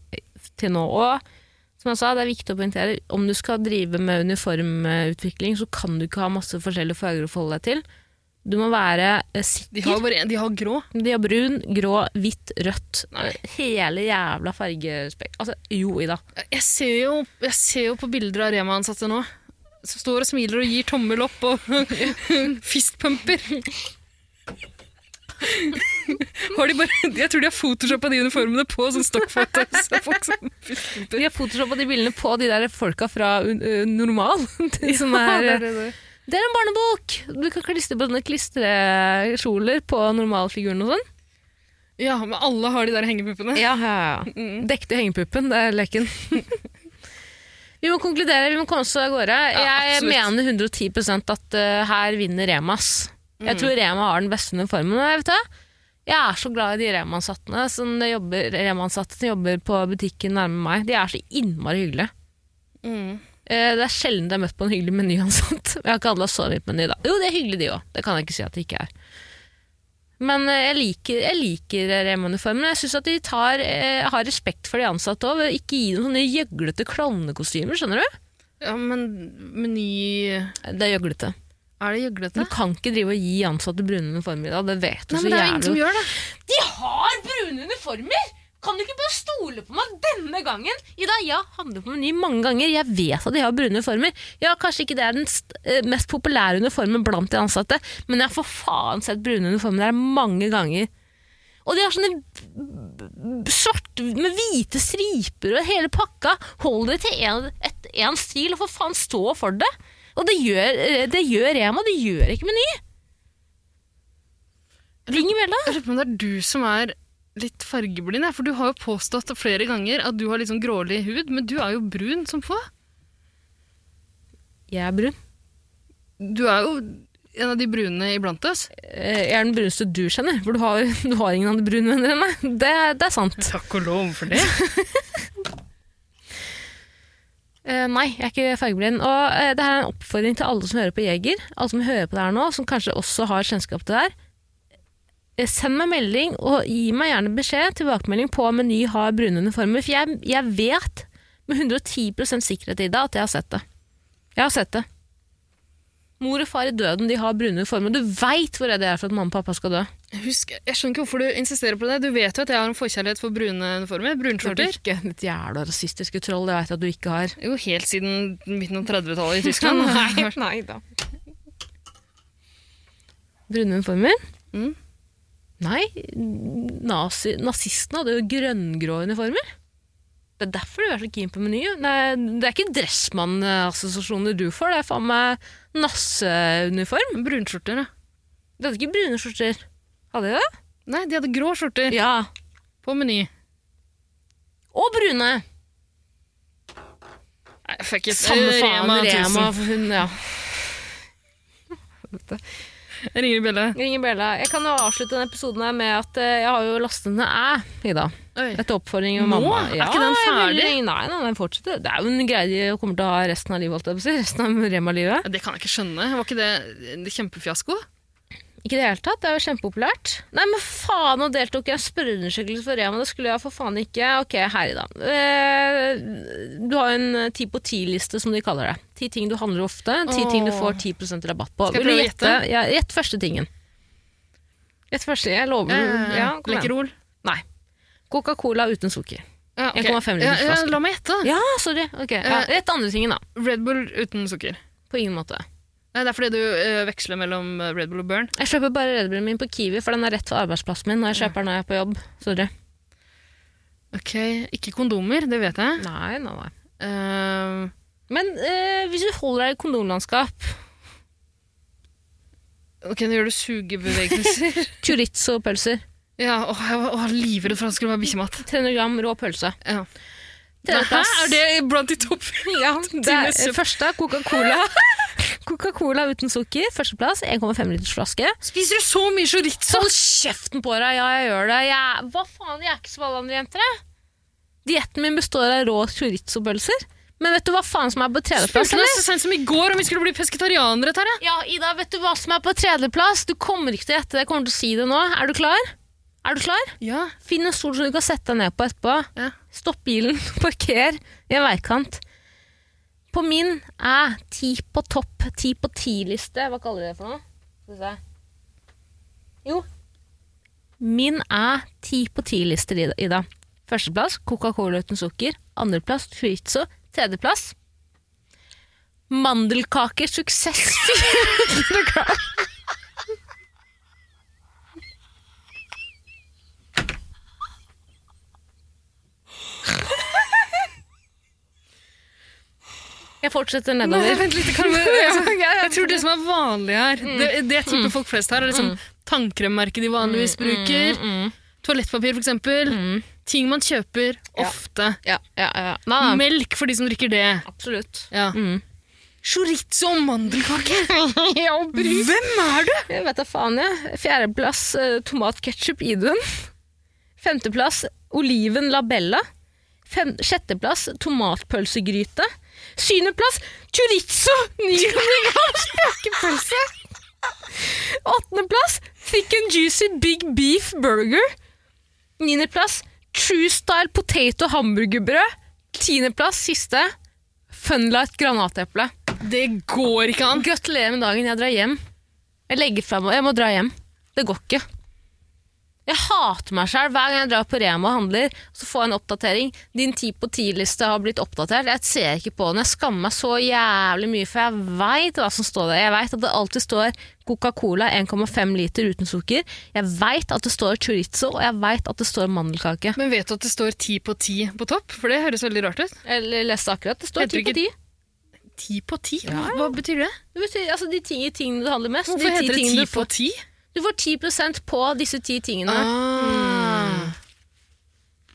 A: til nå. Og som jeg sa, det er viktig å poengtere, om du skal drive med uniformutvikling, så kan du ikke ha masse forskjellige farger å forholde deg til. Du må være eh,
B: De
A: sikker.
B: har, bare en, de har grå.
A: De har brun, grå, hvitt, rødt. eh, Hele jævla fargespekt. Altså, jo, Ida.
B: Jeg ser jo, jeg ser jo på bilder av Rema-ansatte nå. Som står og smiler og gir tommel opp og fistpumper. Har de bare, jeg tror de har photoshoppa de uniformene på sånn stokkfotos. av folk sånn, som fistpumper.
A: De har photoshoppa de bildene på de der folka fra uh, Normal. De som
B: Ja,
A: er, eh,
B: det er det, det.
A: det er en barnebok! Du kan klistre på sånne klistreskjoler på normalfiguren og sånn.
B: Ja, men alle har de der hengepuppene.
A: Ja, ja, ja.
B: Mm.
A: Dekte hengepuppen, det er leken. vi må konkludere, vi må komme oss av gårde.
B: Ja,
A: Jeg
B: absolutt.
A: mener 110 at eh, her vinner Remas.
B: Mm.
A: Jeg tror Rema har den beste uniformen. og Jeg, vet det. jeg er så glad i de Rema-ansatte som jobber, Rema-ansatte som jobber på butikken nærme meg. De er så innmari hyggelige.
B: Mm.
A: Eh, Det er sjelden jeg har møtt på en hyggelig menyansatt. Jeg har ikke handla så mye på meny, da. Jo, det er hyggelig, de òg. Det kan jeg ikke si at det ikke er. Men eh, jeg liker, jeg liker Rema-uniformen. Jeg syns at de tar, eh, har respekt for de ansatte òg, ved å ikke gi dem sånne gjøglete klovnekostymer, skjønner du?
B: Ja, men Meny Er
A: Det er gjøglete.
B: det
A: Du
B: gjøglete?
A: kan ikke drive og gi ansatte brune uniformer i dag, det vet du
B: Nei,
A: så
B: men det er jo ingen som
A: jævlig.
B: gjør det.
A: De har brune uniformer! Kan du ikke bare stole på meg denne gangen? Ida, jeg har handlet på Meny mange ganger. Jeg vet at de har brune uniformer. Ja, Kanskje ikke det er den st- eh, mest populære uniformen blant de ansatte, men jeg har for faen sett brune uniformer der mange ganger. Og de har sånne b- b- svarte med hvite striper og hele pakka. Hold dere til én stil, og for faen stå for det! Og det gjør, eh, det gjør Rema, det gjør ikke Meny. Ring Mella.
B: Jeg lurer på om det er du som er litt fargeblind, jeg, for du har jo påstått flere ganger at du har litt sånn grålig hud, men du er jo brun som få.
A: Jeg er brun.
B: Du er jo en av de brune iblant oss.
A: Eh, Jeg er den bruneste du kjenner, for du har, du har ingen andre brune venner enn meg. Det, er- det er sant.
B: Takk og lov for det.
A: Eh, nei, jeg er ikke fargeblind. Og eh, det her er en oppfordring til alle som hører på Jeger, alle som hører på det her nå, som kanskje også har kjennskap til det her. Eh, Send meg melding, og gi meg gjerne beskjed, tilbakemelding på om Meny har brune uniformer, for jeg, jeg vet med 110 sikkerhet i det at jeg har sett det. Jeg har sett det. Mor og far i døden, de har brune uniformer. Du veit hvor redd jeg er for at mamma og pappa skal dø.
B: Husk, jeg skjønner ikke hvorfor du insisterer på det. Du vet jo at jeg har en forkjærlighet for brune uniformer,
A: Tror du
B: brunskjorter.
A: ikke ditt jævla rasistiske troll, det veit jeg at du ikke har.
B: Jo, helt siden midten av 30-tallet i Tyskland.
A: nei da. Brune uniformer?
B: Mm.
A: Nei, nazi, nazistene hadde jo grønngrå uniformer. Det er derfor du er så keen på Meny. Det er, det er ikke Dressmann-assosiasjoner du får, det er faen meg nasseuniform.
B: Brunskjorter, ja.
A: De hadde ikke brune skjorter. Hadde de det?
B: Nei, de hadde grå skjorter
A: Ja.
B: på Meny.
A: Og brune!
B: Nei, fuck it.
A: Samme faen,
B: Rema
A: Rema.
B: 1000.
A: for hun, ja.
B: Jeg ringer i bjella.
A: Ring Bella. Jeg kan jo avslutte denne episoden her med at eh, jeg har jo lastet ned æ i dag.
B: Oi.
A: Etter oppfordring av
B: Nå?
A: mamma.
B: Er ikke den ferdig?
A: veldig- Nei, nei, den fortsetter. Det er jo en greie de kommer til å ha resten av livet. holdt jeg på å si. Resten av Rema-livet.
B: Ja, Det kan jeg ikke skjønne. Var ikke det en kjempefiasko?
A: Ikke i det hele tatt. Det er jo kjempepopulært. Nei, men faen, nå deltok jeg i en spørreundersøkelse for Rema. Det skulle jeg for faen ikke. Ok, her i dag. Eh, du har jo en eh, ti på ti-liste, som de kaller det. Ti ting du handler ofte, ti
B: Åh.
A: ting du får 10 rabatt på.
B: Skal
A: Vil
B: jeg
A: du
B: prøve å gjette?
A: Ja, gjett første tingen. Gjett første. Jeg lover. Ja, kom igjen.
B: Lekkerol.
A: Nei. Coca-Cola uten sukker.
B: Ja, ok.
A: 1,5
B: ja,
A: liters
B: ja,
A: flaske.
B: La meg gjette. da.
A: Ja, sorry. Ok, Hm. ja,
B: Eh,
A: Rett andre tingen, da.
B: Red Bull uten sukker.
A: På ingen måte.
B: Nei, det er fordi du eh, veksler mellom eh, Red Bull og Burn.
A: Jeg kjøper bare Red Bullen min på Kiwi, for den er rett for arbeidsplassen min. Og jeg kjøper den når jeg er på jobb. Sorry.
B: Ok, Ikke kondomer, det vet jeg.
A: Nei, nei, nei.
B: Eh,
A: Men eh, hvis du holder deg i kondomlandskap,
B: ok, Nå gjør du sugebevegelser.
A: chorizo-pølser,
B: ja, åh, Jeg var åh, livredd for at det skulle være bikkjemat.
A: 300 gram rå pølse
B: Ja. Hæ,
A: Tredjeplass.
B: er det blant de topp?
A: ja, det er, eh, Første er Coca-Cola. Coca-Cola uten sukker. Førsteplass, 1,5 liters flaske.
B: Spiser du så mye chorizo?
A: Hold kjeften på deg! Ja, jeg gjør det. Jeg, hva faen, jeg er ikke som alle andre jenter, jeg. Dietten min består av rå chorizo-pølser. Men vet du hva faen som er på tredjeplass?
B: Spurte
A: eller?
B: meg så sent som i går om vi skulle bli pesketarianere, Terje.
A: Ja, Ida, vet du hva som er på tredjeplass? Du kommer ikke til å gjette det. Jeg kommer til å si det nå. Er du klar? Er du klar?
B: Ja.
A: Finn en stol som du kan sette deg ned på etterpå.
B: Ja.
A: Stopp bilen, parker i en veikant. På min er ti på topp, ti på ti-liste. Hva kaller du det for noe? Skal vi se. Jo. Min er ti på ti-lister, Ida- Ida. Førsteplass Coca-Cola uten sukker. Andreplass chorizo. Tredjeplass mandelkaker suksess. Fjerdeplass Jeg fortsetter nedover.
B: jeg, tror det som er vanlig her,
A: Mm.
B: det, det jeg tipper folk flest her, er liksom tannkremmerket de
A: Mm,
B: vanligvis bruker, toalettpapir for eksempel, ting man kjøper ofte.
A: Ja, ja, ja. Nei, nei,
B: Melk for de som drikker det.
A: absolutt.
B: Ja.
A: Mm.
B: Chorizo og mandelkake!
A: ja, og brus.
B: Hvem er du?
A: Jeg vet da faen, jeg. Fjerdeplass eh, tomatketchup Idun. Femteplass oliven labella. Fem sjetteplass tomatpølsegryte. Syvendeplass chorizo nyhundre gram spekepølse. Åttendeplass thick and juicy big beef burger. Niendeplass true style potato hamburgerbrød. Tiendeplass siste funlight granateple.
B: Det går ikke an.
A: Gratulerer med dagen, jeg drar hjem. Jeg legger frem, jeg må dra hjem. Det går ikke. Jeg hater meg selv hver gang jeg drar på Rema og handler, så får jeg en oppdatering. Din 10 på 10-liste har blitt oppdatert. Jeg ser ikke på den. Jeg skammer meg så jævlig mye, for jeg veit hva som står der. Jeg veit at det alltid står Coca-Cola 1,5 liter uten sukker. Jeg veit at det står chorizo, og jeg veit at det står mandelkake.
B: Men vet du at det står ti på ti på topp? For det høres veldig rart ut.
A: Jeg leste akkurat. Det står 10
B: Heter det
A: på 10.
B: Ti på ti? Hva betyr det?
A: Det betyr, altså, de ting, tingene du handler mest.
B: Hvorfor
A: de ti
B: heter det
A: tingene
B: ti
A: du
B: på
A: får-
B: ti?
A: Du får 10 på disse ti tingene. Mm.
B: Ah.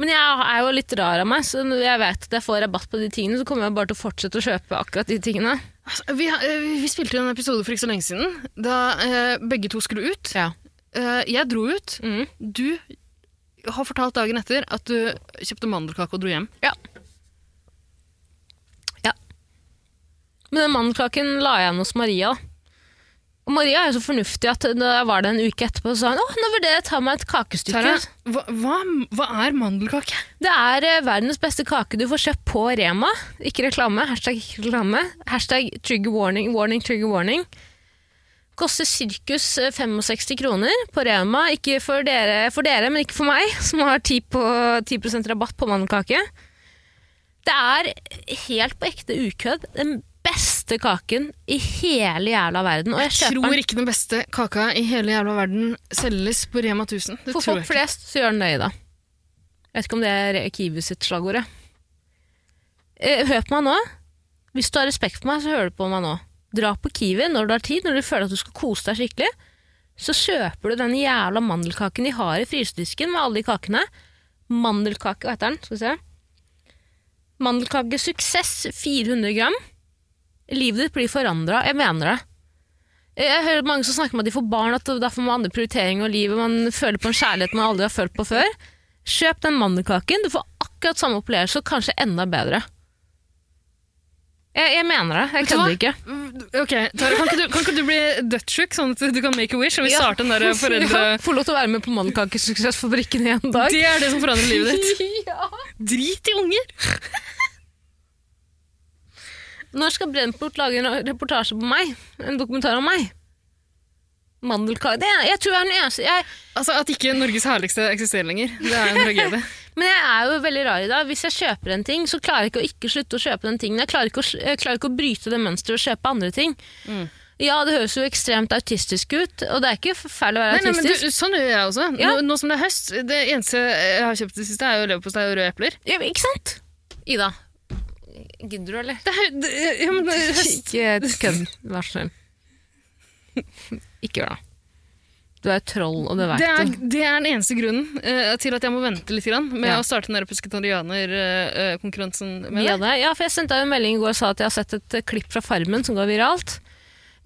A: Men jeg er jo litt rar av meg, så når jeg vet at jeg får rabatt på de tingene, så kommer jeg bare til å fortsette å kjøpe akkurat de tingene.
B: Altså, vi, har- eh, vi spilte jo en episode for ikke så lenge siden, da eh, begge to skulle ut.
A: Ja.
B: Eh, jeg dro ut.
A: Mm.
B: Du har fortalt dagen etter at du kjøpte mandelkake og dro hjem.
A: Men den mandelkaken la jeg igjen hos Maria. Og Maria er jo så fornuftig at da jeg var der en uke etterpå, så sa hun åh, nå vurderer jeg å ta meg et kakestykke.
B: Tara, hva, hva, hva er mandelkake?
A: Det er eh, verdens beste kake du får kjøpt på Rema. Ikke reklame. Hashtag ikke reklame. Hashtag trigger warning, warning, trigger warning. Koster sirkus eh, 65 kroner på Rema. Ikke for dere, for dere, men ikke for meg, som har 10, på, 10 rabatt på mandelkake. Det er helt på ekte ukødd den beste kaken i hele jævla verden. Og jeg
B: Jeg
A: kjøper den
B: tror ikke den beste kaka i hele jævla verden selges på Rema 1000.
A: For
B: Det tror
A: folk
B: jeg ikke.
A: flest så gjør den det, da. Jeg vet ikke om det er Kiwi sitt slagordet. Eh, Hør på meg nå. Hvis du har respekt for meg, så hører du på meg nå. Dra på Kiwi når du har tid, når du føler at du skal kose deg skikkelig. Så kjøper du den jævla mandelkaken de har i frysedisken med alle de kakene. Mandelkake, hva heter den? Skal vi se. Mandelkake suksess 400 gram. Livet ditt blir forandra. Jeg mener det. Jeg hører mange som snakker om at de får barn, at derfor må andre prioriteringer og livet. Man føler på en kjærlighet man aldri har følt på før. Kjøp den mandelkaken. Du får akkurat samme opplevelse, og kanskje enda bedre. Jeg, jeg mener det. Jeg
B: du hva?
A: kødder ikke.
B: Ok, Tara, kan ikke, du, kan ikke du bli dødssyk, sånn at du kan make a wish, og vi
A: Ja.
B: starter den der foreldre...
A: Ja, Få lov til å være med på Mandelkakesuksessfabrikken i en dag.
B: Det er det som forandrer livet ditt.
A: ja.
B: Drit i unger!
A: Når skal Brennport lage en reportasje på meg? En dokumentar om meg? Mandelkake det, er- Jeg tror jeg er den eneste jeg,
B: Altså, At ikke Norges herligste eksisterer lenger, det er en tragedie.
A: Men jeg er jo veldig rar i dag. Hvis jeg kjøper en ting, så klarer jeg ikke å ikke slutte å kjøpe den tingen. Jeg klarer ikke å, jeg klarer ikke å bryte det mønsteret og kjøpe andre ting. Ja, det høres jo ekstremt autistisk ut, og det er ikke forferdelig å være
B: Nei, nei, men
A: autistisk.
B: du, sånn gjør jeg også.
A: Ja.
B: Nå, nå som det er høst, det eneste jeg har kjøpt det siste, er jo leverpostei og røde epler.
A: Ja, men ikke sant? Ida, gidder du, eller?
B: Det er, hø- det, ja, men det er høst.
A: Ikke kødd, vær så snill. Ikke gjør det. Du er et troll, og det
B: Det er,
A: vet du.
B: det er den eneste grunnen eh, til at jeg må vente litt grann med
A: Ja.
B: å starte den der pescetarianer-konkurransen med
A: Ja,
B: deg.
A: det. ja, for jeg sendte deg en melding i går og sa at jeg har sett et eh, klipp fra Farmen som går viralt.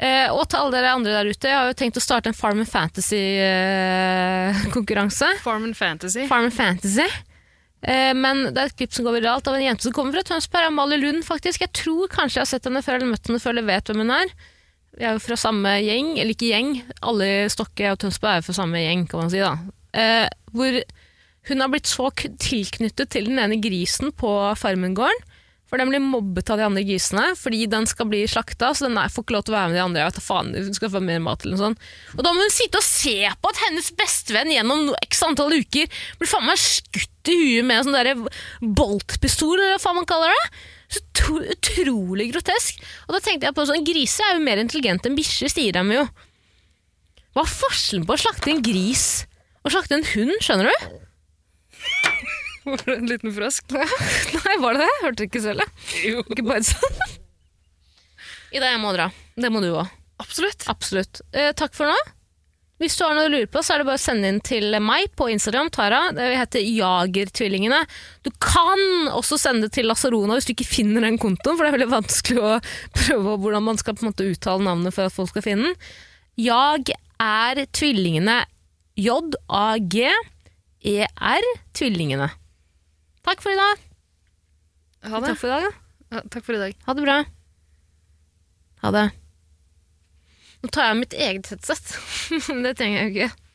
A: Eh, og til alle dere andre der ute, jeg har jo tenkt å starte en Farm and Fantasy-konkurranse.
B: Farm and Fantasy.
A: Farm and Fantasy. Eh, men det er et klipp som går viralt av en jente som kommer fra Tønsberg, Amalie Lund faktisk. Jeg tror kanskje jeg har sett henne før eller møtt henne før eller vet hvem hun er. Vi er jo fra samme gjeng, eller ikke gjeng, alle i Stokke og Tønsberg er jo fra samme gjeng, kan man si da. Eh, hvor hun har blitt så k- tilknyttet til den ene grisen på farmengården, For den blir mobbet av de andre grisene fordi den skal bli slakta, så den er- får ikke lov til å være med de andre. Jeg vet da faen, hun skal få mer mat eller noe sånt. Og da må hun sitte og se på at hennes bestevenn gjennom no- x antall uker blir faen meg skutt i huet med en sånn derre boltpistol, eller hva faen man kaller det. Så to- utrolig grotesk. Og da tenkte jeg på sånn, griser er jo mer intelligente enn bikkjer, sier de jo. Hva er forskjellen på å slakte en gris og slakte en hund, skjønner du?
B: Var det en liten frosk?
A: Nei, var det det? Hørte det ikke selv, jeg.
B: Jo.
A: Ikke bare sånn. Ida, jeg må dra. Det må du òg.
B: Absolutt.
A: Absolutt. Eh, takk for nå. Hvis du har noe du lurer på, så er det bare å sende inn til meg på Instagram, Tara. Det heter Jagertvillingene. Du kan også sende det til Lasarona hvis du ikke finner den kontoen, for det er veldig vanskelig å prøve hvordan man skal på en måte uttale navnet for at folk skal finne den. Jag er tvillingene. J-A-G-E-R E tvillingene. Takk for i dag.
B: Ha det.
A: Takk for i dag. da.
B: Ja, takk for i dag.
A: Ha det bra. Ha det. Nå tar jeg av mitt eget headset. det trenger jeg jo ikke.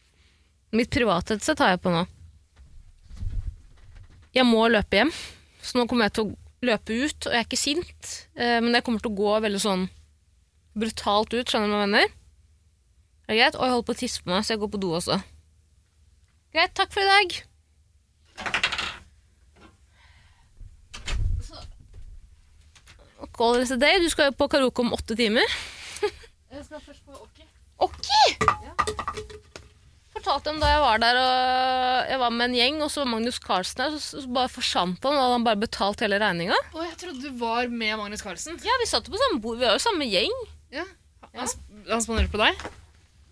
A: Mitt private headset har jeg på nå. Jeg må løpe hjem, så nå kommer jeg til å løpe ut, og jeg er ikke sint, eh, men jeg kommer til å gå veldig sånn brutalt ut, skjønner du hva jeg mener? Er det greit? Og jeg holder på å tisse på meg, så jeg går på do også. Greit, takk for i dag. Call it a day. Du skal jo på karaoke om åtte timer.
B: Jeg skal først på Okki.
A: Okki! Fortalte om da jeg var der og jeg var med en gjeng, og så var Magnus Carlsen der, så, så bare forsvant han, og hadde han bare betalt hele regninga?
B: Å, jeg trodde du var med Magnus Carlsen.
A: Ja, vi satt jo på samme bord, vi var jo samme gjeng.
B: Ja. Han, sp- han spanderte på deg?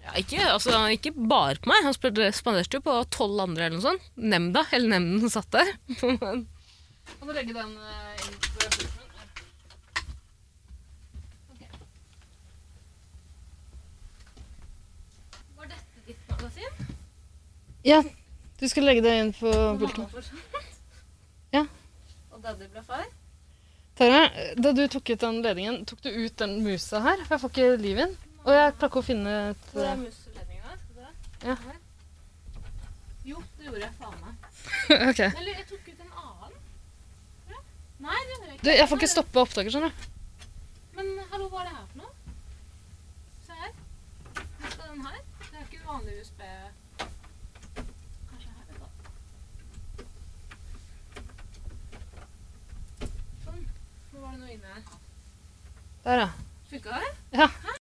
A: Ja, ikke, altså, ikke bare på meg, han spanderte- spanderte jo på tolv andre eller noe sånt. Nemnda, hele nemnden som satt der. Men-
B: Kan du legge den eh, inn på skjermen? Ja. Du skal legge det inn på pulten. Ja.
A: Og daddy ble far.
B: Tara, da du tok ut den ledningen, tok du ut den musa her? For jeg får ikke liv i den. Og jeg klarer ikke å finne et
A: Så det er musseledninga.
B: Ja.
A: Jo, det gjorde jeg faen meg.
B: eh, OK.
A: Eller jeg tok ut en annen. Tror jeg. Nei, det gjorde jeg ikke.
B: Du, jeg får ikke stoppa opptaket, skjønner du.
A: Men hallo, hva er det her for noe? Se her. Hva skal den her? Det er ikke en vanlig USB. Kanskje her, da. Sånn. Nå var det noe inne her.
B: Der, ja.